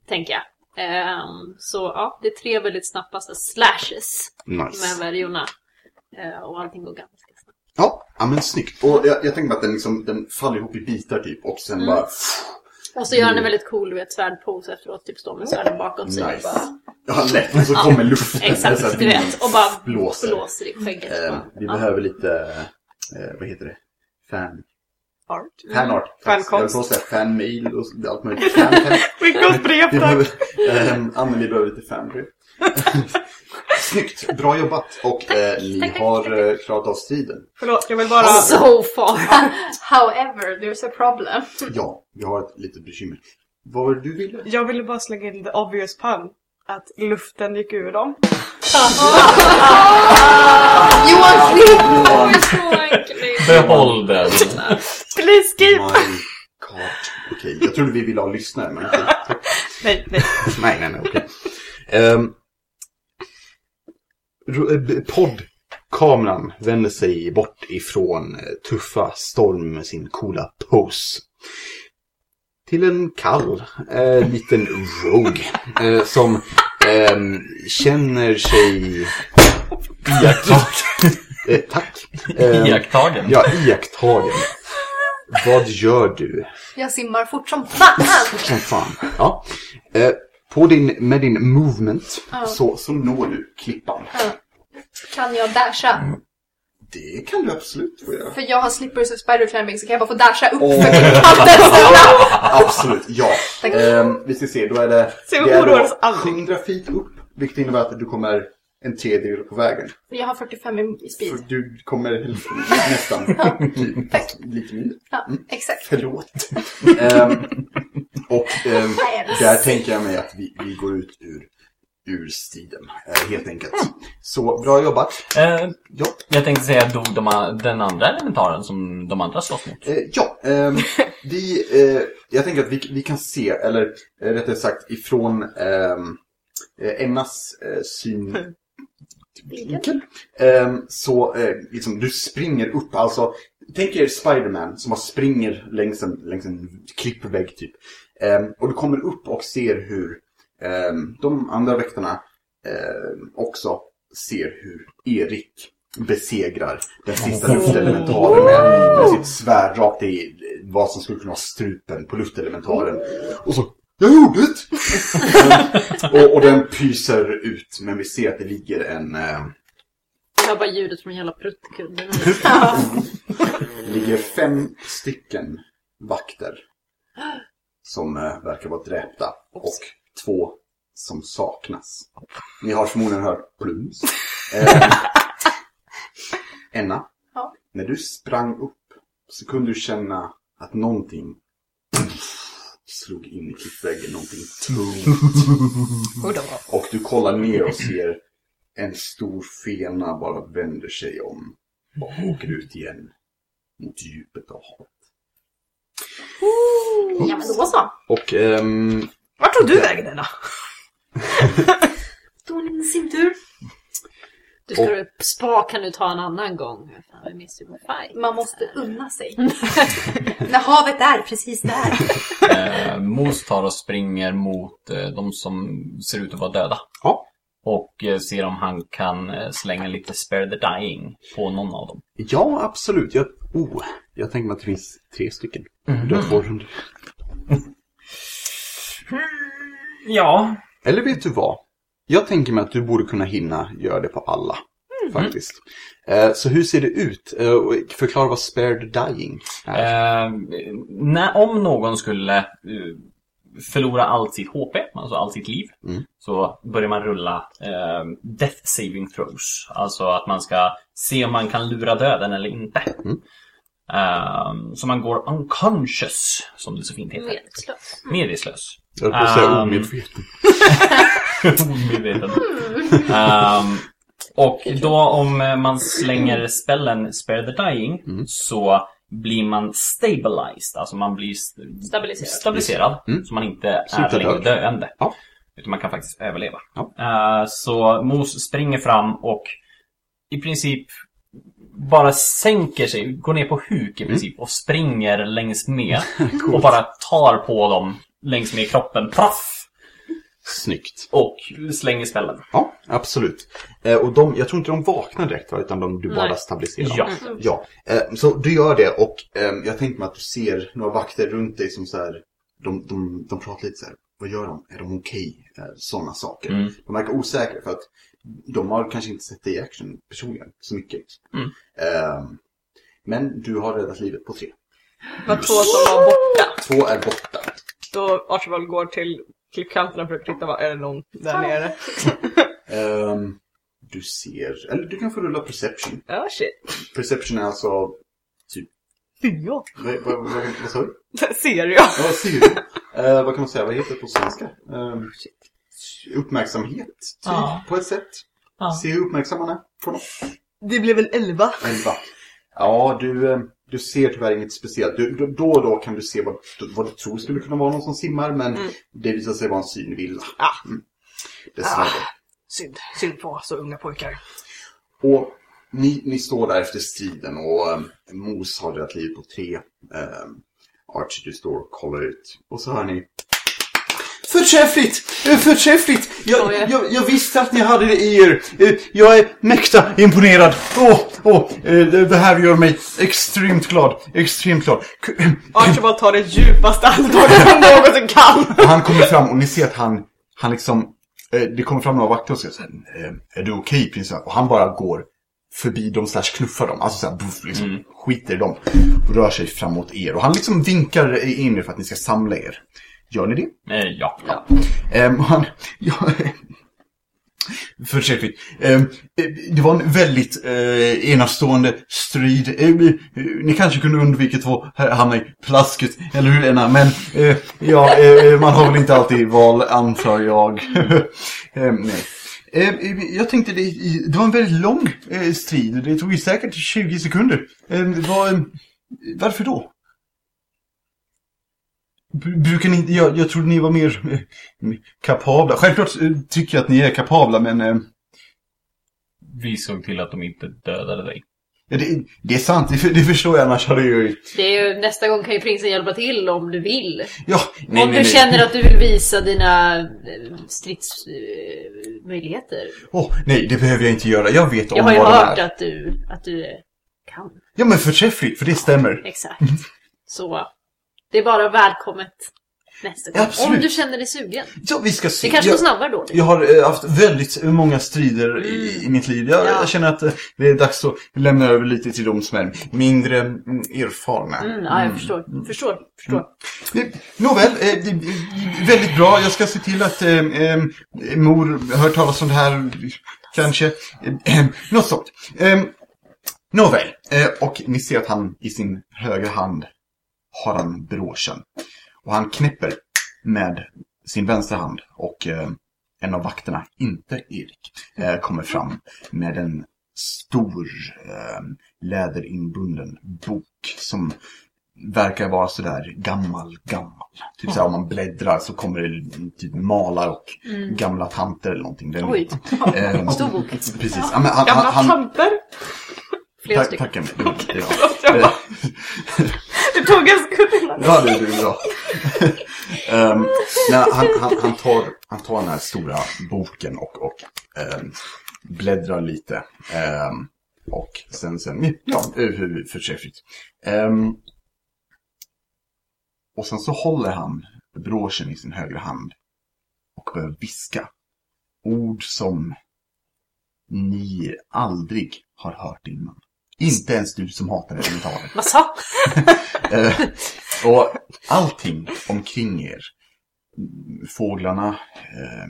S4: tänker jag. Ehm, så ja, det är tre väldigt snabba så här slashes
S2: Nice.
S4: med värjorna. Eh, och allting går ganska snabbt.
S2: Ja, ja men snyggt. Och jag, jag tänker mig att den, liksom, den faller ihop i bitar typ och sen
S4: Mm.
S2: bara...
S4: Och så gör han en väldigt cool du vet, svärdpose efteråt, typ står med svärden bakom sig och
S2: Nice.
S4: bara,
S2: Ja, lätt. Och så kommer luften. Så
S4: Exakt,
S2: att
S4: du vet. Och bara
S2: blåser.
S4: blåser, i skägget.
S2: Eh,
S4: Bara,
S2: vi
S4: ja.
S2: behöver lite, eh, vad heter det? Fan...
S1: Art.
S2: Fanart.
S4: Mm,
S1: Fankonst.
S2: Jag höll på att säga fanmail och så- allt möjligt. Fan,
S1: Skicka oss brev
S2: Vi
S1: tack!
S2: behöver, ehm, Anne, vi behöver lite fanbrev. Snyggt, bra jobbat. Och eh, ni
S4: tack, tack,
S2: har eh, klarat av striden.
S1: Förlåt, jag vill bara...
S4: So far!
S3: However, there's a problem.
S2: Ja, vi har ett litet bekymmer. Vad var det du ville?
S1: Jag ville bara slänga in the obvious pun. Att luften gick ur dem.
S3: Johan Flink!
S4: Åh, så äckligt.
S5: Behåll den.
S1: Please keep!
S2: My God. Okej, jag trodde vi ville ha lyssnare, men okej.
S1: Nej, nej.
S2: Nej, nej, nej, okej. Ehm, ro- eh, b- Poddkameran vänder sig bort ifrån eh, tuffa Storm med sin coola pose. Till en kall eh, liten rogue eh, som ehm, känner sig... Iakttagen. eh, tack. Ehm,
S5: Iakttagen.
S2: ja, iakttagen. Vad gör du?
S3: Jag simmar fort som fan!
S2: Som fan. Ja. Eh, på din, med din movement
S3: Ja.
S2: så, så når du klippan.
S3: Kan jag dasha?
S2: Det kan du absolut få göra.
S3: För jag har slippers och spider climbing så kan jag bara få dasha upp för klippan snälla!
S2: Absolut, ja.
S3: Tack.
S2: Ehm, vi ska se, då är det,
S1: Se, vi
S2: det är
S1: oroar oss aldrig.
S2: 100 feet upp. Vilket innebär att du kommer en tredjedel på vägen.
S3: Jag har 45 i i
S2: För
S3: speed.
S2: du kommer hälften, nästan. Typ, fast lite mindre.
S3: Ja, exakt.
S2: Förlåt. Ehm, och ehm, där tänker jag mig att vi, vi går ut ur, ur striden, eh, helt enkelt. Så, bra jobbat.
S5: Eh,
S2: Ja.
S5: jag tänkte säga, dog de, a- den andra elementaren som de andra slåss mot?
S2: Eh, ja, ehm, vi, eh, jag tänker att vi, vi kan se, eller eh, rättare sagt ifrån ehm, eh, Ennas eh, syn vinkel. Ehm, så eh, liksom, du springer upp, alltså tänk er Spiderman som bara springer längs en, längs en klippvägg typ. Ehm, och du kommer upp och ser hur ehm, de andra väktarna ehm, också ser hur Erik besegrar den sista luftelementaren med, med sitt svärd rakt i vad som skulle kunna vara strupen på luftelementaren. Och så jag gjorde det! och, och den pyser ut, men vi ser att det ligger en... ehm,
S4: Jag hör bara ljudet från hela pruttkudden.
S2: Det ligger fem stycken vakter som eh, verkar vara dräpta och två som saknas. Ni har förmodligen hört plums. Eh, Enna,
S3: Ja.
S2: när du sprang upp så kunde du känna att någonting slog in i klippväggen, någonting tungt. Och du kollar ner och ser en stor fena bara vänder sig om och åker ut igen mot djupet av havet.
S3: Ja men då så.
S2: Och ehm,
S1: Vart tog du vägen Ella?
S3: Då är det min simtur.
S4: Du ska du, spa kan du ta en annan gång. Fan, vi missar ju wifi.
S3: Man måste unna sig. När havet är precis där.
S5: Eh, Mos tar och springer mot eh, de som ser ut att vara döda.
S2: Ja.
S5: Och eh, ser om han kan eh, slänga lite spare the dying på någon av dem.
S2: ja, absolut. Jag, oh, jag tänker mig att det finns tre stycken. Du har två runder.
S5: Ja.
S2: Eller vet du vad? Jag tänker mig att du borde kunna hinna göra det på alla. Faktiskt. Eh, så hur ser det ut? Eh, och förklara vad spared dying är.
S5: Eh, när, om någon skulle eh, förlora allt sitt HP, alltså allt sitt liv,
S2: Mm.
S5: så börjar man rulla eh, death saving throws. Alltså att man ska se om man kan lura döden eller inte.
S2: Mm.
S5: Eh, så man går unconscious, som det så fint
S4: Mm,
S5: heter.
S4: Medvetslös.
S5: Medvetslös.
S2: jag höll på att säga
S5: ehm,
S2: omedveten.
S5: Omedveten. Ehm, Och då om eh, man slänger spellen Spare the Dying
S2: Mm.
S5: så blir man stabilized, alltså man blir st-
S4: Stabiliserad.
S5: stabiliserad så man inte
S2: Mm. Slutar
S5: är längre
S2: dö.
S5: döende.
S2: Ja.
S5: Utan man kan faktiskt överleva.
S2: Ja.
S5: Eh, så Mos springer fram och i princip bara sänker sig, går ner på huk
S2: Mm.
S5: i princip och springer längs med. och bara tar på dem längs med kroppen, praff!
S2: Snyggt.
S5: Och slänger spällen.
S2: Ja, absolut. Eh, och de, jag tror inte de vaknar direkt va? Utan de, du bara
S4: Nej.
S2: stabiliserar dem. Ja,
S5: Ja.
S2: eh, så du gör det och ehm, jag tänker mig att du ser några vakter runt dig som så här, de, de, de pratar lite så här, vad gör de? Är de okej? Okay? Sådana saker.
S5: Mm.
S2: De verkar osäkra för att de har kanske inte sett dig i action personligen så mycket.
S5: Mm.
S2: Ehm, men du har räddat livet på tre.
S1: Det var två som var borta.
S2: Två är borta.
S1: Då Archibald går till klippkanterna för att titta, vad är det någon där nere?
S2: Ehm, du ser, eller du kan få rulla perception.
S1: Ja, shit.
S2: Perception är alltså,
S1: Ser jag?
S2: vad, vad, vad, vad sa du?
S1: Ser jag?
S2: Ja, vad ser du? Eh, vad kan man säga, vad heter det på svenska? Ehm, uppmärksamhet, typ,
S5: Ja.
S2: på ett sätt.
S5: Ja.
S2: Se hur uppmärksam man är på något.
S1: Det blev väl elva?
S2: Elva. Ja, du, eh, du ser tyvärr inget speciellt. Du, du, då och då kan du se vad, vad du tror skulle kunna vara någon som simmar, men det visar sig vara en synvilla.
S1: Ah.
S2: Mm. Dessvärre.
S1: Synd. Synd på så unga pojkar.
S2: Och ni, ni står där efter striden och um, Mos har räddat liv på tre. Um, Archie, du står och kollar ut. Och så hör ni... Förträffligt! Eh, Förträffligt! Jag,
S4: Skojar.
S2: jag, jag visste att ni hade det i er. Eh, Jag är mäkta imponerad. Åh, åh, eh, det det här gör mig extremt glad. Extremt glad. K- eh,
S1: Archibald tar det djupaste andetag han någonsin kan.
S2: Han kommer fram och ni ser att han, han liksom, eh, det kommer fram några vakter och säger såhär, eh, är du okej prinsessan? Och han bara går förbi dem slash knuffar dem, alltså såhär buff, liksom, skiter i dem. Och rör sig framåt er. Och han liksom vinkar in er för att ni ska samla er. Gör ni det?
S5: Eh, ja.
S2: Ehm, och han, ja, förträffligt. Ehm, eh, det var en väldigt eh, enastående strid. Ehm, eh, ni kanske kunde undvikit att hamna i plasket, eller hur Lena? Men eh, ja, eh, man har väl inte alltid val, antar jag. Ehm, nej. Ehm, eh, Jag tänkte, det, det var en väldigt lång eh, strid. Det tog ju säkert 20 sekunder. Ehm, vad, varför då? Bru- Brukar ni inte, jag, jag trodde ni var mer eh, kapabla. Självklart eh, tycker jag att ni är kapabla, men eh,
S5: Vi såg till att de inte dödade dig.
S2: ja, det, det är sant, det, för- det förstår jag annars hade jag ju...
S4: Det är ju, nästa gång kan ju prinsen hjälpa till om du vill.
S2: Ja, nej,
S4: om
S2: nej,
S4: du
S2: nej.
S4: känner att du vill visa dina eh, stridsmöjligheter.
S2: Åh, nej, det behöver jag inte göra. Jag vet om
S4: Jag har ju
S2: vad de
S4: hört
S2: är.
S4: att du, att du eh, kan.
S2: Ja, men förträffligt, för det stämmer.
S4: Exakt. Så det är bara välkommet nästa gång.
S2: Absolut.
S4: Om du känner dig sugen.
S2: Ja, vi ska se.
S4: Det kanske går
S2: jag,
S4: snabbare då.
S2: jag har eh, haft väldigt många strider i, i mitt liv. Jag,
S4: Ja.
S2: jag känner att eh, det är dags att lämna över lite till de som är mindre mm, erfarna.
S4: Mm, ja, jag förstår. Förstår. Förstår.
S2: Eh, Nåväl, eh, det- eh, väldigt bra. Jag ska se till att eh, eh, mor hör talas om det här, kanske. Eh, eh, något sånt. Eh, nåväl, eh, och ni ser att han i sin högra hand har han broschen. Och han knäpper med sin vänstra hand och eh, en av vakterna, inte Erik, eh, kommer fram med en stor eh, läderinbunden bok som verkar vara sådär gammal, gammal. Typ såhär om man bläddrar så kommer det typ malar och gamla tanter eller någonting. Den,
S4: Mm. Oj.
S2: eh,
S4: Stor bok.
S2: Precis. Ja, men han,
S1: Gamla
S2: han, han,
S1: tanter.
S4: Flera
S2: tack,
S4: stycken.
S2: tack Emil. Det, det, var-
S1: Jag bara, det tog en sekund.
S2: Ja, det är bra. Ehm, nej, han, han, han, tar, han tar den här stora boken och, och ehm, bläddrar lite. Ehm, och sen, sen ja, hur- hur förträffligt. Ehm, och sen så håller han broschen i sin högra hand och börjar viska ord som ni aldrig har hört innan. Inte ens du som hatar elementaler.
S4: Vad sa?
S2: Eh, och allting omkring er, fåglarna, eh,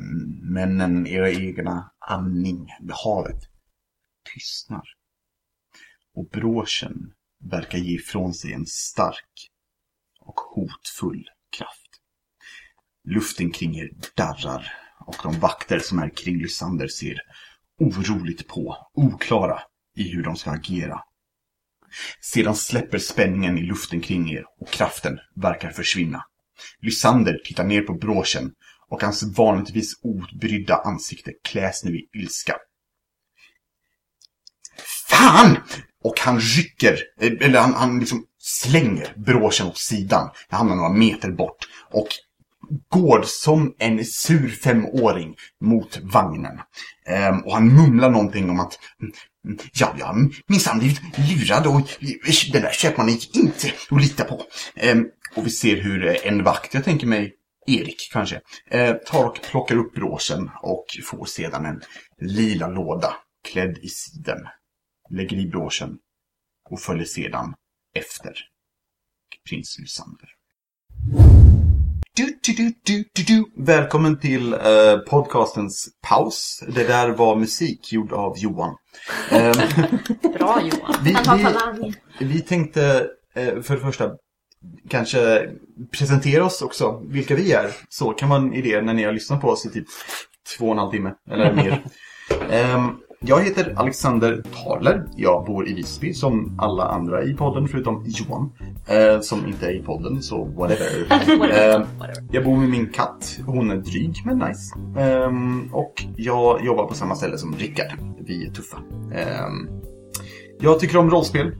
S2: männen, era egna, andning, havet, tystnar. Och bråsen verkar ge ifrån sig en stark och hotfull kraft. Luften kring er darrar och de vakter som är kring Lysander ser oroligt på, oklara i hur de ska agera. Sedan släpper spänningen i luften kring er och kraften verkar försvinna. Lysander tittar ner på bråchen och hans vanligtvis obrydda ansikte kläs nu i ilska. Fan! Och han rycker, eh, eller han, han liksom slänger bråchen åt sidan. Den hamnar några meter bort. Och går som en sur femåring mot vagnen. Ehm, och han mumlar någonting om att "Mm, mm, Ja, jag har minsann blivit lurad och eh, den där köpmannen gick inte att lita på. Ehm, och vi ser hur eh, en vakt, jag tänker mig Erik kanske, eh, tar och plockar upp bråsen och får sedan en lila låda klädd i siden. Lägger i bråsen och följer sedan efter prins Lysander. Du, du, du, du, du, du. Välkommen till eh, podcastens paus. Det där var musik gjord av Johan. Eh,
S4: Bra Johan.
S2: vi,
S3: Han har talang.
S2: vi, vi tänkte eh, för det första kanske presentera oss också, vilka vi är. Så kan man i det när ni har lyssnat på oss i typ två och en halv timme eller mer. Ehm, jag heter Alexander Tarler. Jag bor i Visby som alla andra i podden förutom Johan. eh, som inte är i podden, så whatever. Ehm, jag bor med min katt. Hon är dryg men nice. Ehm, och jag jobbar på samma ställe som Rickard. Vi är tuffa. Ehm, jag tycker om rollspel.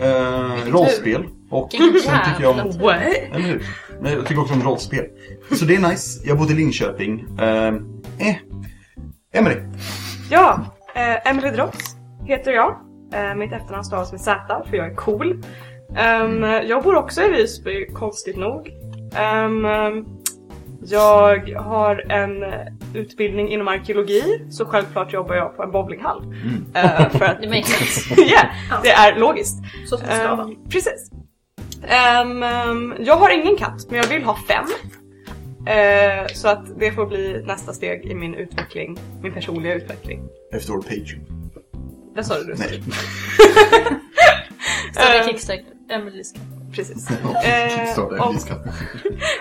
S2: Ehm, rollspel. Och sen
S4: Vilken
S2: tycker jag om
S4: jävla
S14: What?
S2: eller hur? Men jag tycker också om rollspel. Så det är nice. Jag bodde i Linköping. Eh, eh. Emelie.
S1: Ja, eh, Emily Drops heter jag. Eh, mitt efternamn stavas med Z för jag är cool. Ehm, jag bor också i Visby, konstigt nog. Ehm, ehm, jag har en eh, utbildning inom arkeologi så självklart jobbar jag på en bowlinghall.
S4: Mm.
S1: Eh, för att,
S4: Det makes sense.
S1: yeah, det är logiskt.
S4: Så som det ska vara.
S1: Ehm, precis. Ehm, ehm, jag har ingen katt, men jag vill ha fem. Ehm, så att det får bli nästa steg i min utveckling, min personliga utveckling.
S2: Efter vår Patreon.
S1: Det sa du. Eh,
S2: Nej.
S4: Stödja Kickstarter. Emelies katt.
S1: Precis. Eh,
S2: Kickstarter,
S1: och-
S2: vi ska-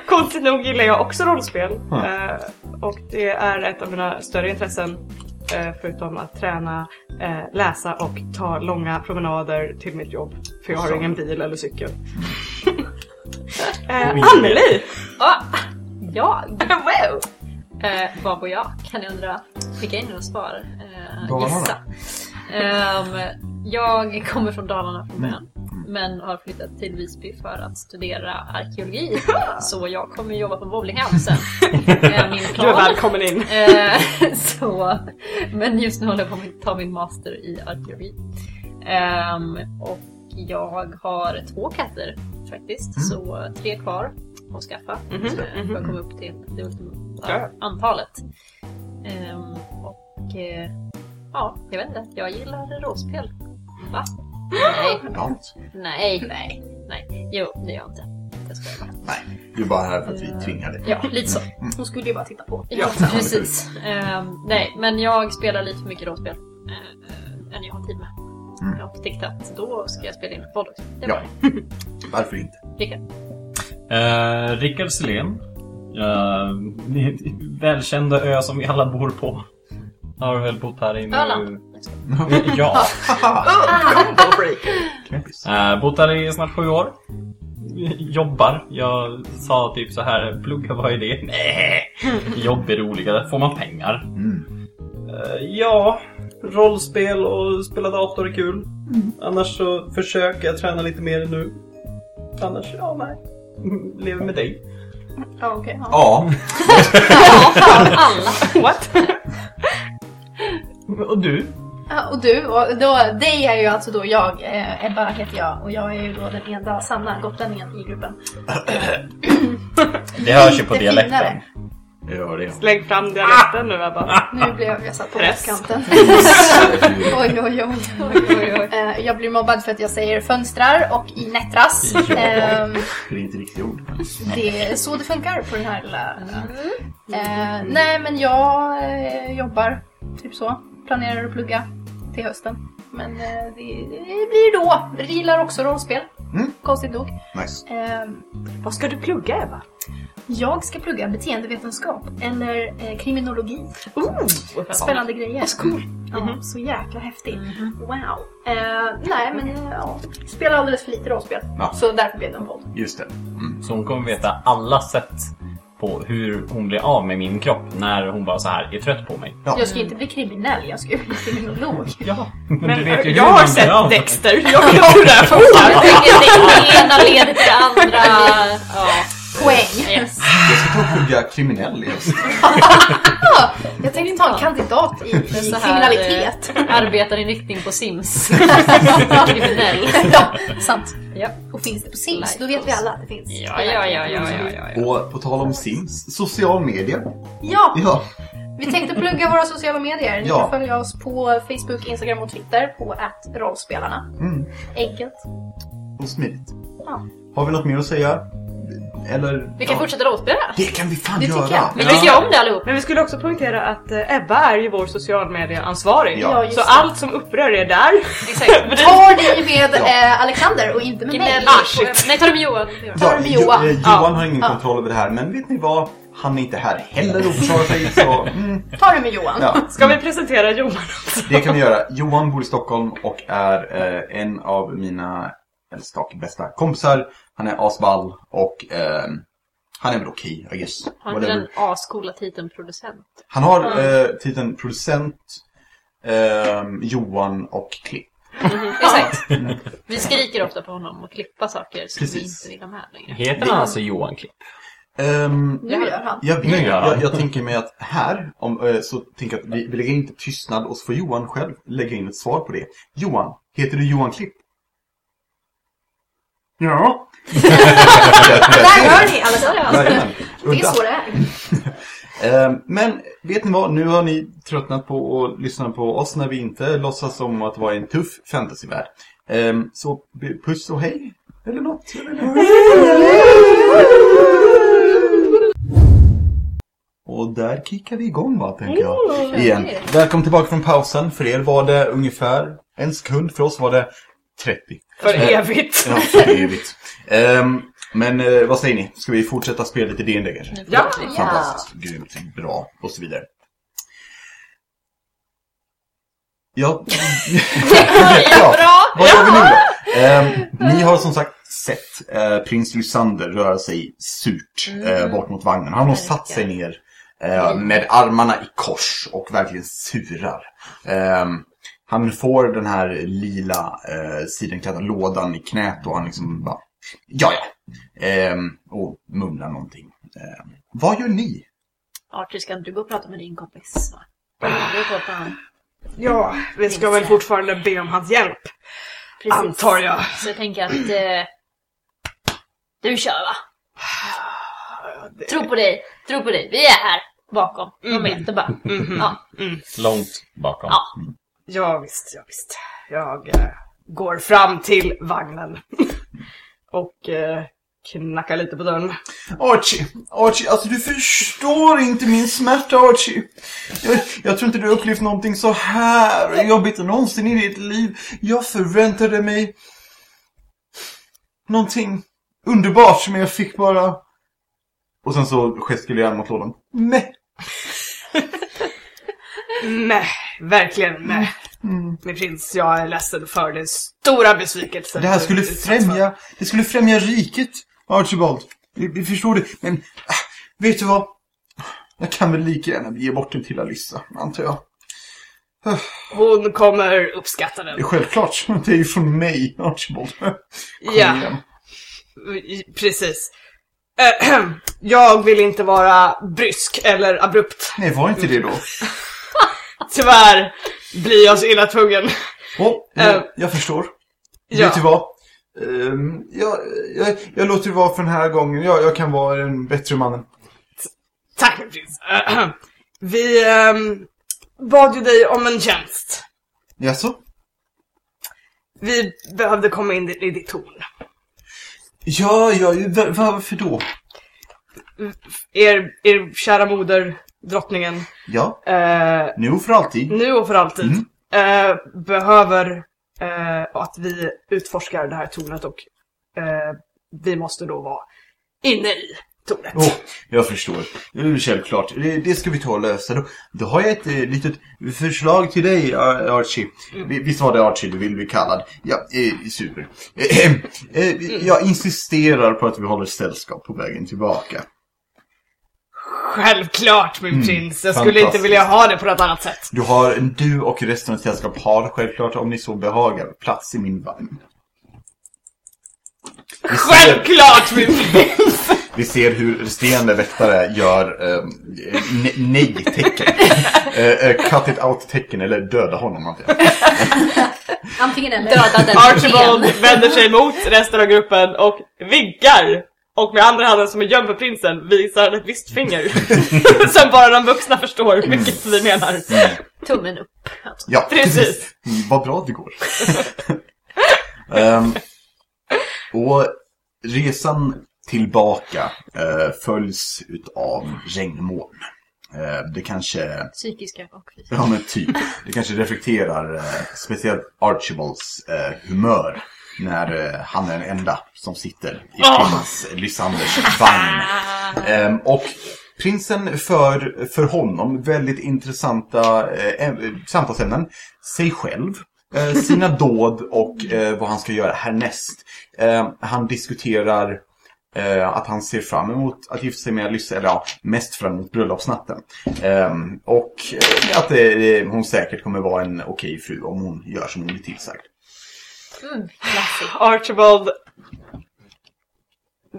S1: Konstigt nog gillar jag också rollspel. Eh, och det är ett av mina större intressen. eh, förutom att träna, eh, läsa och ta långa promenader till mitt jobb. För jag har ingen bil eller cykel. Eh, Anneli!
S4: Ah, jag? Wow! Eh, vad bor jag? Kan ni undra? Skicka in några svar. Eh,
S2: Dalarna.
S4: gissa. Ehm, jag kommer från Dalarna från början.
S2: Mm.
S4: Men har flyttat till Visby för att studera arkeologi. Så jag kommer jobba på bowlinghall sen. Eh, min
S1: Du är
S4: plan.
S1: välkommen in.
S4: Eh, så, men just nu håller jag på att ta min master i arkeologi. Ehm, och jag har två katter faktiskt, så tre kvar att skaffa.
S1: Mm. Mhm,
S4: eh, För
S1: mhm.
S4: att komma upp till det ultimata
S1: Ja.
S4: antalet. Ehm, och eh, ja, jag vet inte, jag gillar rollspel. Va? Nej,
S2: Allt.
S4: nej, nej, nej. Jo, det gör jag inte. Jag skojar bara.
S2: Du är bara här för att vi tvingar dig.
S4: Ja, lite så.
S3: Hon skulle ju bara titta på.
S4: Ja, precis. Ehm, nej, men jag spelar lite för mycket rollspel eh, än jag har tid med.
S2: Mm.
S4: Och tänkte att då ska jag spela in en podd också. Det
S2: Ja.
S4: var det.
S2: Varför inte?
S4: Rickard.
S5: Eh, Rickard Selén. Eh, välkända ö som vi alla bor på. Har väl bott här i nu...
S4: Öland.
S5: Ja.
S14: Combo-breaker.
S5: Eh, bott här i snart sju år. Jobbar. Jag sa typ så här, plugga vad är det? Nej. Jobb är roligare. Får man pengar?
S2: Mm.
S5: Eh, ja, rollspel och spela dator är kul.
S3: Mm.
S5: Annars så försöker jag träna lite mer nu. Annars, ja nej. Lever med dig.
S3: Ja, okej. ja.
S2: Ja.
S4: Alla!
S1: What?
S5: Och du?
S3: Ja, och du, och då, dig är ju alltså då jag, eh, Ebba heter jag och jag är ju då den enda sanna gotlänningen i gruppen.
S5: Det hörs ju på
S3: Lite
S5: dialekten.
S3: finare.
S2: Jag gör det.
S1: Släng fram dialekten nu Ebba.
S5: Ah.
S3: Nu blev jag satt på
S1: Press.
S3: kanten. oj, oj, oj. oj, oj, oj. Eh, jag blir mobbad för att jag säger fönstrar och i nättras.
S5: Ja.
S3: Ehm,
S2: Det är inte riktigt ord.
S3: det är så det funkar på den här lilla... Eh, nej, men jag eh, jobbar typ så. Planerar att plugga till hösten. Men eh, det, det blir då. Jag gillar också rollspel.
S2: Mm.
S3: Konstigt nog.
S2: Nice.
S3: Ehm,
S1: Vad ska du plugga Ebba?
S3: Jag ska plugga beteendevetenskap eller eh, kriminologi.
S15: Oh,
S3: Spännande grejer. Så cool. Ja, så jäkla häftigt. Wow. Eh, nej, men eh, ja. Spelar alldeles för lite rollspel.
S2: Ja.
S3: Så därför blev det en podd.
S2: Just det.
S5: Så hon kommer veta alla sätt på hur hon blir av med min kropp när hon bara så här är trött på mig.
S2: Ja.
S3: Jag ska inte bli kriminell, jag ska bli kriminolog.
S5: Ja, men,
S1: Men
S5: du vet ju hur
S1: jag har
S5: man Oh! blir av
S1: sett
S5: med-
S1: Dexter. Jag tror det. här för fan.
S4: Jag tycker det ena leder till det andra. Ja,
S3: Poäng.
S4: yes.
S2: Jag ska ta och plugga kriminell. just.
S3: Jag tänkte ta en kandidat i, i
S4: så här,
S3: kriminalitet.
S4: Arbetar i riktning på Sims. Kriminell.
S3: ja, sant.
S4: Ja.
S3: Och finns det på Sims,
S4: Life
S3: då vet vi
S4: goals.
S3: alla att det finns.
S4: Ja, ja, ja, ja, ja, ja.
S2: Och på tal om Sims, social media.
S3: Ja,
S2: Ja,
S3: vi tänkte plugga våra sociala medier. Ni
S2: Ja.
S3: kan följa oss på Facebook, Instagram och Twitter på rollspelarna.
S2: Mm.
S3: Enkelt.
S2: och smidigt.
S3: Ja.
S2: Har vi något mer att säga? Eller?
S4: Vi kan
S2: ja.
S4: fortsätta rollspela.
S2: Det kan vi fan
S3: Det tycker
S2: göra!
S3: jag.
S4: Vi tycker om det allihop.
S1: Men vi skulle också poängtera att eh, Ebba är ju vår socialmedieansvarig.
S2: Ja.
S3: Ja, just
S1: Så
S3: det.
S1: allt som upprör är där.
S4: Exakt.
S3: Tar ni med eh, Alexander och inte med mig? Ah,
S4: Gnäll. Nej, ta det med Johan.
S2: Ja,
S3: Tar du med Johan?
S2: Jo, eh,
S1: Ja.
S2: Johan har ingen
S3: Ja.
S2: kontroll över det här, men vet ni vad? Han är inte här heller och försvarar sig, så mm,
S3: Tar du med Johan?
S2: ja,
S1: Ska vi presentera Johan?
S2: det kan vi göra. Johan bor i Stockholm och är eh, en av mina äldsta och bästa kompisar. Han är asball och eh, han är väl okej, I guess.
S4: Har inte
S2: Whatever.
S4: den ascoola titeln producent?
S2: Han har eh, titeln producent, eh, Johan och Klipp.
S4: Exakt. Vi skriker ofta på honom och klippa saker som
S2: Precis.
S4: vi inte vill ha med längre.
S5: Heter han alltså Johan Klipp?
S2: Ehm,
S3: Nu gör han.
S2: Jag,
S5: Nu
S2: vet,
S5: gör han.
S2: jag, jag tänker mig att här, om, eh, så tänker jag att vi, vi lägger in lite tystnad och så får Johan själv lägga in ett svar på det. Johan, heter du Johan Klipp? Ja.
S3: Där hör ni Alexander!
S2: Jajamän.
S3: Det är
S2: Udda.
S3: så det är.
S2: Ehm, Men vet ni vad, nu har ni tröttnat på att lyssna på oss när vi inte låtsas som att vara i en tuff fantasyvärld. Ehm, Så b- puss och hej, eller något. jag vet inte. Och där kickar vi igång va, tänker jag. Igen. Välkommen tillbaka från pausen. För er var det ungefär en sekund, för oss var det 30.
S1: För evigt.
S2: Ja, för evigt. Ehm, men eh, vad säger ni? Ska vi fortsätta spela lite D&D kanske?
S1: Ja.
S2: Fantastiskt, grymt, bra och så vidare. Ja, ja
S4: Bra!
S2: vad gör vi nu då? Ehm, ni har som sagt sett eh, prins Lysander röra sig surt eh, bort mot vagnen. Han har satt sig ner eh, med armarna i kors och verkligen surar. Ehm, han får den här lila eh, sidenklädda lådan i knät och han liksom bara, ja ja, Ehm, och mumlar någonting. Ehm, vad gör ni?
S4: Archie, ska inte du gå och prata med din kompis? va?
S1: Ah.
S4: Du går på han.
S1: Ja, vi ska väl fortfarande be om hans hjälp.
S4: Precis.
S1: Antar jag.
S4: Så jag tänker att eh, du kör va? Tro på dig, tro på dig. Vi är här bakom.
S1: Mm.
S4: De är inte bara.
S1: Mm-hmm.
S4: Ja.
S5: Långt bakom.
S4: Ja.
S1: Ja, visst, ja, visst. Jag eh, går fram till vagnen. och eh, knackar lite på dörren.
S2: Archie, Archie, alltså du förstår inte min smärta Archie. Jag, jag tror inte du har upplevt någonting så här jobbigt någonsin i ditt liv. Jag förväntade mig någonting underbart men jag fick bara... Och sen så gestikulerar han mot lådan. Nej.
S1: Nej, verkligen nej.
S2: Mm.
S1: Min prins, jag är ledsen för den stora besvikelsen.
S2: Det här
S1: du
S2: skulle
S1: utsatts för.
S2: främja, det skulle främja riket, Archibald. Vi, vi förstår det, men äh, vet du vad? Jag kan väl lika gärna ge bort den till Alissa, antar jag.
S1: Hon kommer uppskatta
S2: Det är
S1: den.
S2: självklart. Det är ju från mig, Archibald. Kom
S1: Ja.
S2: igen.
S1: I- Precis. Ehem. Jag vill inte vara brysk eller abrupt.
S2: Nej, var inte det då.
S1: Tyvärr blir jag så illa tvungen.
S2: Oh, jag,
S1: Eh.
S2: jag förstår.
S1: Ja.
S2: Vet du vad? Ehm, jag, jag, jag låter det vara för den här gången. Jag, jag kan vara den bättre mannen.
S1: Tack min prins. Ehem. Vi ehm, bad ju dig om en tjänst.
S2: Jaså?
S1: Vi behövde komma in i ditt torn.
S2: Ja, ja, va- varför då?
S1: Er, er kära moder, drottningen,
S2: Ja,
S1: eh,
S2: nu och för alltid.
S1: nu och för alltid eh, behöver eh, att vi utforskar det här tornet och eh, vi måste då vara inne i tornet.
S2: Åh, jag förstår. Mm, Självklart. Det, det ska vi ta och lösa. Då, då har jag ett eh, litet förslag till dig, Ar- Archie. Vi- Visst var det Archie du vill bli kallad? Ja, eh, super. Eh, eh, eh, jag insisterar på att vi håller sällskap på vägen tillbaka.
S1: Självklart min prins, jag skulle inte
S2: Mm, fantastiskt.
S1: vilja ha det på något annat sätt.
S2: Du, har, du och resten av ditt sällskap har självklart, om ni så behagar, plats i min vagn. Vi ser-
S1: Självklart min prins!
S2: Vi ser hur resterande väktare gör eh, ne- nej-tecken. Eh, eh, cut it out-tecken eller döda honom. antar jag.
S4: Antingen eller. Döda den
S1: Archibald vänder sig mot resten av gruppen och vinkar. Och med andra handen som är gömd för prinsen visar han ett visst finger. Sen bara de vuxna förstår
S2: Mm.
S1: vilket vi menar.
S4: Tummen upp.
S2: Ja,
S1: Precis.
S2: Mm, Vad bra det går. Ehm, och resan tillbaka eh, följs av regnmoln. Eh, det kanske
S4: Psykiska och fysiska.
S2: Ja men typ. Det kanske reflekterar eh, speciellt Archibalds eh, humör. När eh, han är den enda som sitter i prins Lysanders vagn. Ehm, och prinsen för, för honom väldigt intressanta eh, äm- samtalsämnen. Sig själv, eh, sina dåd och eh, vad han ska göra härnäst. Ehm, han diskuterar Eh, att han ser fram emot att gifta sig med Lysse, eller ja, mest fram emot bröllopsnatten. Ehm, och eh, att eh, hon säkert kommer vara en okej fru om hon gör som hon blir tillsagd.
S1: Archibald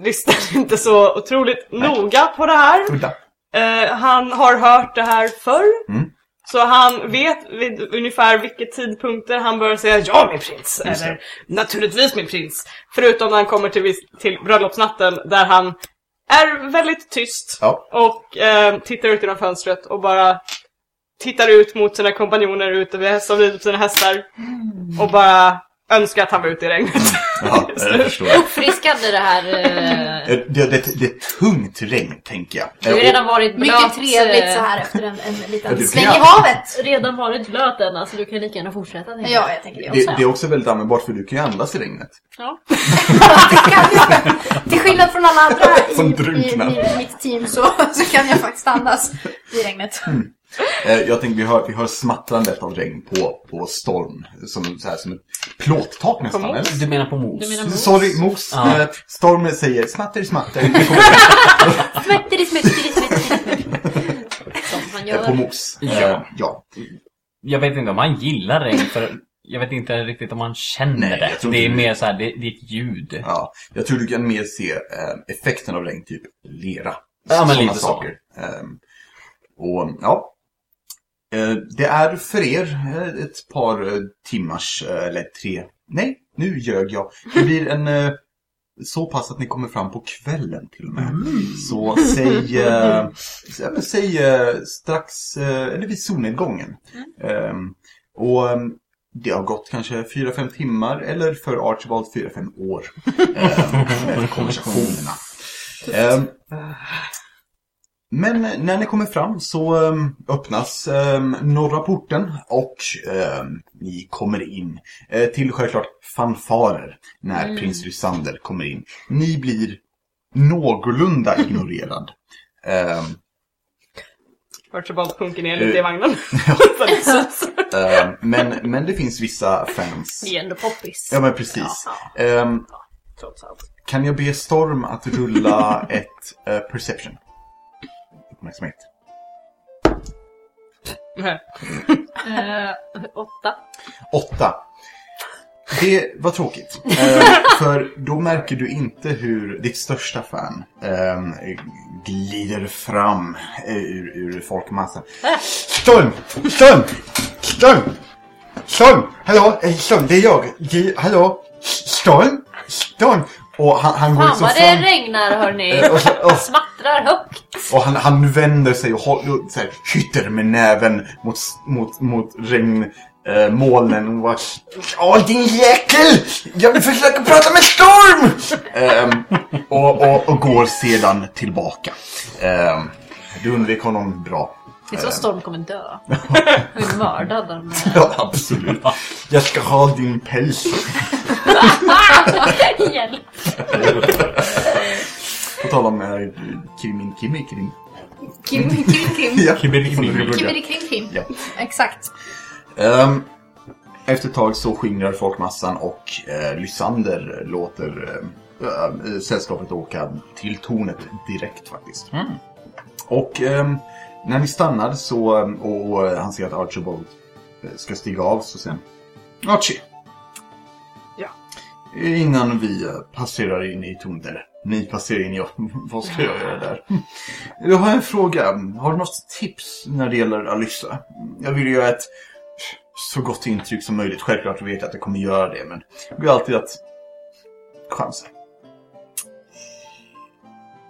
S1: lyssnar inte så otroligt noga på det här.
S2: Udda.
S1: Eh, han har hört det här förr.
S2: Mm.
S1: Så han vet vid ungefär vilka tidpunkter han börjar säga ja min prins.
S2: Just det.
S1: Eller naturligtvis min prins. Förutom när han kommer till, vis- till bröllopsnatten där han är väldigt tyst.
S2: Ja.
S1: Och eh, tittar ut genom fönstret och bara tittar ut mot sina kompanjoner ute vid häst- som rider på sina hästar. Och bara önskar att han var ute i regnet.
S2: Ja, eh, jag förstår. Eh,
S4: Friskande det här. eh,
S2: Det, det, det är tungt regn, tänker jag. Eh,
S4: Du har ju redan varit blöt.
S3: Mycket trevligt
S4: eh,
S3: så här efter en, en
S2: Ja, du
S3: liten
S2: kan
S3: sväng i
S2: göra-
S3: havet.
S4: Redan varit blöt än, alltså du kan lika gärna fortsätta. tänker
S3: Ja, jag tänker det
S2: Och det,
S3: också.
S2: det är också väldigt användbart för du kan ju andas i regnet.
S3: Till skillnad från alla andra
S2: Som
S3: i, i,
S2: drunknar.
S3: i mitt team så, så kan jag faktiskt andas i regnet.
S2: Eh, Jag tänker vi hör, vi hör smattrandet av regn på, på storm. Som, så här, som ett plåttak nästan,
S1: mos.
S2: eller?
S5: Du menar på mos?
S4: Du menar mos?
S2: Sorry, mos.
S5: Ja.
S2: Eh, Stormen säger smatter, smatter.
S4: Smätteri, smätteri, smätteri. Som han
S2: Eh, På
S4: gör.
S2: mos.
S5: Ja.
S2: Eh, ja.
S5: Jag vet inte om han gillar regn för jag vet inte riktigt om han känner
S2: Nej, jag
S5: det.
S2: tror
S5: Det är
S2: inte det.
S5: mer så här, det, det är ett ljud.
S2: Ja, jag tror du kan mer se eh, effekten av regn, typ lera.
S5: Ja, men
S2: Såna
S5: lite så.
S2: Ehm, och ja, Eh, det är för er eh, ett par eh, timmars, eh, eller tre, nej, nu ljög jag. Det blir en, eh, så pass att ni kommer fram på kvällen till och med. Så säg, eh, s- ja, men säg eh, strax, eh, eller vid solnedgången. Ehm, och ehm, det har gått kanske fyra fem timmar, eller för Archibald fyra fem år. eh, med konversationerna. Ehm, men när ni kommer fram så ehm, öppnas ehm, norra porten och ehm, ni kommer in eh, till självklart fanfarer när prins Lysander kommer in. Ni blir någorlunda ignorerad. Ehm,
S1: Archibald sjunker ner lite i
S2: Eh.
S1: vagnen.
S2: ehm, men, men det finns vissa fans.
S4: Vi är ändå poppis.
S2: Ja men precis. Ehm,
S4: Trots allt.
S2: kan jag be Storm att rulla ett eh, perception? Uppmärksamhet.
S4: Eh, åtta.
S2: Åtta. Det var tråkigt. Eh, för då märker du inte hur ditt största fan ehm, glider fram eh, ur, ur folkmassan. Storm! Storm! Storm! Storm! Hallå! eh, Storm, det är jag. Det, hallå! Storm! Storm! Och han, han går
S4: Fan
S2: liksom
S4: vad det
S2: fram.
S4: regnar hörni.
S2: eh, och så- och-
S4: Smattrar högt.
S2: och han, han vänder sig och håller, så här, hytter med näven mot, mot, mot regnmolnen och bara Åh din jäkel! Jag vill försöka prata med Storm! Ehm, och, och, och går sedan tillbaka. Ehm, du undvek honom bra.
S4: Det är så Storm kommer dö. Hon är mördad av
S2: Ja, absolut. Jag ska ha din päls.
S4: Hjälp.
S2: På tal om eh, Krimin Kimi Krim.
S3: Kim, kim, kim.
S2: Ja,
S5: Kimi-
S2: som det
S5: Kimi-
S2: brukar.
S3: Kimmeri krim kim.
S2: Ja.
S3: Exakt.
S2: Ehm, efter ett tag så skingrar folkmassan och eh, Lysander låter eh, eh, sällskapet åka till tornet direkt faktiskt. Och ehm, när ni stannar så, eh, och, och han ser att Archibald eh, ska stiga av så sen Archie!
S1: Ja.
S2: Innan vi eh, passerar in i tornet, eller ni passerar in, jag, vad ska jag göra där? Jag har en fråga. Har du något tips när det gäller Alyssa? Jag vill göra ett så gott intryck som möjligt. Självklart vet jag att jag kommer göra det, men det går alltid att chansa.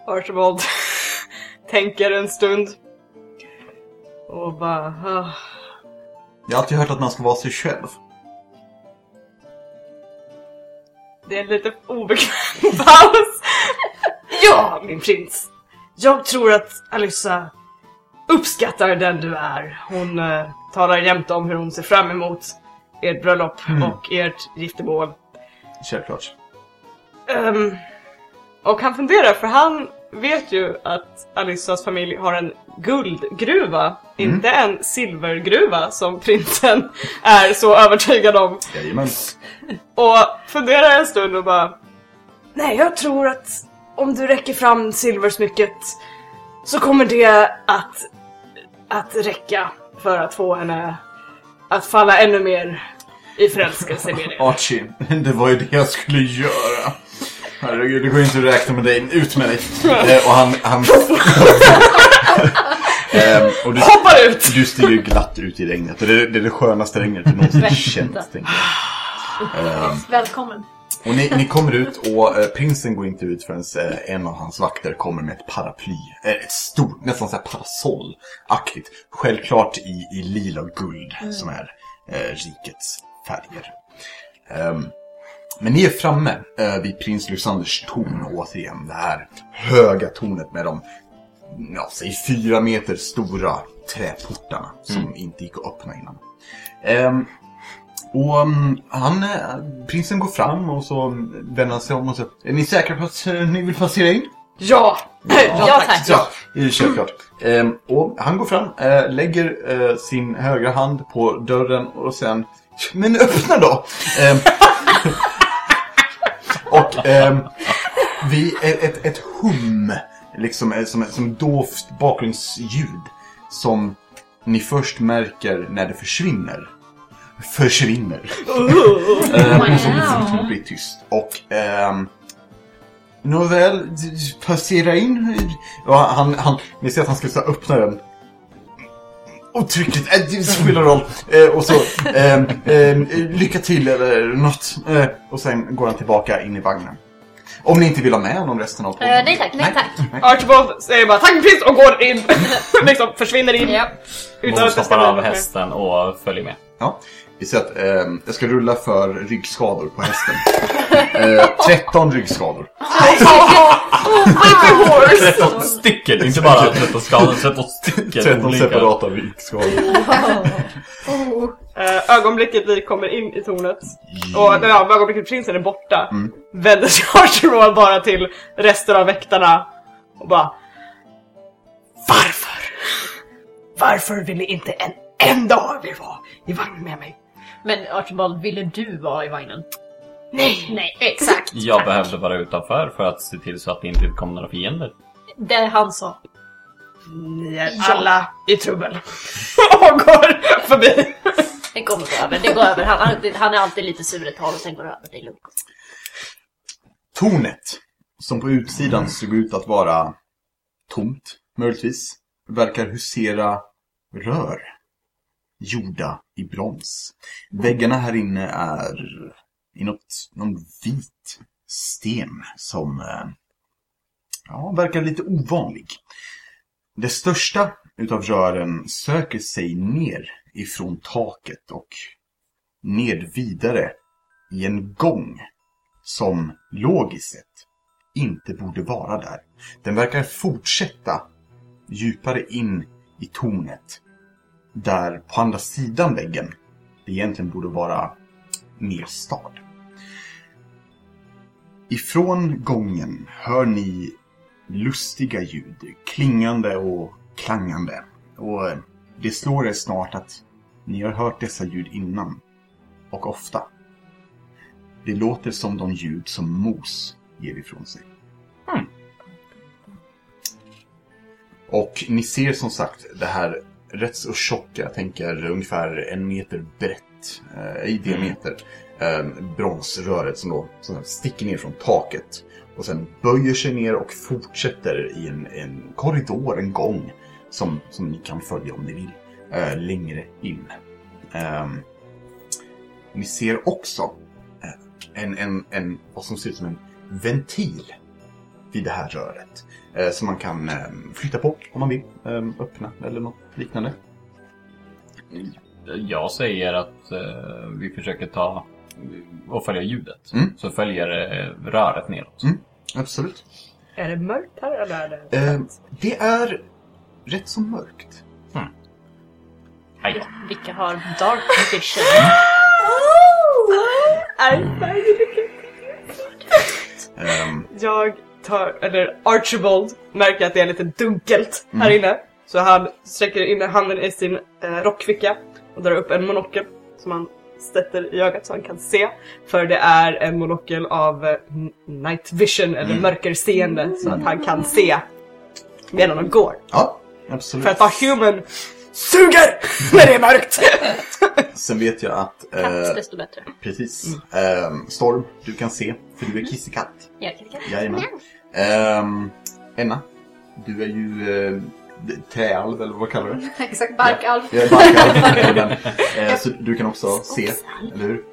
S1: Archibald tänker en stund. Och bara... ah.
S2: Jag har alltid hört att man ska vara sig själv.
S1: Det är en lite obekväm paus. Ja, min prins. Jag tror att Alyssa uppskattar den du är. Hon eh, talar jämt om hur hon ser fram emot ert bröllop och ert giftermål.
S2: Självklart.
S1: Ehm, och han funderar, för han vet ju att Alissas familj har en guldgruva, inte en silvergruva som prinsen är så övertygad om.
S2: Jajamän.
S1: Och funderar en stund och bara... Nej, jag tror att om du räcker fram silversmycket så kommer det att, att räcka för att få henne att falla ännu mer i förälskelse med det.
S2: Archie, det var ju det jag skulle göra. Herregud, det går ju inte att räkna med dig. Ut med dig! Eh, och han... han... Ehm, och du,
S1: Hoppar ut!
S2: du stiger ju glatt ut i regnet. Och det är det, är det skönaste regnet du någonsin känt, tänker jag. Ehm,
S3: Välkommen.
S2: Och ni, ni kommer ut och eh, prinsen går inte ut förrän eh, en av hans vakter kommer med ett paraply. Eh, ett stort, nästan så här parasollaktigt. Självklart i, i lila och guld som är eh, rikets färger. Ehm, men ni är framme eh, vid prins Lysanders torn återigen. Det här höga tornet med de ja, säg fyra meter stora träportarna som inte gick att öppna innan. Ehm, och um, han, eh, prinsen går fram och så vänder han sig om och så Är ni säkra på att eh, ni vill passera in?
S1: Ja!
S4: Ja tack!
S2: Ja, eh, självklart. Ehm, och han går fram, eh, lägger eh, sin högra hand på dörren och sen Men öppna då! Ehm, och ehm, vi, ett, ett, ett hum, liksom eh, som, som dovt bakgrundsljud som ni först märker när det försvinner. Försvinner. Ehm, och så blir det blir tyst. Och ehm, Nåväl, d- d- passera in. Ja, han, han, ni ser att han ska så här öppna den. Otryckligt, äh, det spelar roll. Eh, och så, ehm, ehm, lycka till eller något. Eh, och sen går han tillbaka in i vagnen. Om ni inte vill ha med honom resten av podden.
S4: Eh, nej tack, nej tack.
S1: Archibald säger bara tack prins och går in. liksom försvinner in.
S4: Ja.
S1: Utan
S5: Hon
S1: att
S5: stoppar
S1: bestämma
S5: av
S1: något mer.
S5: hästen och följer med.
S2: Ja, vi ser att ehm, jag ska rulla för ryggskador på hästen. Eh, 13 ryggskador.
S1: Oh Horse!
S5: 13 stycken! Inte bara 13 skador, 13 stycken
S2: 13
S5: olika.
S2: separata ryggskador.
S1: Eh, ögonblicket vi kommer in i tornet.
S5: Mm.
S1: Och ja, ögonblicket prinsen är borta. Vänder sig Archibald bara till resten av väktarna. Och bara. Varför? Varför ville inte en enda av er vara i vagnen med mig?
S4: Men Archibald, ville du vara i vagnen?
S1: Nej!
S4: Nej, exakt.
S5: Jag behövde vara utanför för att se till så att det inte kom några fiender.
S4: Det han sa.
S1: Ni är alla i trubbel. och går förbi.
S4: Det kommer gå över, det går över. Han, han- han är alltid lite sur ett tag och sen går det över. Det är lugnt.
S2: Tornet, som på utsidan såg ut att vara tomt, möjligtvis, verkar husera rör gjorda i brons. Väggarna här inne är i något, någon vit sten som eh, ja, verkar lite ovanlig. Det största utav rören söker sig ner ifrån taket och ned vidare i en gång som logiskt sett inte borde vara där. Den verkar fortsätta djupare in i tornet. Där på andra sidan väggen det egentligen borde vara mer stad. Ifrån gången hör ni lustiga ljud, klingande och klangande. Och eh, det slår er snart att ni har hört dessa ljud innan, och ofta. Det låter som de ljud som mos ger ifrån sig. Och ni ser som sagt det här rätt så tjocka, jag tänker ungefär en meter brett eh, i diameter, eh, bronsröret som då som sagt, sticker ner från taket och sen böjer sig ner och fortsätter i en, en korridor, en gång som, som ni kan följa om ni vill, eh, längre in. Ehm, ni ser också eh, en, en, en, vad som ser ut som en ventil vid det här röret. Eh, som man kan eh, flytta på om man vill. Eh, öppna eller något liknande.
S5: Jag säger att eh, vi försöker ta och följa ljudet.
S2: Mm.
S5: Så följer eh, röret neråt.
S2: Mm. Absolut.
S1: Är det mörkt här eller är det
S2: Eh, det är rätt så mörkt.
S5: Hej.
S4: Vilka har dark vision?
S2: Ehm,
S1: Jag tar, eller Archibald märker att det är lite dunkelt här inne. Så han sträcker in handen i sin eh, rockficka och drar upp en monokel som han sätter i ögat så han kan se. För det är en monokel av eh, n- night vision eller mörkerseende så att han kan se medan han går.
S2: ja, absolut.
S1: För att vara human suger när det är mörkt!
S2: Sen vet jag att... eh,
S4: Katt, desto bättre.
S2: precis. Ehm, Storm, du kan se. För du är kissekatt.
S4: Jag kan inte-
S2: Jajamän. Ehm, Enna, du är ju uh, träalv eller vad kallar du det?
S3: Exakt, barkalv.
S2: Jag är backad. eh, så du kan också se, eller hur?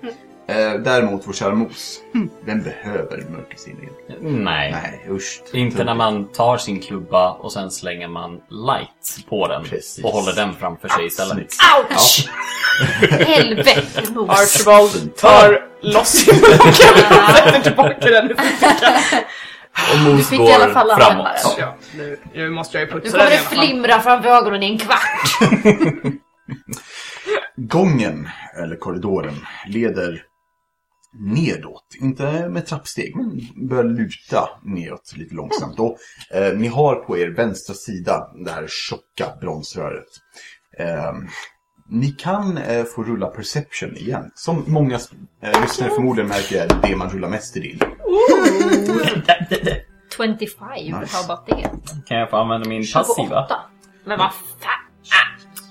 S2: Eh, däremot vår kära mos, den behöver mörkersinningen.
S5: Nej.
S2: Nej, usch.
S5: Inte när man tar sin klubba och sen slänger man light på den
S2: Precis.
S5: och håller den framför sig istället.
S2: Snyggt.
S4: Ouch! Helvete mos!
S1: Archibald tar loss sin monokel och sätter tillbaka den i fickan.
S5: Och
S3: Ah, Du
S5: mos
S3: fick i alla fall
S5: går
S3: använda
S5: framåt.
S3: den.
S1: Ja, nu, nu måste jag ju
S4: Nu
S1: putsa
S4: kommer
S1: den i
S4: det
S1: alla fall.
S4: flimra framför ögonen i en kvart!
S2: Gången, eller korridoren, leder nedåt. Inte med trappsteg, men börjar luta nedåt lite långsamt. Och, eh, ni har på er vänstra sida det här tjocka bronsröret. Eh, ni kan eh, få rulla Perception igen. Som många eh, lyssnare förmodligen märker är det man rullar mest i din.
S4: 25,
S2: Nice.
S4: how about det?
S5: Kan jag få använda min passiva?
S4: 28. Men vad fan!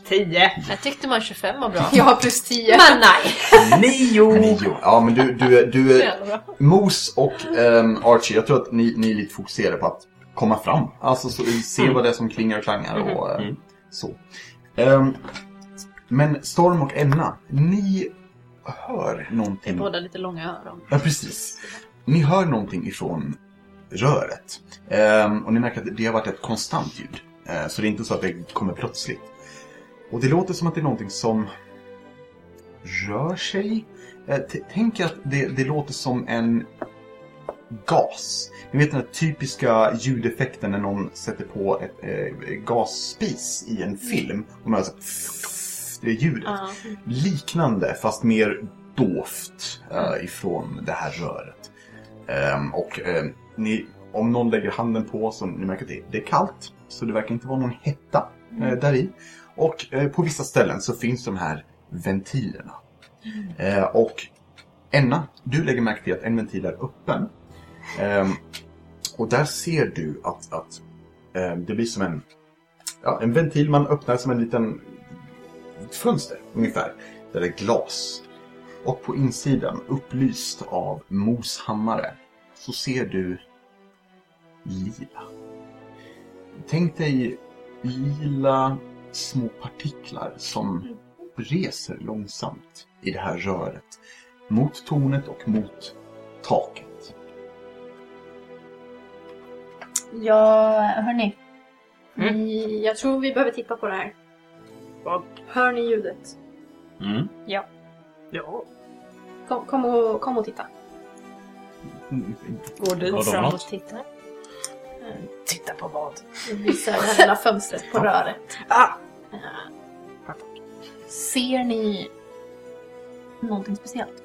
S1: 10.
S4: Jag tyckte man 25 var bra.
S3: Jag har plus 10.
S4: Men nej!
S5: Nio!
S2: Nio. Ja, men du, du, är- du,
S4: Så
S2: är-
S4: jävla bra.
S2: Mos och ehm, Archie, jag tror att ni, ni är lite fokuserade på att komma fram. Alltså så, se vad det är som klingar och klangar och eh, så. Ehm, men Storm och Enna, ni hör någonting.
S4: Båda lite långa öron.
S2: Ja, precis. Ni hör någonting ifrån röret. Ehm, och ni märker att det har varit ett konstant ljud. Eh, så det är inte så att det kommer plötsligt. Och det låter som att det är någonting som rör sig. Eh, t- tänk att det, det låter som en gas. Ni vet den här typiska ljudeffekten när någon sätter på ett eh, gasspis i en film. Och man hör så här, det är ljudet
S4: Ja.
S2: liknande fast mer dovt eh, ifrån det här röret. Ehm, och eh, ni, om någon lägger handen på så ni märker att det, det är kallt så det verkar inte vara någon hetta eh, där i. Och eh, på vissa ställen så finns de här ventilerna. Eh, och Enna, du lägger märke till att en ventil är öppen. Ehm, och där ser du att, att ehm, det blir som en, ja, en ventil man öppnar som en liten ett fönster ungefär. Där det är glas. Och på insidan, upplyst av Mos hammare, så ser du lila. Tänk dig lila små partiklar som reser långsamt i det här röret. Mot tornet och mot taket.
S3: Ja, hörni. Vi, jag tror vi behöver titta på det här.
S1: Vad?
S3: Hör ni ljudet?
S5: Mm.
S1: Ja.
S3: Kom, kom, och, kom och titta.
S1: Går
S5: Har
S1: dit
S5: de
S1: fram.
S5: något?
S4: Och titta.
S1: Titta på vad?
S3: Vi visar det här lilla fönstret på röret.
S1: Ah!
S3: Eh, Ser ni någonting speciellt?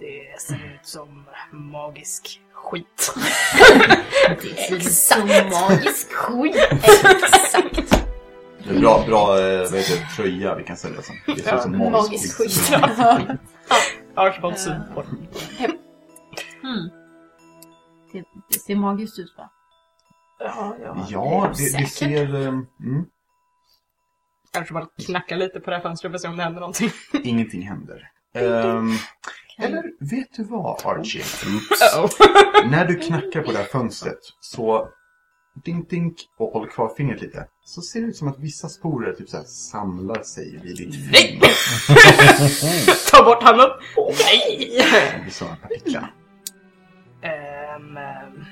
S1: Det ser ut som magisk skit.
S3: Exakt. Magisk skit. Exakt.
S2: Det är bra, bra eh, vad heter det, tröja vi kan sälja sen. Det ser ut som
S3: Magisk
S2: magisk
S3: skit.
S1: Archibald syn på den.
S4: Mm. Det, det ser magiskt ut va?
S16: Ja, ja.
S2: Ja, det, det
S4: Säkert.
S2: ser... eh, Mm,
S1: Kanske bara knacka lite på det här fönstret och se om det händer någonting.
S2: ingenting händer. Ehm, eller vet du vad, Archie?
S1: Oh.
S2: När du knackar på det här fönstret så dink dink och håller kvar fingret lite så ser det ut som att vissa sporer typ så här samlar sig vid ditt finger.
S1: Ta bort handen! Nej!
S2: Det blir sådana partiklar.
S1: Ehm, ehm,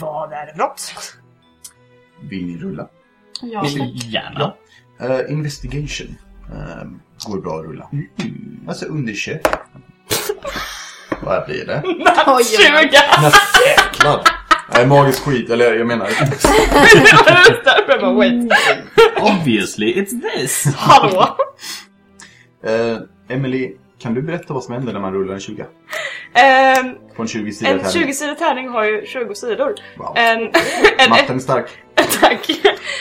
S1: vad är det för något?
S2: Vill ni rulla?
S3: Ja.
S7: Gärna.
S2: Eh, investigation ehm, går bra att rulla. Alltså undersök. Vad blir det?
S3: Oj, oj, oj.
S2: Jäklar! Nej, magisk skit, eller jag menar...
S1: Därför bara wait.
S7: Obviously, it's this!
S1: Hallå!
S2: Eh, Emily, kan du berätta vad som händer när man rullar en 20?
S16: Ehm,
S2: På en 20-sida
S16: en
S2: tärning?
S16: 20-sidig tärning har ju 20 sidor.
S2: Wow.
S1: Eh,
S16: En, en, ett,
S2: Matten är stark.
S16: tack.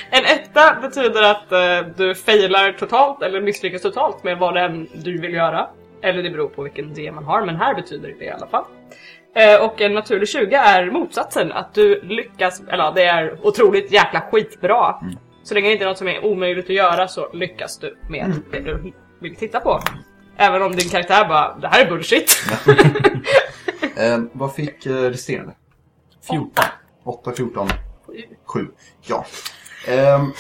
S16: en etta betyder att eh, du failar totalt eller misslyckas totalt med vad det än du vill göra. Eller det beror på vilken D man har, men här betyder det i alla fall. Eh, och en naturlig 20 är motsatsen, att du lyckas, eller ja, det är otroligt jäkla skitbra. Så länge det inte är något som är omöjligt att göra så lyckas du med det du vill titta på. Även om din karaktär bara, det här är bullshit.
S2: Eh, vad fick eh, resterande? 14. 8, 14, 7. Ja. Ehm,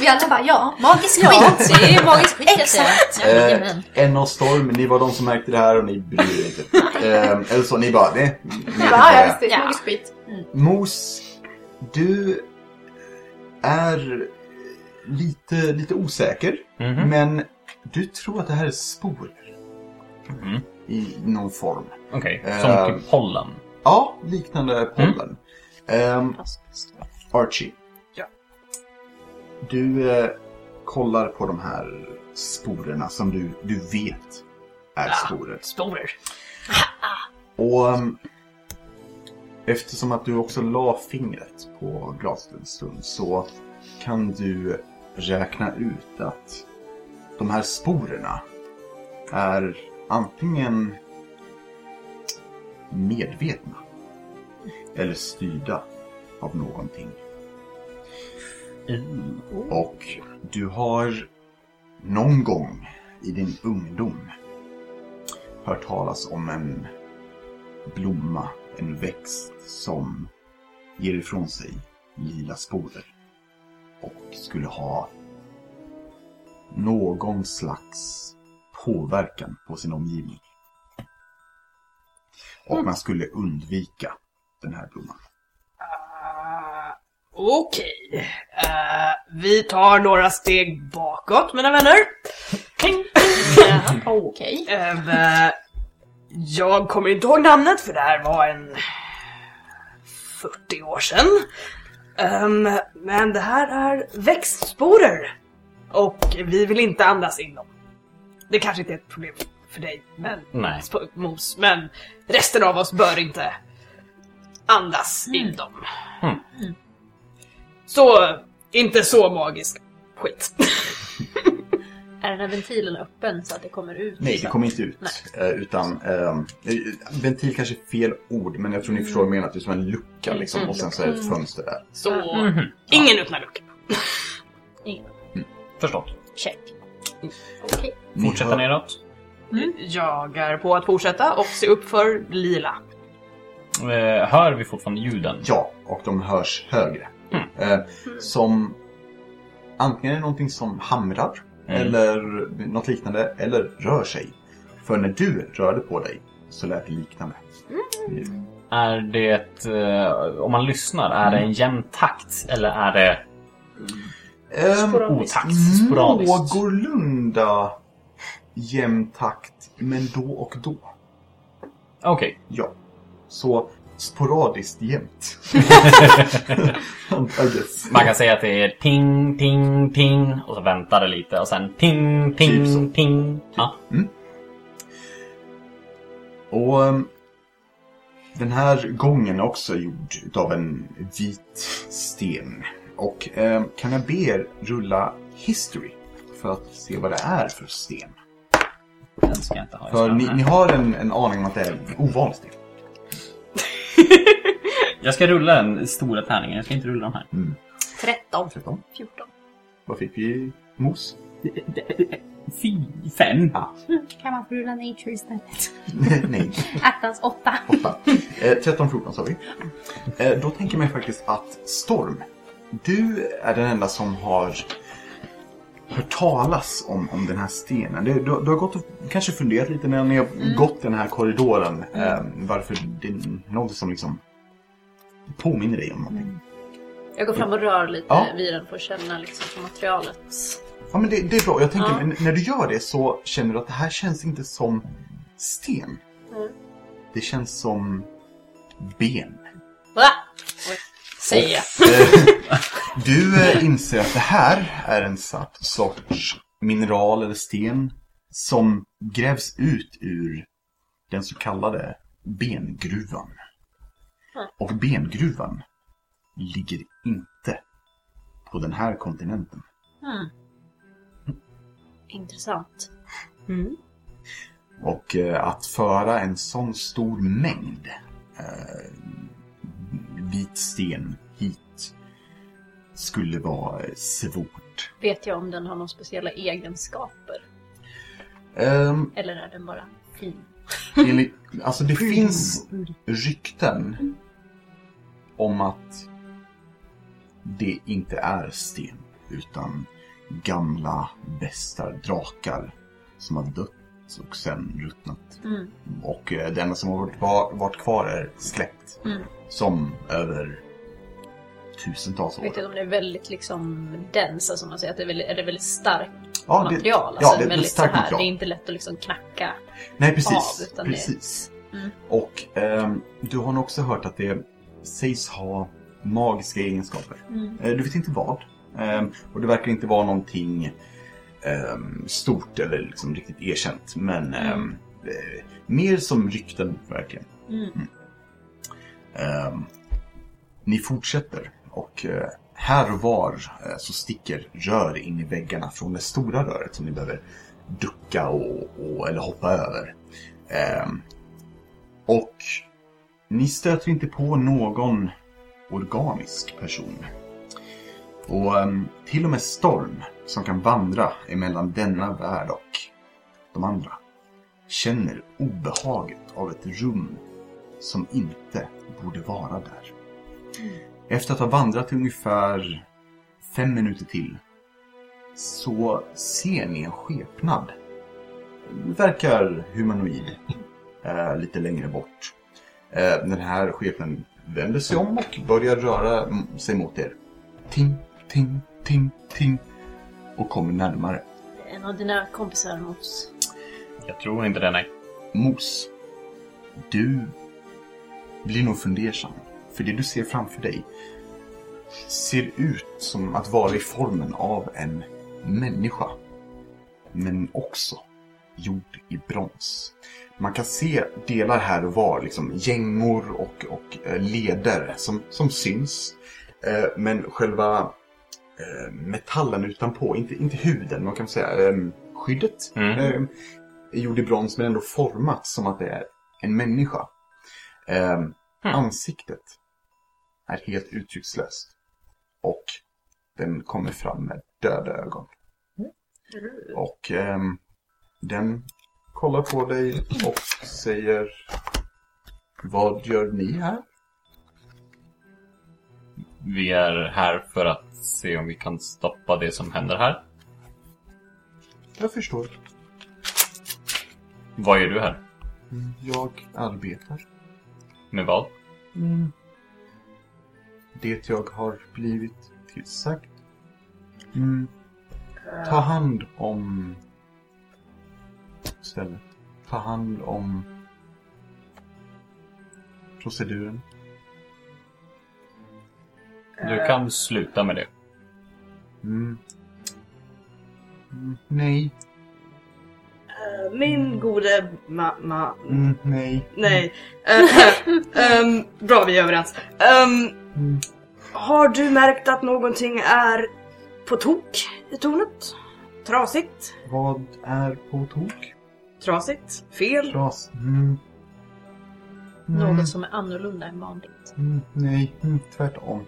S3: Vi alla bara ja, magisk skit.
S4: Det är magiskt skit jag säger.
S2: eh, en av storm, ni var de som märkte det här och ni bryr er inte. Ehm, eller så, ni bara, nej. ni vet inte vad det
S3: Ja,
S2: är.
S3: just det.
S4: Ja.
S3: Magisk skit.
S2: Mos, du är lite, lite osäker, men du tror att det här är sporer. I någon form.
S7: Okej,
S2: Ehm.
S7: som typ pollen.
S2: Ja, liknande pollen. Ehm, Archie.
S1: Ja.
S2: Du eh, kollar på de här sporerna som du, du vet är sporer.
S1: Ah, Sporer.
S2: Och ehm, eftersom att du också la fingret på glaset en stund så kan du räkna ut att de här sporerna är antingen medvetna eller styrda av någonting. Och du har någon gång i din ungdom hört talas om en blomma, en växt som ger ifrån sig lila sporer och skulle ha någon slags påverkan på sin omgivning. Och man skulle undvika den här blomman.
S1: Okej. Eh, vi tar några steg bakåt, mina vänner. Ping.
S4: Okej.
S1: Ehm, eh, jag kommer inte ihåg namnet för det här var en 40 år sedan. Ehm, men det här är växtsporer. Och vi vill inte andas in dem. Det kanske inte är ett problem för dig, men,
S7: Nej.
S1: sp- mos, men resten av oss bör inte andas in dem.
S7: Mm.
S1: Så, inte så magisk skit.
S4: Är den här ventilen öppen så att det kommer ut?
S2: Nej, det kommer inte ut. eh, Utan, ehm, eh, ventil kanske är fel ord, men jag tror ni förstår vad jag menar. Att det är som en lucka liksom, och sen så är det ett fönster där.
S1: Så,
S7: Mhm.
S1: ingen öppnar luckan.
S7: Förstått.
S4: Check.
S2: Ni
S7: Fortsätta
S2: hör-
S7: neråt.
S1: Jag är Mm. på att fortsätta och se upp för lila.
S7: Eh, Hör vi fortfarande ljuden?
S2: Ja, och de hörs högre. Eh, som antingen är någonting som hamrar,
S7: Mm.
S2: eller något liknande, eller rör sig. För när du rörde på dig så lät det liknande.
S7: Är det, eh, om man lyssnar, är
S2: Mm.
S7: det en jämn takt eller är det
S2: Ehm,
S7: otakt?
S5: Mm.
S7: Sporadiskt?
S2: någorlunda jämn takt, men då och då.
S7: Okej.
S2: Ja. Så sporadiskt jämnt. I guess.
S7: Man kan säga att det är ping, ping, ping och så väntar det lite och sen ping,
S2: Typ
S7: ping,
S2: så.
S7: ping. Ja.
S2: Och ehm, Den här gången är också gjord av en vit sten. Och eh, kan jag be er rulla history för att se vad det är för sten?
S5: Den ska jag inte ha i
S2: För ni,
S5: skallen.
S2: ni har en, en aning om att det är en ovanlig sten.
S5: Jag ska rulla den stora tärningen, jag ska inte rulla de här.
S4: 13.
S2: 13.
S4: 14.
S2: Vad fick vi? Mos?
S5: Fy, fem.
S3: Kan man få rulla nature istället?
S2: Nej.
S3: Attans åtta.
S2: Åtta. Eh, 13-14 sa vi. Eh, då tänker man ju faktiskt att Storm, du är den enda som har hört talas om, om den här stenen. Du, du, du har gått och kanske funderat lite när ni har
S4: Mm.
S2: gått den här korridoren. Eh, varför det är någonting som liksom påminner dig om någonting.
S4: Mm. Jag går fram och rör lite
S2: Ja.
S4: vid den för att känna liksom på materialet.
S2: Ja men det, det är bra. Jag tänker
S4: Ja.
S2: men när du gör det så känner du att det här känns inte som sten.
S4: Mm.
S2: Det känns som ben.
S4: Va? Oj, Säger jag.
S2: Eh, Du eh, inser att det här är en satt sorts mineral eller sten som grävs ut ur den så kallade bengruvan. Och bengruvan ligger inte på den här kontinenten.
S4: Intressant.
S2: Och eh, att föra en sån stor mängd eh, vit sten hit skulle vara eh, svårt.
S4: Vet jag om den har några speciella egenskaper?
S2: Ehm,
S4: Eller är den bara fin?
S2: Enligt, alltså det
S4: Mm.
S2: finns rykten om att det inte är sten utan gamla västar, drakar som har dött och sen ruttnat.
S4: Mm.
S2: Och eh, det enda som har varit kvar, varit kvar är släkt.
S4: Mm.
S2: Som över tusentals år.
S4: Vet du om det är väldigt liksom dens, alltså man säger att det är väldigt, är det väldigt starkt
S2: Ja, det,
S4: material?
S2: ja,
S4: Alltså
S2: det, det är
S4: väldigt
S2: starkt
S4: så här, det är
S2: material.
S4: inte lätt att liksom knacka.
S2: Nej, precis.
S4: av, utan det-
S2: precis.
S4: Mm.
S2: Och ehm, du har nog också hört att det sägs ha magiska egenskaper.
S4: Mm.
S2: Eh, Du vet inte vad. Ehm, och det verkar inte vara någonting ehm, stort eller liksom riktigt erkänt. Men ehm, eh, mer som rykten verkligen.
S4: Mm.
S2: Ehm, ni fortsätter och eh, här och var eh, så sticker rör in i väggarna från det stora röret som ni behöver ducka och, och, eller hoppa över. Ehm, och ni stöter inte på någon organisk person. Och ehm, till och med Storm, som kan vandra emellan denna värld och de andra, känner obehaget av ett rum som inte borde vara där. Efter att ha vandrat i ungefär fem minuter till så ser ni en skepnad. Verkar humanoid. Eh, lite längre bort. Eh, den här skepnaden vänder sig om och börjar röra mm, sig mot er. Ting, ting, ting, ting. Och kommer närmare.
S4: En av dina kompisar mot...
S7: Jag tror inte det, nej.
S2: Mos, du blir nog fundersam. För det du ser framför dig ser ut som att vara i formen av en människa. Men också gjord i brons. Man kan se delar här och var, liksom gängor och, och eh, leder som, som syns. Eh, Men själva eh, metallen utanpå, inte, inte huden, man kan säga eh, skyddet.
S7: Mm.
S2: eh, är gjord i brons men ändå format som att det är en människa. Eh, Ansiktet är helt uttryckslöst. Och den kommer fram med döda ögon. Och ehm, den kollar på dig och säger Vad gör ni här?
S7: Vi är här för att se om vi kan stoppa det som händer här.
S2: Jag förstår.
S7: Vad gör du här?
S2: Jag arbetar.
S7: Med vad?
S2: Det jag har blivit tillsagd. Mm. Ta hand om stället. Ta hand om proceduren. Eh.
S7: Du kan sluta med det.
S2: Mm. Mm, Nej,
S4: Eh,
S16: min gode mamma.
S2: Mm, nej.
S16: Nej.
S1: Mm.
S16: Eh, ehm, bra, vi är överens. Ehm,
S2: Mm,
S16: Har du märkt att någonting är på tok i tornet? Trasigt?
S2: Vad är på tok?
S16: Trasigt? Fel?
S2: Tras. Mm.
S4: Något som är annorlunda än vanligt.
S2: Mm, nej, mm, tvärtom.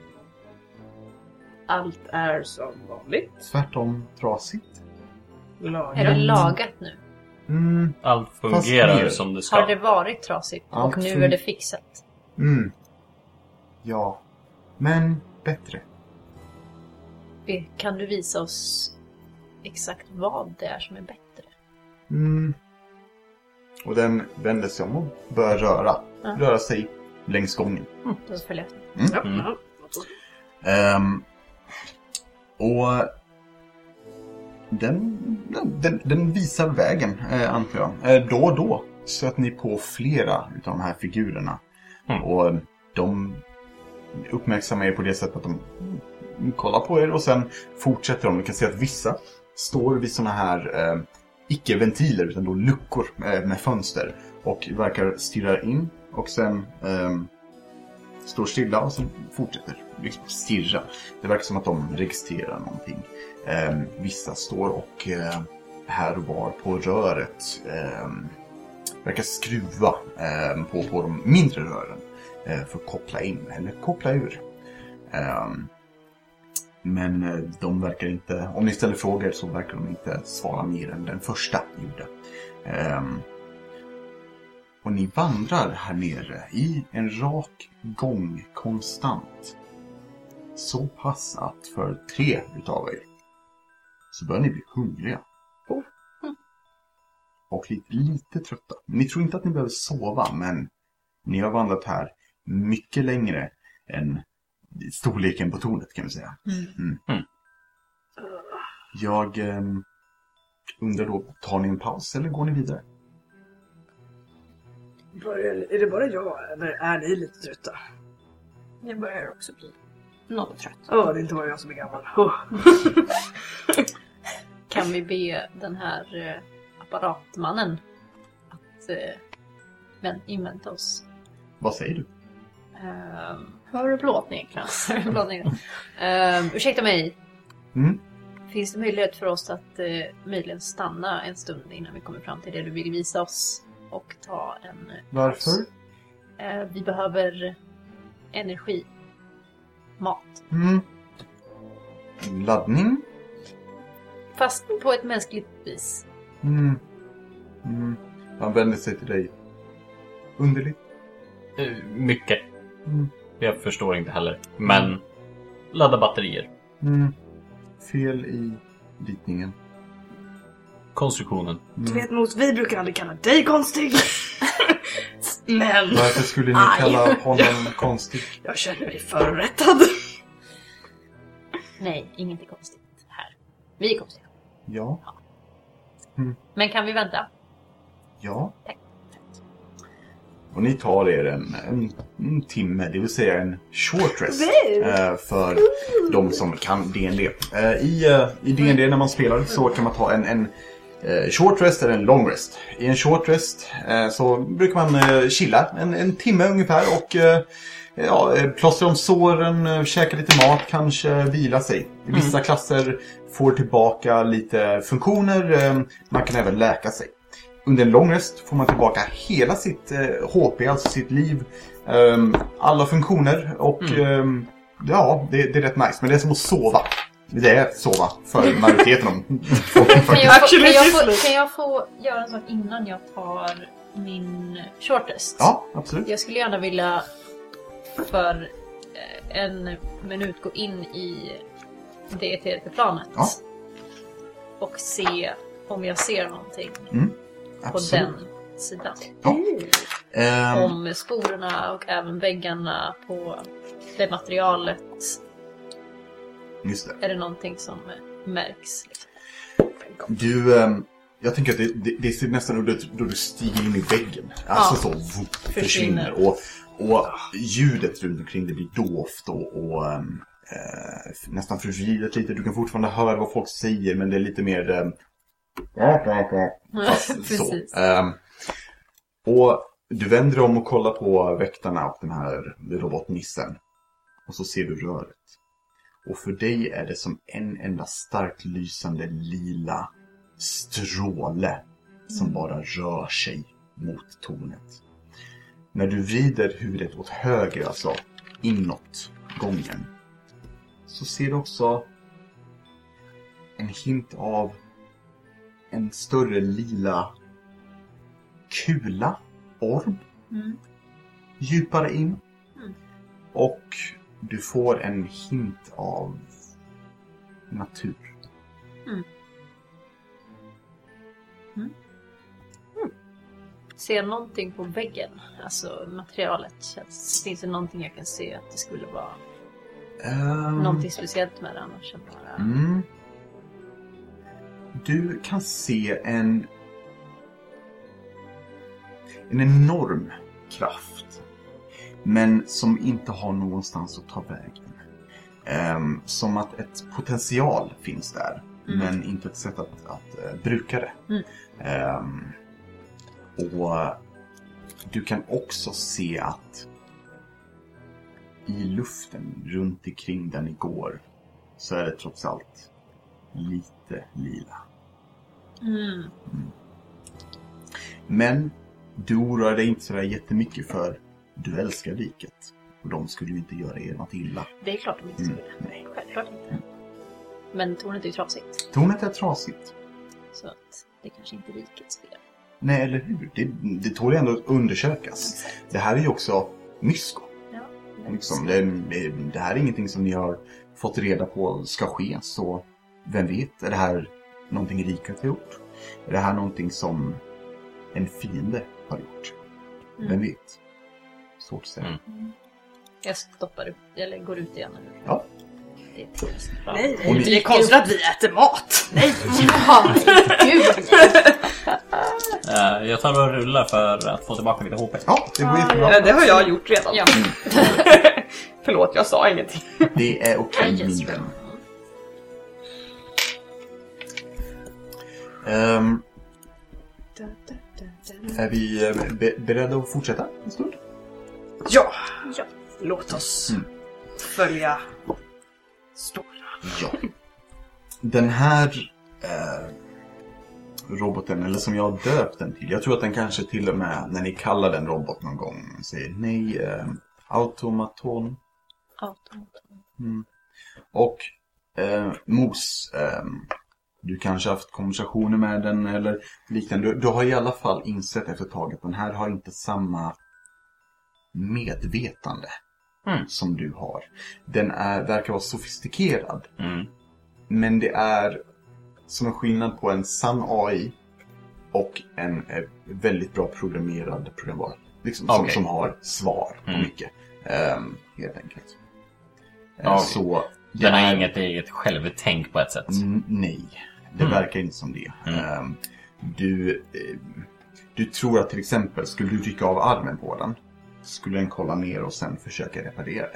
S16: Allt är som vanligt.
S2: Tvärtom trasigt.
S4: Är det lagat nu?
S2: Mm,
S7: Allt
S2: Fast mer.
S7: fungerar som det
S4: Har
S7: ska.
S4: det varit trasigt och
S2: Allt fun-
S4: nu är det fixat?
S2: mm. Ja. Men bättre.
S4: Vi- Kan du visa oss exakt vad det är som är bättre?
S2: Mm. Och den vänder sig om och börjar röra.
S4: Ja.
S2: Röra sig längs gången.
S4: Då följer jag.
S2: Mm.
S16: Ja.
S2: Ehm, och den, den- den, den visar vägen, eh, antar jag. Eh, då och då stöter ni på flera av de här figurerna. Och de uppmärksammar er på det sättet att de mm, kollar på er och sen fortsätter de. Ni kan se att vissa står vid sådana här, eh, icke ventiler, utan då luckor eh, med fönster. Och verkar stirra in och sen ehm, står stilla och så fortsätter liksom stirra. Det verkar som att de registrerar någonting. Ehm, vissa står och eh, här och var på röret ehm, verkar skruva ehm, på, på de mindre rören eh, för att koppla in eller koppla ur. Ehm, men eh, de verkar inte, om ni ställer frågor så verkar de inte svara mer än den första gjorde. Ehm, och ni vandrar här nere i en rak gång konstant. Så pass att för tre utav er så börjar ni bli hungriga. Och lite, lite trötta. Ni tror inte att ni behöver sova, men ni har vandrat här mycket längre än storleken på tornet kan vi säga. Mm.
S7: Mm.
S2: Jag ehm, undrar då, tar ni en paus eller går ni vidare?
S16: Börjar- Är det bara jag eller är ni lite trötta?
S3: Jag börjar också bli något trött.
S16: Åh, det är inte bara jag som är gammal. Åh.
S4: Kan vi be den här eh, apparatmannen att eh, vän- invänta oss?
S2: Vad säger du?
S4: Um, hör och plåtning kanske. Plåtning. Ehm, ursäkta mig.
S2: Mm.
S4: Finns det möjlighet för oss att uh, möjligen stanna en stund innan vi kommer fram till det du vill visa oss? Och ta en...
S2: Varför?
S4: eh, vi behöver energi. Mat.
S2: Mm. Laddning?
S4: Fast på ett mänskligt vis.
S2: Mm. Mm. Han vänder sig till dig. Underligt.
S7: Eh, Mycket.
S2: Mm.
S7: Jag förstår inte heller. Men ladda batterier.
S2: Mm. Fel i ritningen.
S7: Konstruktionen.
S16: Du
S2: Mm.
S16: vet Mos, vi brukar aldrig kalla dig konstig. Men
S2: Varför skulle ni
S16: Aj.
S2: kalla honom konstig?
S16: jag känner mig förorättad.
S4: Nej, inget är konstigt här. Vi är konstiga.
S2: Ja.
S4: Men kan vi vänta?
S2: Ja. Och ni tar er en, en, en timme, det vill säga en short rest. eh, för de som kan D&D. Eh, I eh, i D&D när man spelar så kan man ta en, en eh, short rest eller en long rest. I en short rest eh, så brukar man eh, chilla en, en timme ungefär och eh, ja, eh, plåstra om såren, eh, käka lite mat, kanske vila sig. Vissa klasser får tillbaka lite funktioner, eh, man kan även läka sig. Under en lång rest får man tillbaka hela sitt eh, HP, alltså sitt liv, ehm, alla funktioner och
S4: Mm.
S2: ehm, ja, det, det är rätt nice. Men det är som att sova. Det är att sova för majoriteten av folk
S4: Kan
S2: faktiskt.
S4: jag, få,
S16: Actually,
S4: kan, jag
S16: just
S4: få, kan jag få göra en sak innan jag tar min shortest?
S2: Ja, absolut.
S4: Jag skulle gärna vilja för eh, en minut gå in i det eteriska planet.
S2: Ja.
S4: Och se om jag ser någonting på
S2: absolut.
S4: den sidan.
S2: Ehm,
S4: Om sporerna och även väggarna på det materialet.
S2: just det.
S4: Är det någonting som märks? Liksom?
S2: Du, ehm, jag tänker att det, det, det ser nästan ut då du stiger in i väggen. Alltså så, vup, försvinner.
S4: Försvinner.
S2: Och, och ljudet runt omkring det blir dovt och, och ehm, eh, nästan förvridet lite. Du kan fortfarande höra vad folk säger men det är lite mer eh, Fast så. Ehm, och du vänder om och kollar på väktarna och den här robotnissen. Och så ser du röret. Och för dig är det som en enda starkt lysande lila stråle som bara rör sig mot tornet. När du vrider huvudet åt höger, alltså inåt gången, så ser du också en hint av en större lila kula, orm, djupare in. Och du får en hint av natur.
S4: Ser någonting på väggen? Alltså materialet känns... Finns det någonting jag kan se att det skulle vara
S2: Mm. Ehm,
S4: någonting speciellt med det annars än bara...
S2: Mm. Du kan se en... En enorm kraft. Men som inte har någonstans att ta vägen. Ehm, som att ett potential finns där.
S4: Mm.
S2: Men inte ett sätt att, att eh, bruka det.
S4: Mm.
S2: Ehm, och du kan också se att i luften runt omkring där ni går så är det trots allt lite lila.
S4: Mm.
S2: Men du oroar dig inte sådär jättemycket för du älskar riket. Och de skulle ju inte göra er något illa.
S4: Det är klart de inte
S2: Mm,
S4: skulle.
S2: nej.
S4: Självklart inte. Men tornet är ju trasigt.
S2: Tornet är trasigt.
S4: Så att det kanske inte är rikets fel.
S2: Nej, eller hur? Det, det tål ju ändå att undersökas. Det här är ju också mysko. Liksom. Det, det, det här är ingenting som ni har fått reda på ska ske, så vem vet? Är det här någonting riket har gjort? Är det här någonting som en fiende har gjort? Vem
S4: Mm.
S2: vet? Svårt att säga.
S7: Mm.
S4: Jag stoppar upp, eller går ut igen nu.
S2: Ja.
S4: Det är trist.
S1: Nej,
S2: Och ni-
S1: det är konstigt att vi äter mat. Nej.
S3: Ja, gud.
S7: Eh, Jag tar och rullar för att få tillbaka lite HP.
S2: Ja, det går jättebra.
S1: Det har jag gjort redan.
S4: Ja.
S1: Förlåt, jag sa ingenting.
S2: Det är okej
S4: I just
S2: min vän. Ehm, är vi eh, be- beredda att fortsätta en stund?
S1: Ja. Låt oss
S2: Mm.
S1: följa spåren.
S2: Ja. Den här eh, roboten, eller som jag har döpt den till. Jag tror att den kanske till och med, när ni kallar den robot någon gång, säger nej, eh, automaton. Mm.
S4: Automat.
S2: Och eh, Mos, ehm, du kanske haft konversationer med den eller liknande. Du, du har i alla fall insett efter ett tag att den här har inte samma medvetande
S7: Mm.
S2: som du har. Den är, verkar vara sofistikerad.
S7: Mm.
S2: Men det är som en skillnad på en sann AI och en eh, väldigt bra programmerad programvara. Liksom, som,
S7: Okej.
S2: som har svar på
S7: Mm.
S2: mycket. Ehm, helt enkelt. Eh,
S7: Okej.
S2: Så det
S7: Den har
S2: är-
S7: inget eget självtänk på ett sätt.
S2: N- nej, det
S7: Mm.
S2: verkar inte som det.
S7: Mm.
S2: Ehm, du, eh, du tror att till exempel, skulle du rycka av armen på den, skulle den kolla ner och sen försöka reparera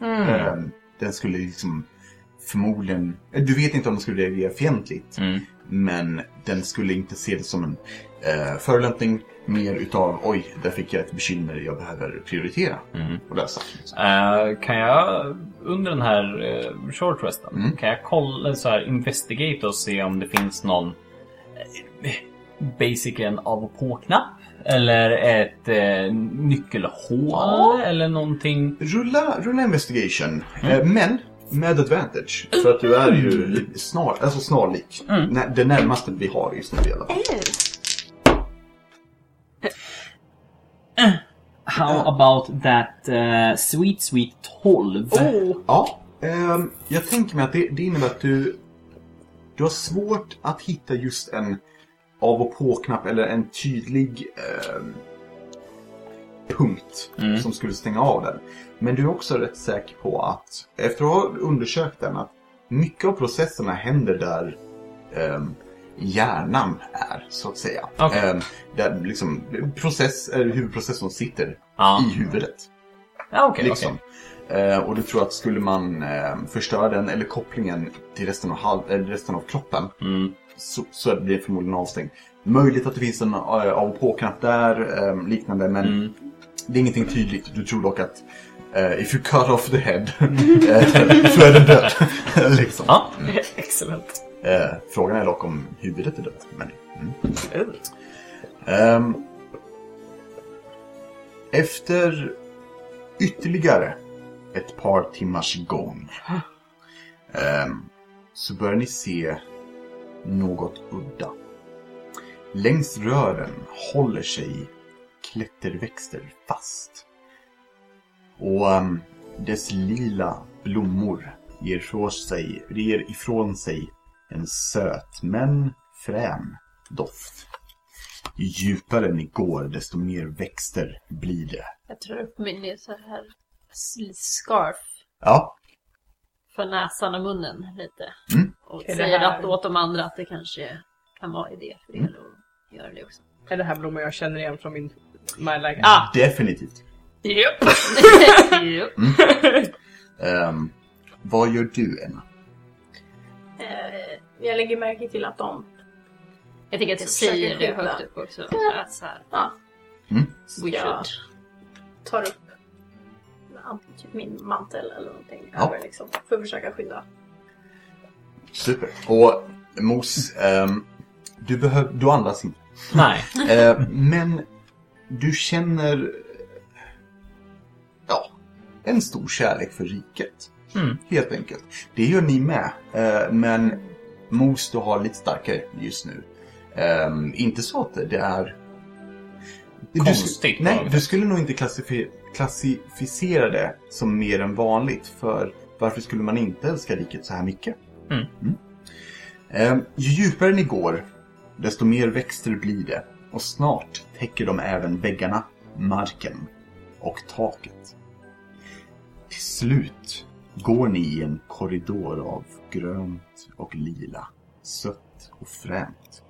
S2: det. Ehm, den skulle liksom förmodligen, eh, du vet inte om den skulle reagera fientligt,
S7: Mm.
S2: men den skulle inte se det som en eh, förolämpning, mer utav oj, där fick jag ett bekymmer jag behöver prioritera
S7: Mm.
S2: och lösa.
S7: Eh, kan jag under den här uh, short resten,
S2: Mm.
S7: kan jag kolla så här investigate och se om det finns någon eh, basically en av och på-knapp? Eller ett eh, nyckelhål eller någonting?
S2: Rulla, rulla investigation. Eh, men med advantage. För att du är ju snar, alltså snarlik.
S7: Mm.
S2: Nä, det närmaste vi har just nu i alla fall.
S5: How about that eh, sweet sweet 12?
S2: Ja, ehm, jag tänker mig att det, det innebär att du, du har svårt att hitta just en av och på-knapp eller en tydlig ehm, punkt
S7: Mm.
S2: som skulle stänga av den. Men du är också rätt säker på att, efter att ha undersökt den, att mycket av processerna händer där ehm, hjärnan är, så att säga.
S7: Okej.
S2: Ehm, där liksom process, eh, huvudprocessorn sitter
S7: Ja,
S2: i huvudet.
S7: ja okej.
S2: liksom.
S7: okej.
S2: Eh, och du tror att skulle man eh, förstöra den eller kopplingen till eh, resten av, halv, eller resten av kroppen
S7: Mm.
S2: så, så blir det förmodligen avstängd. Möjligt att det finns en eh, av och på-knapp där, eh, liknande, men
S7: Mm.
S2: det är ingenting tydligt. Du tror dock att eh, if you cut off the head eh, så är den död. liksom.
S7: Ja.
S1: Excellent.
S2: Eh, frågan är dock om huvudet är dött. Men, mm. Ehm, efter ytterligare ett par timmars gång ehm, så börjar ni se något udda. Längs rören håller sig klätterväxter fast. Och ehm, dess lila blommor ger ifrån sig, ger ifrån sig en söt men frän doft. Ju djupare ni går, desto mer växter blir det.
S4: Jag drar upp min så här s- scarf
S2: Ja,
S4: för näsan och munnen lite.
S2: Mm.
S4: Och
S1: det
S4: säger
S1: här-
S4: att åt de andra att det kanske kan vara idé för er
S2: Mm.
S4: att göra det också.
S1: Är det här blommor jag känner igen från min... My like...
S2: Mm.
S1: Ah!
S2: definitivt.
S1: Japp!
S4: Jo.
S2: Ehm, vad gör du, Emma?
S3: Eh, jag lägger märke till att de...
S4: Jag tänker att jag
S3: Försöker
S4: säger det
S3: skydda.
S4: högt upp också. Att så här,
S3: Ja.
S2: Mm.
S4: we
S3: Ja.
S4: should.
S3: tar upp an- typ min mantel eller någonting
S2: Ja.
S3: över liksom, för att försöka skydda.
S2: Super. Och Mos, ehm, du, behöv, du andas inte.
S7: Nej.
S2: Eh, men du känner eh, ja, en stor kärlek för riket.
S7: Mm.
S2: Helt enkelt. Det gör ni med. Eh, men Mos, du har lite starkare just nu. Ehm, inte så att det är... Du sk-
S7: Konstigt, på
S2: nej,
S7: något
S2: du skulle nog inte klassifi- klassificera det som mer än vanligt. För varför skulle man inte älska riket så här mycket?
S7: Mm.
S2: Ehm, ju djupare ni går, desto mer växter blir det. Och snart täcker de även väggarna, marken och taket. Till slut går ni i en korridor av grönt och lila, sött och fränt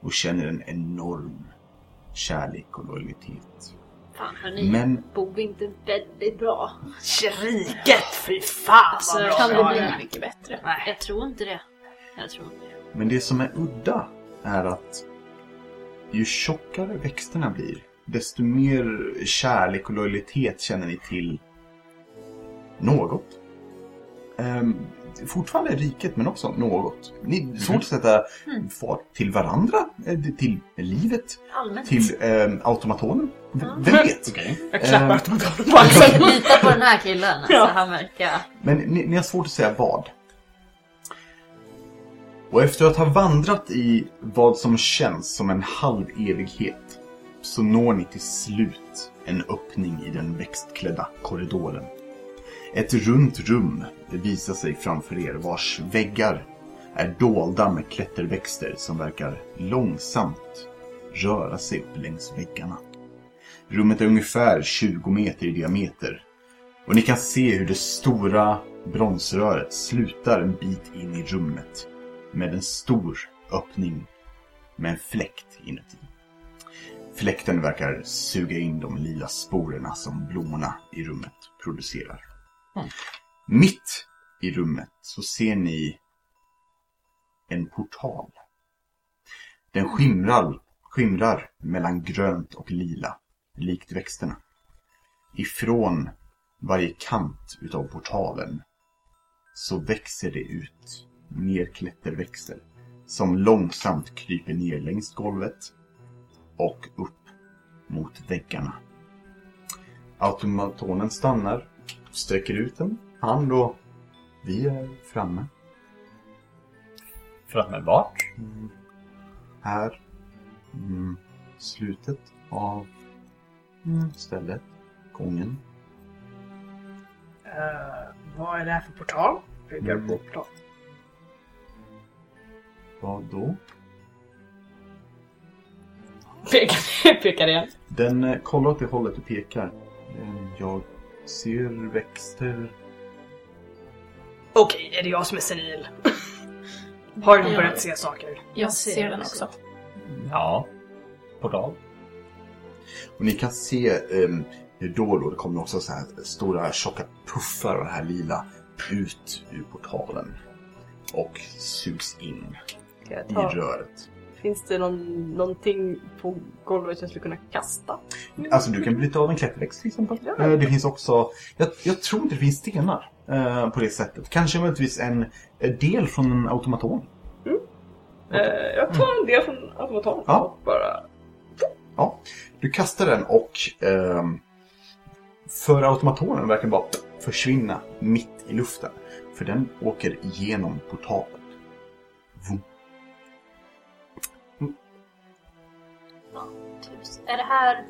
S2: och känner en enorm kärlek och lojalitet.
S4: Fan hörni,
S2: Men
S4: bor vi inte väldigt bra?
S1: Riket! Fy fan
S4: Alltså,
S1: vad bra!
S4: kan
S3: Kan
S4: det
S3: det
S4: Ja, bli
S3: bli
S4: ja.
S3: mycket bättre?
S1: Nej.
S4: Jag tror inte det. Jag tror inte det.
S2: Men det som är udda är att ju tjockare växterna blir, desto mer kärlek och lojalitet känner ni till något. Ehm, fortfarande riket, men också något. Ni
S1: Mm.
S2: svårt att sätta fart till varandra, eh, till livet,
S4: Allmänt.
S2: till ehm, automatonen. V- Vem vet?
S1: Jag klappar
S2: Ehm.
S1: automatiskt på axeln.
S4: Lita på den här killen. Alltså, han verkar...
S2: Men ni, ni har svårt att säga vad. Och efter att ha vandrat i vad som känns som en halv evighet så når ni till slut en öppning i den växtklädda korridoren. Ett runt rum visar sig framför er vars väggar är dolda med klätterväxter som verkar långsamt röra sig upp längs väggarna. Rummet är ungefär 20 meter i diameter och ni kan se hur det stora bronsröret slutar en bit in i rummet med en stor öppning med en fläkt inuti. Fläkten verkar suga in de lila sporerna som blommorna i rummet producerar. Mitt i rummet så ser ni en portal. Den skimrar, skimrar mellan grönt och lila, likt växterna. Ifrån varje kant utav portalen så växer det ut mer klätterväxter som långsamt kryper ner längs golvet och upp mot väggarna. Automatonen stannar, sträcker ut en hand och vi är framme
S7: För att med vart?
S2: här. Mm, slutet av mm, stället, gången.
S1: Eh, vad är det här för portal? Pekar
S2: Mm.
S1: på portal.
S2: Vad då?
S1: Pekar, pekar igen.
S2: Den eh, kollar åt det hållet du pekar. Eh, Jag ser växter.
S1: Okej, är det jag som är senil? Har ni
S3: Ja.
S1: börjat se saker?
S3: Jag ser den också.
S7: Ja. Portal.
S2: Och ni kan se ehm, hur då och då det kommer också så här stora tjocka puffar av det här lila ut ur portalen. Och sugs in
S16: Ska jag
S2: i
S16: ta?
S2: röret.
S16: Finns det någon, någonting på golvet jag skulle kunna kasta?
S2: Alltså du kan bryta av en klätterväxt till exempel. Eh, Det finns också, jag, jag tror inte det finns stenar eh, på det sättet. Kanske möjligtvis en eh, del från en automaton.
S16: Eh, jag tar en del från automaton
S2: Ja.
S16: och bara...
S2: Du kastar den och ehm, för automatonen verkar bara försvinna mitt i luften. För den åker igenom portalen.
S4: Tusen. Är det här...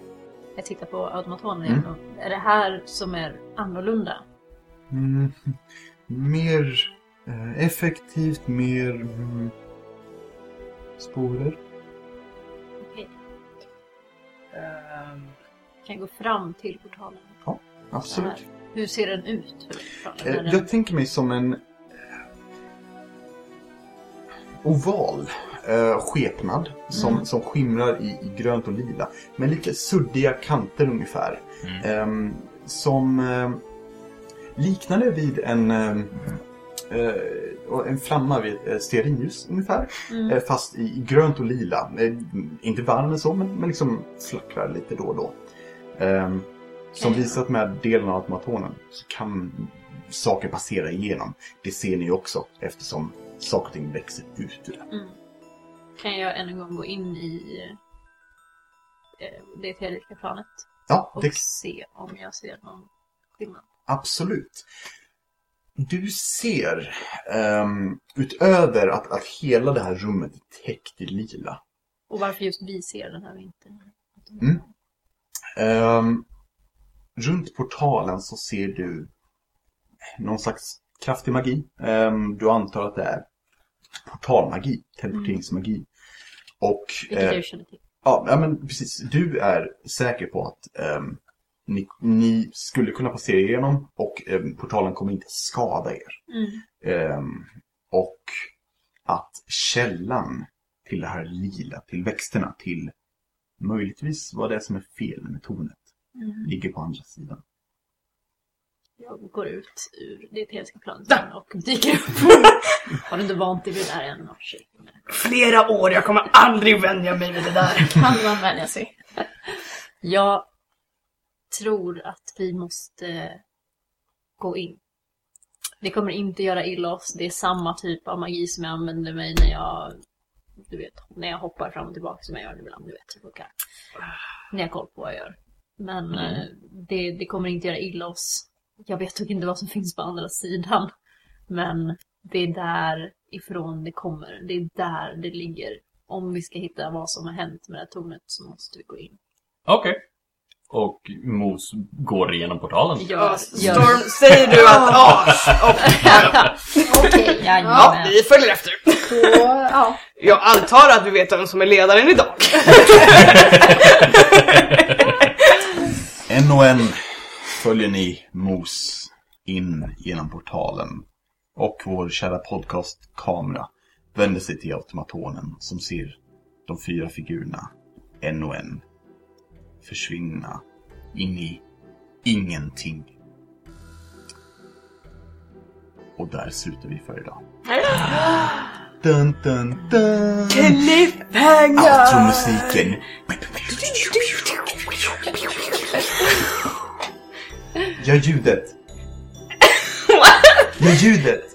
S4: Jag tittar på automatonen igen. då. Är det här som är annorlunda?
S2: Mm. Mer eh, effektivt, mer mm, sporer.
S1: Ehm.
S4: Kan jag gå fram till portalen?
S2: Absolut.
S4: Så här. Hur ser den ut? Portalen?
S2: Eh,
S4: Är den-
S2: Jag tänker mig som en eh, oval eh, skepnad som, som skimrar i, i grönt och lila. Med lite suddiga kanter ungefär. Ehm, som eh, liknade vid en, ehm, eh, och en flamma vid ett eh, stearinljus ungefär. Eh, fast i, i grönt och lila. Eh, inte varm eller så, men, men liksom flackrar lite då och då. Ehm, som visat med delen av automatonen så kan saker passera igenom. Det ser ni också eftersom saker och ting växer ut ur det.
S4: Kan jag än en gång gå in i eh, det teoretiska planet
S2: Ja,
S4: och
S2: det,
S4: se om jag ser någon skillnad?
S2: absolut. Du ser, ehm, utöver att, att hela det här rummet är täckt i lila,
S4: Och varför just vi ser den här vintern?
S2: Mm. Ehm, runt portalen så ser du någon slags kraftig magi. Ehm, du antar att det är portalmagi, teleporteringsmagi. Och,
S4: Vilket
S2: eh,
S4: jag känner till.
S2: ja, ja, men precis. Du är säker på att ehm, ni, ni skulle kunna passera igenom och ehm, portalen kommer inte skada er.
S4: Mm.
S2: Ehm, och att källan till det här lila, till växterna, till möjligtvis vad det är som är fel med tornet, ligger på andra sidan.
S4: Jag går ut ur det teoretiska planet och dyker upp. Har du inte vant dig vid det där än? Oh, shit.
S1: Flera år, jag kommer aldrig vänja mig vid det där.
S3: Kan man vänja sig?
S4: Jag tror att vi måste gå in. Det kommer inte göra illa oss. Det är samma typ av magi som jag använder mig när jag, du vet, när jag hoppar fram och tillbaka som jag gör ibland, du vet, typ, och kan. När jag har koll på vad jag gör. Men eh, det, det kommer inte göra illa oss. Jag vet dock inte vad som finns på andra sidan. Men det är där ifrån det kommer. Det är där det ligger. Om vi ska hitta vad som har hänt med det här tornet så måste vi gå in.
S7: Okej. Och Mos går igenom portalen.
S1: Ja,
S4: Gör, gör.
S1: Storm, säger du att ja,
S3: Okej,
S1: ja,
S4: Jajamän.
S1: vi följer efter.
S3: då... Ja.
S1: Jag antar att vi vet vem som är ledaren idag.
S2: En och en följer ni Mos in genom portalen och vår kära podcastkamera vänder sig till automatonen som ser de fyra figurerna en och en försvinna in i ingenting. Och där slutar vi för idag. Dun, dun, dun! Outromusiken! Gör ljudet! Gör ljudet!